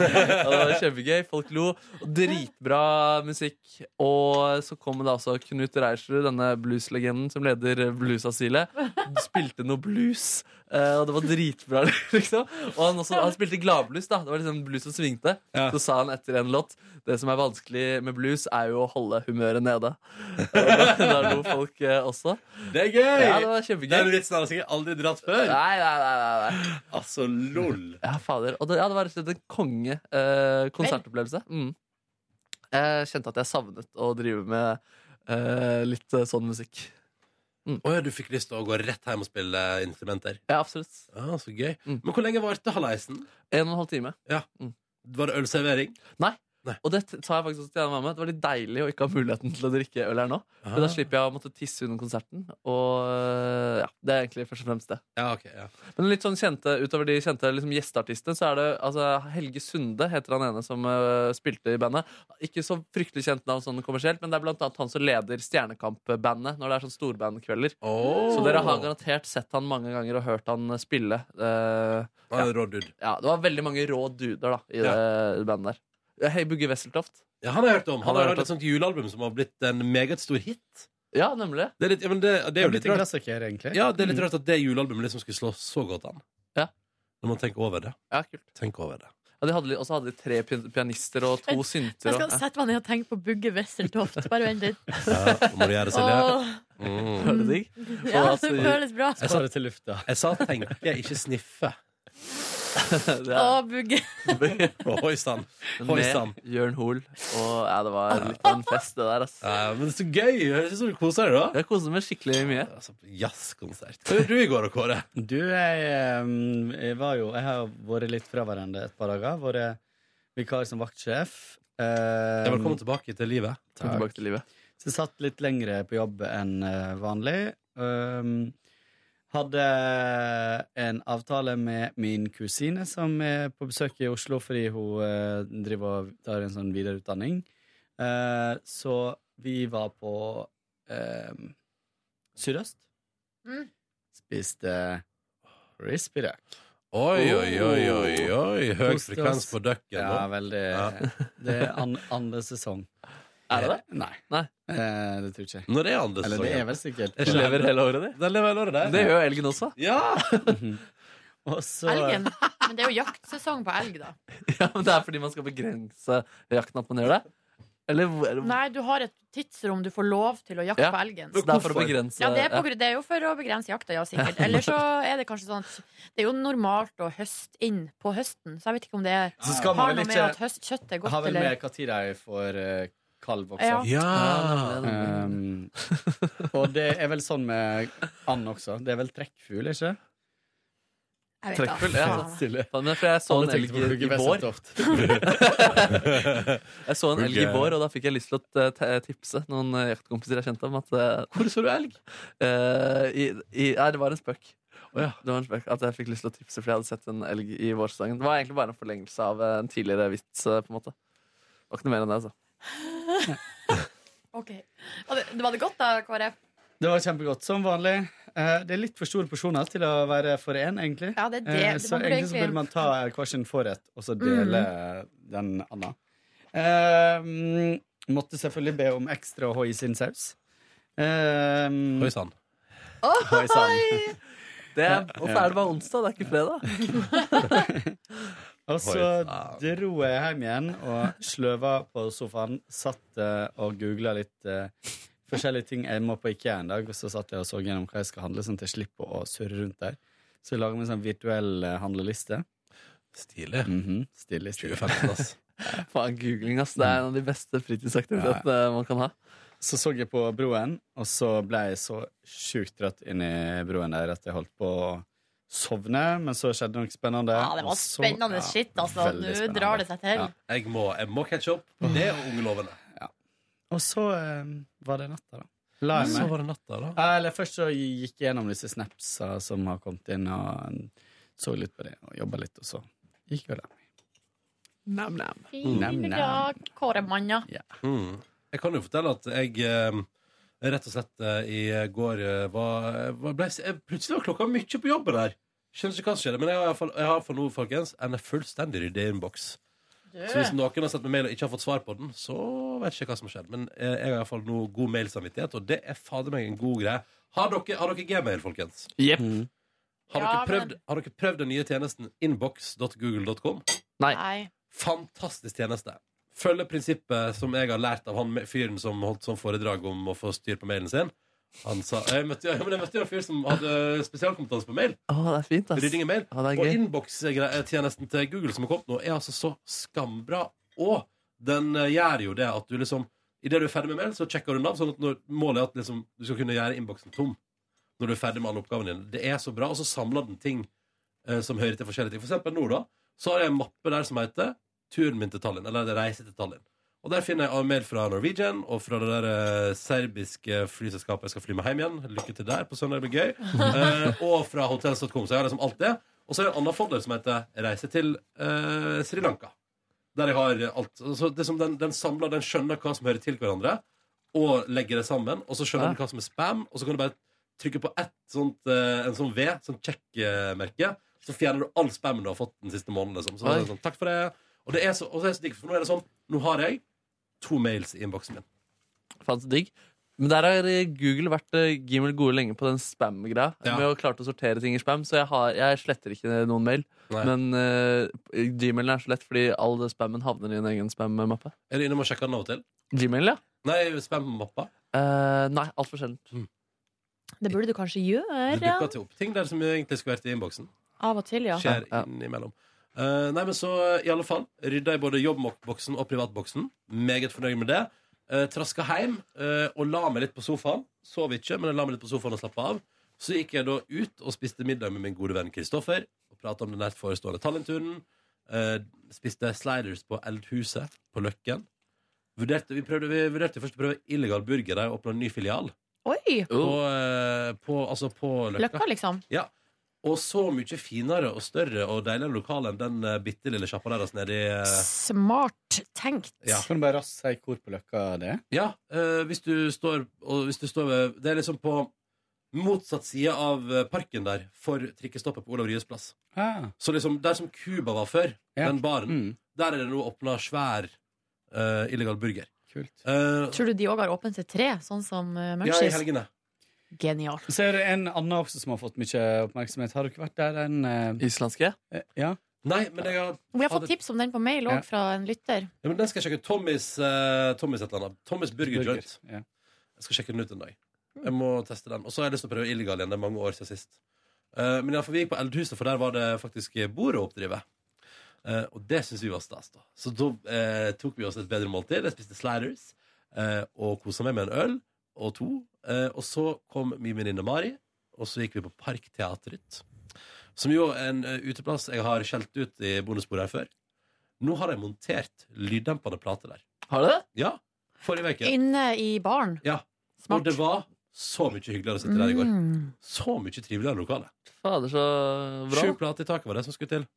C: og det var kjempegøy. Folk lo. Og Dritbra musikk. Og så kom da også Knut Reirsrud, denne blueslegenden som leder bluesasylet. Spilte noe blues, eh, og det var dritbra, liksom. Og han, også, han spilte gladblues, da. Det var liksom blues som svingte. Så sa han etter en låt det som er vanskelig med blues, er jo å holde humøret nede. Og da, da lo folk eh, også.
S: Det er gøy!
C: Ja, det var kjempegøy.
S: Den vitsen har jeg sikkert aldri dratt før.
C: Nei, nei, nei, nei, nei.
S: Altså, lol.
C: Ja, fader. Og det, ja, det var rett og slett en konge eh, konsertopplevelse. Mm. Jeg kjente at jeg savnet å drive med eh, litt eh, sånn musikk.
B: Åja, du fikk lyst til å gå rett hjem og spille instrumenter?
C: Mm. Ja, absolutt. Mm.
B: Ah, så gøy. Men hvor lenge varte halleisen?
C: En og en halv time. Mm.
B: Ja. Var det ølservering?
C: Nei. Og det sa jeg faktisk også til Janne Mamme. Det var litt deilig å ikke ha muligheten til å drikke øl her nå.
B: Ah.
C: For da slipper jeg å måtte tisse under konserten. Og eh, ja, det er egentlig først og fremst det. Men litt sånn kjente, utover de kjente liksom gjesteartistene, så er det altså, Helge Sunde heter han ene som eh, spilte i bandet. Ikke så fryktelig kjent navn sånn kommersielt, men det er blant annet han som leder Stjernekamp-bandet når det er sånn storbandkvelder. Så dere har garantert sett han mange ganger og hørt han spille. Eh,
B: Han er
C: ja.
B: en rå dude.
C: Ja, det var veldig mange rå duder da, i det bandet der. Hei, Bugge Wesseltoft.
B: Ja, han har jeg hørt om. Han har
C: hørt
B: lagd et sånt julealbum som har blitt en meget stor hit.
C: Ja, nemlig.
B: Det er litt, ja, men det, det er jo litt
R: en
B: rart.
R: klassiker, egentlig.
B: Ja, det er litt
R: Mm.
B: rart at det julealbumet liksom skulle slå så godt an.
C: Ja.
B: Når man tenker over det.
C: Ja, kult.
B: Tenk over det.
C: Ja, de hadde, li- også hadde de tre pian- pianister og to
D: Jeg
C: synter.
D: skal
C: og-
D: sette meg ned og tenke på Bugge Wesseltoft. Bare vent litt.
B: Ja, nå må du gjøre det, Silje.
D: Åh.
B: Mm.
D: Var det digg? Ja,
C: altså,
D: det føles bra.
B: Jeg sa det til lufta. Jeg sa 'tenke, ikke sniffe'.
D: Å, Bugge.
B: Oi sann. Oi sann.
C: Med Jørn Hoel. Og ja, det var litt av en fest, det der. Altså.
B: men så gøy! Jeg syns du koser deg, da.
C: Jeg koser meg skikkelig mye.
B: Altså, Jazzkonsert. Hva gjorde du i går, Kåre?
R: Du, jeg, ehm, jeg var jo Jeg har vært litt fraværende et par dager. Vært vikar som vaktsjef.
B: Ja, velkommen tilbake til livet.
R: Takk.
C: Tilbake til livet.
R: Så jeg satt litt lengre på jobb enn eh, vanlig. Ehm, hadde en avtale med min kusine som er på besøk i Oslo fordi hun eh, driver og tar en sånn videreutdanning. Eh, så vi var på ehm, Sydøst.
D: Mm.
R: Spiste crispy duck. Oh,
B: Oi, oi, oi, oi, oi. Høy frekvens på ducken.
R: Ja,
B: nå.
R: veldig.
B: Ja.
R: Det er an andre sesong.
C: Er det det?
R: Nei.
C: Nei.
R: Eh, det tror jeg ikke.
B: Når er andre
R: Eller det
B: sesongen?
R: er vel sikkert
B: Jeg lever hele
C: året, det.
B: Den lever hele året, det.
C: Det gjør jo elgen også.
B: Ja!
R: Og så
D: Elgen. Men det er jo jaktsesong på elg, da.
C: Ja, men det er fordi man skal begrense jakten at man gjør det? Eller hvor- eller-
D: Nei, du har et tidsrom du får lov til å jakte
C: Ja,
D: på elgen.
C: men det er for å Hvorfor? begrense-
D: Ja, det er, på,
C: ja.
D: gru- det er jo for å begrense jakta, ja, sikkert. Eller så er det kanskje sånn at det er jo normalt å høste inn på høsten, så jeg vet ikke om det er,
R: Så skal man
D: har
R: vel
D: noe med
R: ikke-
D: at høstkjøttet er
R: har
D: godt,
R: vel med
D: eller
R: hva tid de får eh, kalv også.
D: Ja.
B: Ja.
C: Ah.
R: Um, og det er vel sånn med and også. Det er vel trekkfugl, ikke?
D: Jeg vet da. altså.
C: Trekkfull, ja.
R: Helt stille.
C: Faen, men For jeg så en
R: Alle
C: elg
R: tenkte på
C: i, i
R: Bugge
C: vår. jeg så en elg i
R: Bugge.
C: vår, og da fikk jeg lyst til å eh, te- tipse noen eh, jaktkompiser jeg kjente om at Hvor så du elg? i, i, nei, det var en spøk. Det var en spøk At jeg fikk lyst til å tipse fordi jeg hadde sett en elg i vårsesongen. Det var egentlig bare en forlengelse av eh, en tidligere vits. eh, på en måte Det var ikke noe mer enn det, altså.
D: Ok. Var det, var det godt, da, Kåre?
R: Det var kjempegodt, som vanlig. Eh, det er litt for store porsjoner til å være for én, egentlig.
D: Ja, det er det.
R: Eh,
D: Det
R: så
D: må
R: egentlig så
D: egentlig- Mm.
R: burde man ta hver sin forrett, og så dele den anna. Eh, måtte selvfølgelig be om ekstra hoi sin saus. Eh, hoi
B: sann.
R: Hoi sann.
C: Det er, hvorfor er det bare onsdag? Det er ikke fredag.
S: Og så dro jeg hjem igjen og sløva på sofaen. Satt eh, og googla litt eh, forskjellige ting jeg må på IKEA en dag. Og så satt jeg og så gjennom hva jeg skal handle, sånn at jeg slipper å surre rundt der. Så jeg laga meg en sånn virtuell eh, handleliste. Mhm.
B: Stilig.
S: stilig, stilig.
B: 2015, ass.
S: Faen, googling, ass.
B: Mm.
S: Det er en av de beste fritidsaktivitetene man kan ha. Så så jeg på broen, og så ble jeg så sjukt dratt inn i broen der at jeg holdt på å sovne, men så skjedde noe spennende.
D: Ja, det var
S: og så-
D: spennende
S: ja,
D: shit, altså.
S: veldig
D: Nå
S: spennende.
D: drar det seg til.
S: Ja.
B: Jeg må, jeg må catche opp. Det er ungelovene.
S: Og så eh, var det natta, da. La jeg meg.
B: Så var det natta, da.
S: Ja, Eller først så gikk jeg gjennom disse snapsa som har kommet inn, og så litt på det, og jobba litt, og så gikk jeg og la meg. Nam-nam.
D: Fire kåremanner.
B: Mm. Jeg kan jo fortelle at jeg eh, rett og slett eh, i går eh, var, var ble, jeg, Plutselig var klokka mye på jobben her. Skjønner ikke hva som skjedde, men jeg har, i hvert fall- jeg har for nå, folkens, en fullstendig ryddig innboks. Så
D: Eh.
B: hvis noen har sett meg mail og ikke har fått svar på den, så vet ikke jeg hva som har skjedd. Men eh, jeg har i hvert fall nå god mailsamvittighet, og det er fader meg en god greie. Har dere, har dere gmail, folkens?
C: Jepp.
B: Har,
D: Mm. Ja,
B: dere prøvd,
D: men-
B: har dere prøvd den nye tjenesten inbox.google.com?
C: Nei.
B: Fantastisk tjeneste. Følger prinsippet som jeg har lært av han me- fyren som holdt sånn foredrag om å få styr på mailen sin. Han sa, jeg møtte, ja, men jeg møtte jo en fyr som hadde spesialkompetanse på mail.
C: Å, det er fint, ass.
B: Rydding i mail.
C: Ja, det er
B: og
C: gøy.
B: innbokstjenesten til Google som har kommet nå, er altså så skambra. Og den eh, gjør jo det at du liksom Idet du er ferdig med mail, så sjekker du den av. Sånn at når, målet er at liksom, du skal kunne gjøre innboksen tom når du er ferdig med alle oppgavene dine. Det er så bra. Og så samler den ting eh, som hører til forskjellige ting. For eksempel nå, da, så har jeg en mappe der som heter 'Turen min til Tallinn', eller det 'Reise til Tallinn'. Og der finner jeg mail fra Norwegian og fra det der eh, serbiske flyselskapet jeg skal fly med hjem igjen. Lykke til der på søndag, det blir gøy. Eh, og fra hotels.com. Så jeg har liksom alt det. Og så er det en annen folder som heter 'Reise til eh, Sri Lanka'. Der jeg har alt. Så det er som den, den samler, den skjønner hva som hører til hverandre, og legger det sammen. Og så skjønner den hva som er spam, og så kan du bare trykke på ett sånt, eh, en sånn V, sånn check-merke, så fjerner du all spammen du har fått den siste måneden. Liksom. Så da er det
C: Oi.
B: sånn, takk for det. Og det er så, og så er det så digg, for nå er det sånn, nå har jeg to mails i innboksen min.
C: Fant digg. Men der har Google vært eh, gimmel gode lenge på den spam-greia. Med å klare å sortere ting i spam, så jeg, har, jeg sletter ikke noen mail.
B: Nei.
C: Men eh, Gmailen er så lett, fordi all det spammen havner i en egen spam-mappe.
B: Er du inne og sjekker den av og til?
C: Gmail, ja.
B: Nei, spam-mappa. Mm.
C: Uh, nei, altfor sjelden.
D: Det burde du kanskje
B: Det
D: gjøre.
B: dukker til opp ting der som egentlig skulle vært i innboksen.
D: Av og til, ja.
B: Skjer innimellom. Eh, nei, men så i alle fall Rydda i både jobbboksen og privatboksen. Meget fornøyd med det. Uh, traska hjem eh, og la meg litt på sofaen. Sov ikke, men jeg la meg litt på sofaen og slappa av. Så gikk jeg da ut og spiste middag med min gode venn Kristoffer. Og prata om den nært forestående Tallinturen. Eh, spiste sliders på Eldhuset på Løkken. Vurderte, vi, prøvde, vi vurderte først å prøve illegal burger der og åpna en ny filial.
D: Oi!
B: På, eh, på, altså på Løkka.
D: Løkka, liksom.
B: Ja. Og så mye finere og større og deiligere lokale enn den eh, bitte lille sjappa deres nedi eh,
D: Smart tenkt.
B: Ja.
S: Kan du bare raskt si hvor på løkka det er?
B: Ja, eh, hvis du står og hvis du står ved Det er liksom på motsatt side av eh, parken der for trikkestoppet på Olav Ryes plass.
S: Ah.
B: Så liksom der som Cuba var før,
S: Ja. Mm.
B: den baren, der er det nå åpna svær eh, illegal burger. Eh,
S: Kult.
D: Tror du de òg har åpent til tre, sånn som uh,
B: ja, i
D: Munchies?
B: helgene.
D: Genialt.
S: Så er det en annen også som har fått mye oppmerksomhet. Har dere vært der? Den eh,
C: islandske?
S: ja.
B: Nei, men jeg har
D: Vi har fått tips om den på mail òg,
B: Ja.
D: fra en lytter.
B: Ja, men den skal jeg sjekke ut. Tommys, eh, Tommys et eller annet. Tommys Burger,
S: Burger,
B: Joint. Jeg skal sjekke den ut en dag. Jeg må teste den. Og så har jeg lyst til å prøve illegal igjen. Det er mange år siden sist. Eh, men iallfall, vi gikk på Eldhuset, for der var det faktisk bord å oppdrive. Eh, og det syns vi var stas, da. Så da eh, tok vi oss et bedre måltid. Jeg spiste sliders eh, og kosa meg med en øl og to. Eh, og så kom min venninne Mari, og så gikk vi på Parkteatret. Som jo er en eh, uteplass jeg har skjelt ut i bonusbordet her før. Nå har jeg montert lyddempende plater der.
C: Har du det?
B: Ja, forrige uke.
D: Inne i baren.
B: Ja. Og det var så mye hyggeligere å sitte der i går.
D: Mm.
B: Så mye triveligere lokale.
C: Fader, så bra.
B: Sju plater i taket var det som skulle til.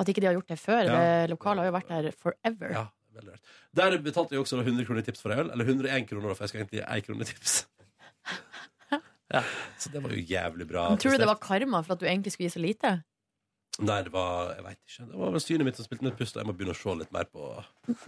D: At ikke de har gjort det før.
B: Ja.
D: Det lokalet har jo vært der forever.
B: Ja, veldig rart. Der betalte jeg også da 100 kroner i tips for øl. Eller 101 kroner, da, for jeg skal egentlig gi 1 krone i tips. Ja, så det var jo jævlig bra.
D: Men Tror du det
B: prestert.
D: var karma for at du egentlig skulle gi så lite?
B: Nei, det var Jeg vet ikke. Det var vel synet mitt som spilte med et pust, og jeg må begynne å se litt mer på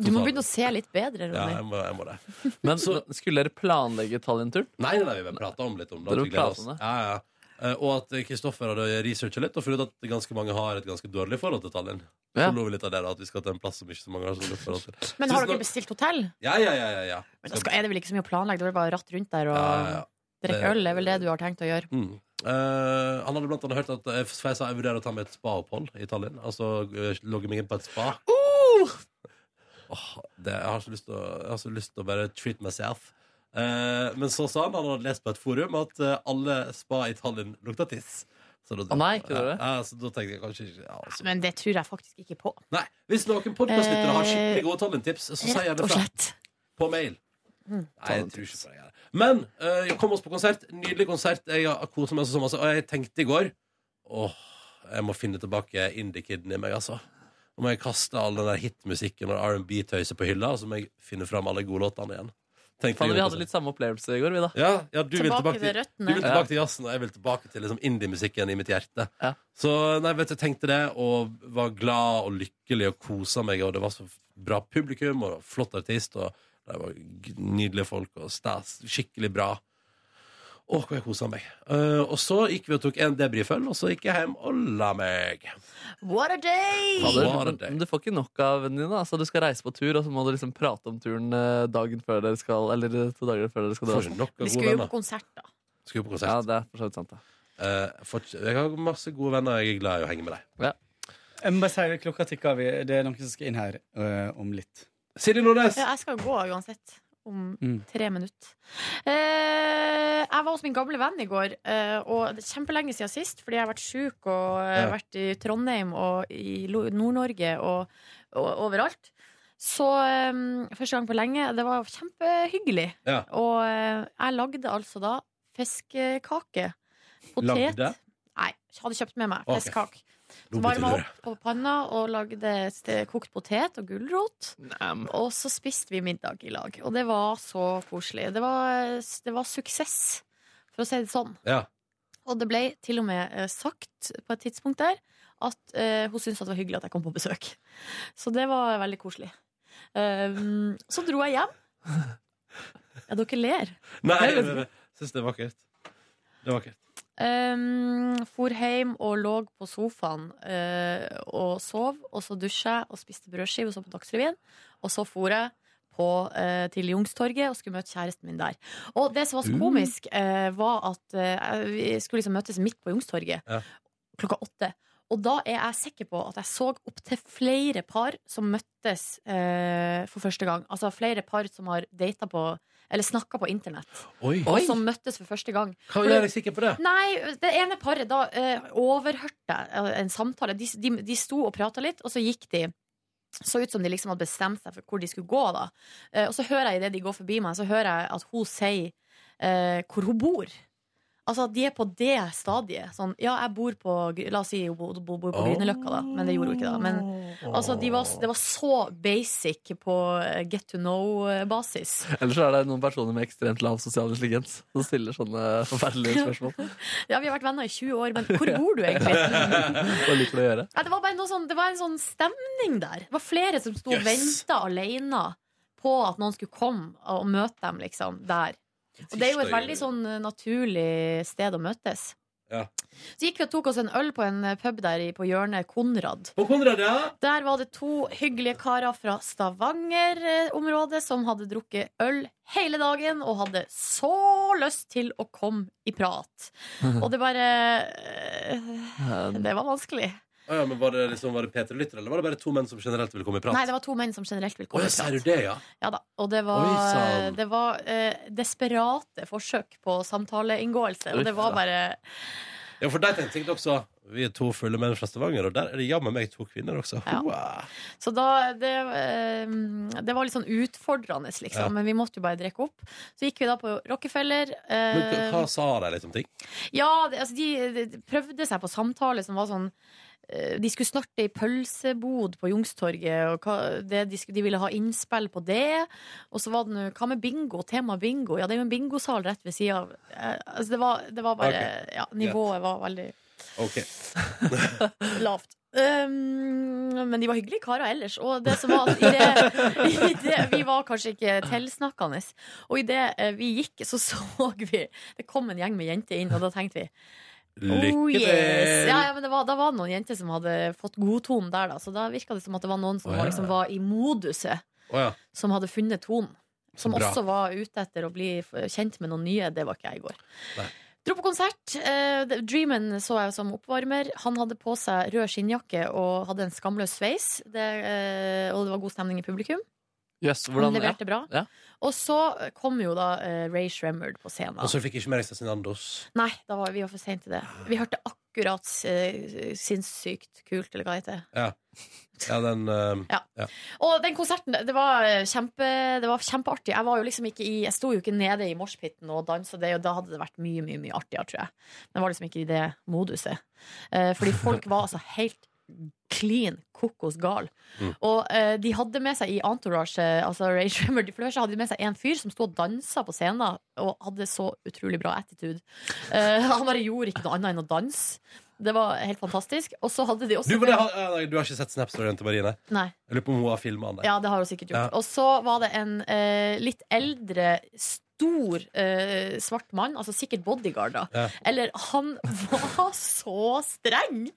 D: Du må begynne å se litt bedre,
B: Ja,
D: Ronny.
B: jeg må, jeg må det.
C: Men skulle dere planlegge Tallinn-turen?
B: Nei, nei, nei, vi prate om litt om det.
C: Dere
B: at vi gleder oss.
C: prater om det?
B: Ja, ja. Eh, Og at Kristoffer hadde researcha litt og funnet at ganske mange har et ganske dårlig forhold til Tallinn. Så lo vi litt av det, da, at vi skal til en plass som ikke så mange har så godt forhold til.
D: Men har
B: Tusen
D: dere
B: takk.
D: bestilt hotell?
B: Ja, ja, ja. ja, ja.
D: Men da skal, er det vel ikke så mye å planlegge? Det er vel bare å ratte rundt der og
B: Ja, ja, ja.
D: drikke
B: Det-
D: øl? Det er vel det du har tenkt å gjøre?
B: Mm. Eh, han hadde blant annet hørt at jeg, for jeg sa jeg vurderer å ta meg et spaopphold i Tallinn. Altså eh, logge meg inn på et spa.
C: Uh!
B: Åh, det, jeg har så lyst til å, jeg har så lyst til å bare treat myself. Eh, men så sa han han hadde lest på et forum at eh, alle spa i Tallinn lukta tiss. Så da,
C: Å nei, ikke det?
B: Ja, så da tenkte jeg kanskje ikke ja, altså.
D: Men det tror jeg faktisk ikke på.
B: Nei, Hvis noen podkastlyttere har skikkelig gode Tallinn-tips, så si
D: Eh, Rett
B: gjerne
D: og
B: fra. På mail.
D: Mm.
B: Nei, jeg tror ikke på det. jeg. Men eh, jeg kom oss på konsert. Nydelig konsert. Jeg har koset meg så masse. Og jeg tenkte i går Åh, jeg må finne tilbake Indie-kiden i meg, altså. Nå må jeg kaste all den der hitmusikken og R&B-tøyset på hylla, og så må jeg finne fram alle gode låtene igjen. Tenkte
C: Fader, vi
B: jeg gjorde
C: hadde litt samme opplevelse i går, vi, da.
B: Ja, ja du vil
C: Tilbake
B: tilbake
C: til
B: til,
C: røttene.
B: du vil
C: Ja.
B: tilbake til jazzen, og jeg vil tilbake til liksom indie-musikken i mitt hjerte. Så nei, vet du, jeg tenkte det, og var glad og lykkelig og kosa meg, og det var så bra publikum, og flott artist, og det var g- nydelige folk, og stas, skikkelig bra. Åh, hvor jeg kosa meg. Eh, og så gikk vi og tok en debriføll, og så gikk jeg hjem og la meg.
D: What a day!
C: Fader, men, men du får ikke nok av vennene dine. Altså, du skal reise på tur, og så må du liksom prate om turen eh, dagen før dere skal Eller eh, to dager før dere skal dra.
B: Får ikke nok av
D: Vi skulle jo på konsert, da.
B: Skal jo på konsert. Ja,
C: det er for så vidt sant, da.
B: jeg har masse gode venner, jeg er glad i å henge med deg.
S: Jeg må bare si det, klokka tikker av. vi- Det er noen som skal inn her øh, om litt.
B: Silje
D: Ja, jeg skal jo gå uansett. Om
S: Mm.
D: tre minutter. Eh, jeg var hos min gamle venn i går, eh, og det er kjempelenge siden sist, fordi jeg har vært sjuk og eh,
Q: Ja.
D: vært i Trondheim og i Lo- Nord-Norge og, og overalt. Så eh, første gang på lenge. Det var kjempehyggelig.
B: Ja.
D: Og eh, jeg lagde altså da fiskekake. Potet.
B: Lagde?
D: Nei, hadde kjøpt med meg
B: Ok.
D: fiskekake.
B: Nå
D: Så
B: betyr
D: varma
B: det.
D: opp på panna og lagde ste- kokt potet og gulrot.
C: Mm.
D: Og så spiste vi middag i lag. Og det var så koselig. Det var, det var suksess, for å si det sånn.
B: Ja.
D: Og det ble til og med eh, sagt på et tidspunkt der at eh, hun syntes at det var hyggelig at jeg kom på besøk. Så det var veldig koselig. Um, så dro jeg hjem. Ja, dere ler.
B: Nei, jeg, jeg, syns det er vakkert. Det er vakkert.
D: Um, for hjem og lå på sofaen eh, og sov, og så dusja jeg og spiste brødskive og så på Dagsrevyen. Og så for jeg på, eh, til Youngstorget og skulle møte kjæresten min der. Og det som var så
Q: Mm.
D: komisk, eh, var at eh, vi skulle liksom møtes midt på Youngstorget klokka åtte. Og da er jeg sikker på at jeg så opptil flere par som møttes eh, for første gang. Altså flere par som har data på eller snakka på internett.
B: Oi.
D: Og som møttes for første gang.
B: Hva gjør deg sikker på det?
D: Nei, det ene paret da eh, overhørte eh, en samtale. De, de, de sto og prata litt, og så gikk de. Så ut som de liksom hadde bestemt seg for hvor de skulle gå. da eh, Og så hører jeg idet de går forbi meg, så hører jeg at hun sier eh, hvor hun bor. Altså at de er på det stadiet. Sånn, ja, jeg bor på Gry- La oss si hun bor, bor, bor på
Q: Oh.
D: Grünerløkka, da. Men det gjorde hun ikke, da. Men altså, de var, det var så basic på eh, get to know-basis.
C: Eller så er det noen personer med ekstremt lav sosial intelligens som stiller sånne forferdelige spørsmål.
D: Ja, vi har vært venner i 20 år, men hvor bor du egentlig?
C: Hva liker du å gjøre?
D: Ja, det var bare noe sånn, det var en sånn stemning der. Det var flere som sto og
Q: Yes.
D: venta alene på at noen skulle komme og møte dem, liksom, der. Og det er jo et
Q: Tirsdag,
D: veldig sånn eh, naturlig sted å møtes.
B: Ja.
D: Så gikk vi og tok oss en øl på en eh, pub der i- på hjørnet Konrad.
B: På Konrad, ja.
D: Der var det to hyggelige karer fra Stavanger-området som hadde drukket øl hele dagen og hadde så lyst til å komme i prat. Og det bare eh, Det var vanskelig.
B: Å ja, men var det, liksom, var det Peter Lytter, eller var det bare to menn som generelt ville komme i prat?
D: Nei, det var to menn som generelt ville
B: Å,
D: komme
B: ja,
D: i
B: sier
D: prat.
B: du det, ja?
D: Ja da, og det
B: Oi,
D: var,
B: sann.
D: det var eh, desperate forsøk på samtaleinngåelse. Og det var
B: Uff, da.
D: bare
B: Ja, for der tenkte jeg også Vi er to fulle menn fra Stavanger, og der er det jammen meg to kvinner også. Hoa.
D: Så da det, eh, det var litt sånn utfordrende, liksom.
B: Ja.
D: Men vi måtte jo bare drikke opp. Så gikk vi da på Rockefeller. eh,
B: Men hva, hva sa de liksom ting?
D: Ja, det, altså, de, de prøvde seg på samtale som var sånn eh, de skulle snarte i pølsebod på Youngstorget, og hva, det, de, skulle, de ville ha innspill på det. Og så var det nå Hva med bingo? Tema bingo? Ja, det er jo en bingosal rett ved sida av. Eh, altså, det, var, det var bare
B: Ok.
D: Ja, nivået var veldig
B: OK.
D: lavt. Um, men de var hyggelige karer ellers. Og det som var at i det, i det, Vi var kanskje ikke tilsnakkende. eh, Og idet vi gikk, så så vi Det kom en gjeng med jenter inn, og da tenkte vi
B: Lykke
D: Oh,
B: til!
D: yes. Ja, ja, men det var, da var det noen jenter som hadde fått god tone der, da. Så da virka det som at det var noen som
B: Å, ja.
D: var, liksom, var i moduset,
B: Å, ja.
D: som hadde funnet tonen. Som
B: bra.
D: også var ute etter å bli f- kjent med noen nye. Det var ikke jeg i går.
B: Nei.
D: Dro på konsert. Eh, The- Dreamen så jeg som oppvarmer. Han hadde på seg rød skinnjakke og hadde en skamløs sveis. Det, eh, og det var god stemning i publikum.
C: Yes,
D: Han
C: hvordan,
D: leverte
C: ja.
D: bra.
C: Ja.
D: Og så kom jo da eh, Ray Shremmerd på scenen.
B: Og så fikk jeg ikke med deg Cezinandos.
D: Nei, da var vi var for sent til det. Vi hørte akkurat eh, sinnssykt kult, eller hva det heter.
B: Ja. ja, den eh,
D: Ja. Og den konserten, det var, eh, kjempe, det var kjempeartig. Jeg, var jo liksom ikke i, jeg sto jo ikke nede i moshpiten og dansa, det, og da hadde det vært mye mye, mye artigere, tror jeg. Men jeg var liksom ikke i det moduset. Eh, fordi folk var altså helt clean kokos gal.
Q: Mm.
D: Og eh, de hadde med seg i entourage, eh, altså Ray Shrimmer, de flørsa, hadde de med seg en fyr som sto og dansa på scenen og hadde så utrolig bra attitude. Eh, han bare gjorde ikke noe annet enn å danse. Det var helt fantastisk. Og så hadde de også
B: Du,
D: med-
B: men jeg har, ja, nei, du har ikke sett Snap-storyen til Marine?
D: Nei.
B: Jeg lurer på om hun har filma den. der.
D: Ja, det har hun sikkert gjort.
B: Ja.
D: Og så var det en eh, litt eldre, stor eh, svart mann, altså sikkert bodyguard, da.
B: Ja.
D: Eller han var så streng!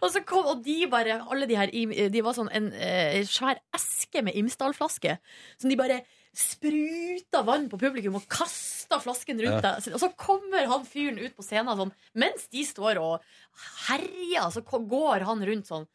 D: Og så kom, og de bare, alle de her, im- de var sånn en eh, svær eske med Imsdal-flaske, som de bare spruta vann på publikum og kasta flasken rundt
Q: Ja.
D: deg. Og så kommer han fyren ut på scenen sånn, mens de står og herjer, så ko- går han rundt sånn.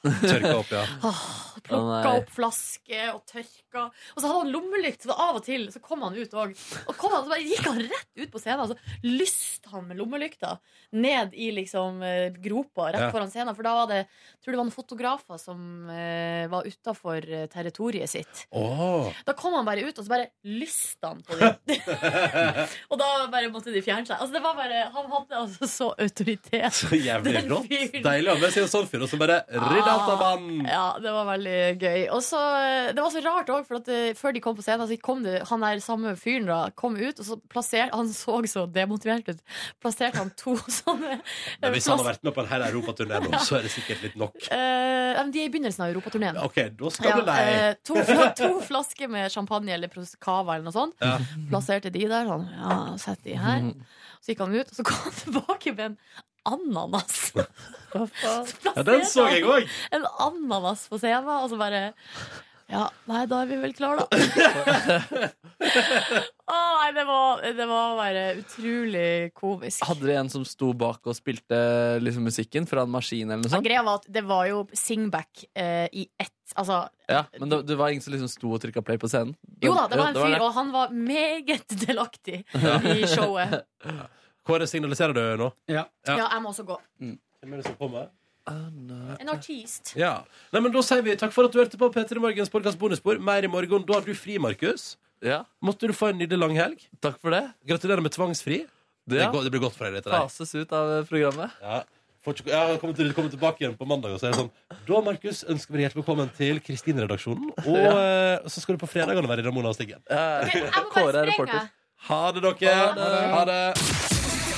B: Tørka opp, ja.
D: Åh, Plukka opp flaske og tørka. Og så hadde han lommelykt, så av og til så kom han ut òg. Og kom han, så bare gikk han rett ut på scenen, og så lyste han med lommelykta ned i liksom eh, gropa rett
Q: Ja.
D: foran scenen. For da var det jeg tror det var noen fotografer som eh, var utafor territoriet sitt.
B: Åh.
D: Da kom han bare ut, og så bare lysta han på dem. og da bare måtte de fjerne seg. Altså, det var bare, han hadde altså så autoritet.
B: Så jævlig
D: den
B: rått.
D: fyren. Ah.
B: Deilig å ha med seg en sånn fyr, og så bare rydd alt av mann.
D: Ja, det var veldig gøy. Og så, eh, Det var så rart òg, for at eh, før de kom på scenen, så kom det, han der samme fyren da, kom ut, og så plasserte Han så så demotivert ut. Plasserte han to sånne
B: Men hvis han har vært med på en hel europaturné nå, så er det sikkert litt nok.
D: Eh, ja, men de er i begynnelsen av europaturneen.
B: OK, da skal du
D: eh, to,
B: lei.
D: fla- to flasker med champagne eller pros- cava eller noe sånt.
B: Ja.
D: Plasserte de der sånn. Ja, sett de her.
B: Mhm.
D: Så gikk han ut, og så kom han tilbake med en ananas.
B: Ja, den så jeg òg.
D: En ananas på scenen, og så bare Ja, nei, da er vi vel klare, da. Å, nei, det var, det var bare utrolig komisk.
C: Hadde dere en som sto bak og spilte liksom, musikken fra en maskin eller noe
D: Ja,
B: Sånn.
C: sånt?
D: greia var at det var jo singback eh, i ett Altså
C: Ja, men det, det var ingen som liksom sto og trykka play på scenen?
D: Jo da, det var en
C: det.
D: fyr, og han var meget delaktig
B: Ja.
D: i showet.
B: Kåre, signaliserer du nå?
R: Ja.
D: Ja, jeg må også gå.
B: Mm. Hvem er det som kommer?
D: En artist.
B: Ja. Nei, men da sier vi takk for at du hørte på P3 Morgens podkast bonusspor. Mer i morgen. Da har du fri, Markus. Måtte du få en nydelig lang helg.
C: Takk for det.
B: Gratulerer med tvangsfri. Det,
C: Ja.
B: går- det blir godt for deg, dette der.
C: Fases ut av programmet.
B: Ja. Får ikke- Jeg har kommet, til, kommet tilbake igjen på mandag, og så er det sånn Da, Markus, ønsker vi deg hjertelig velkommen til Kristin-redaksjonen. Og eh, så skal du på fredagene være i Ramona og Stiggen.
C: Eh, Kåre er reporter.
B: Ha det, dere. Ha det.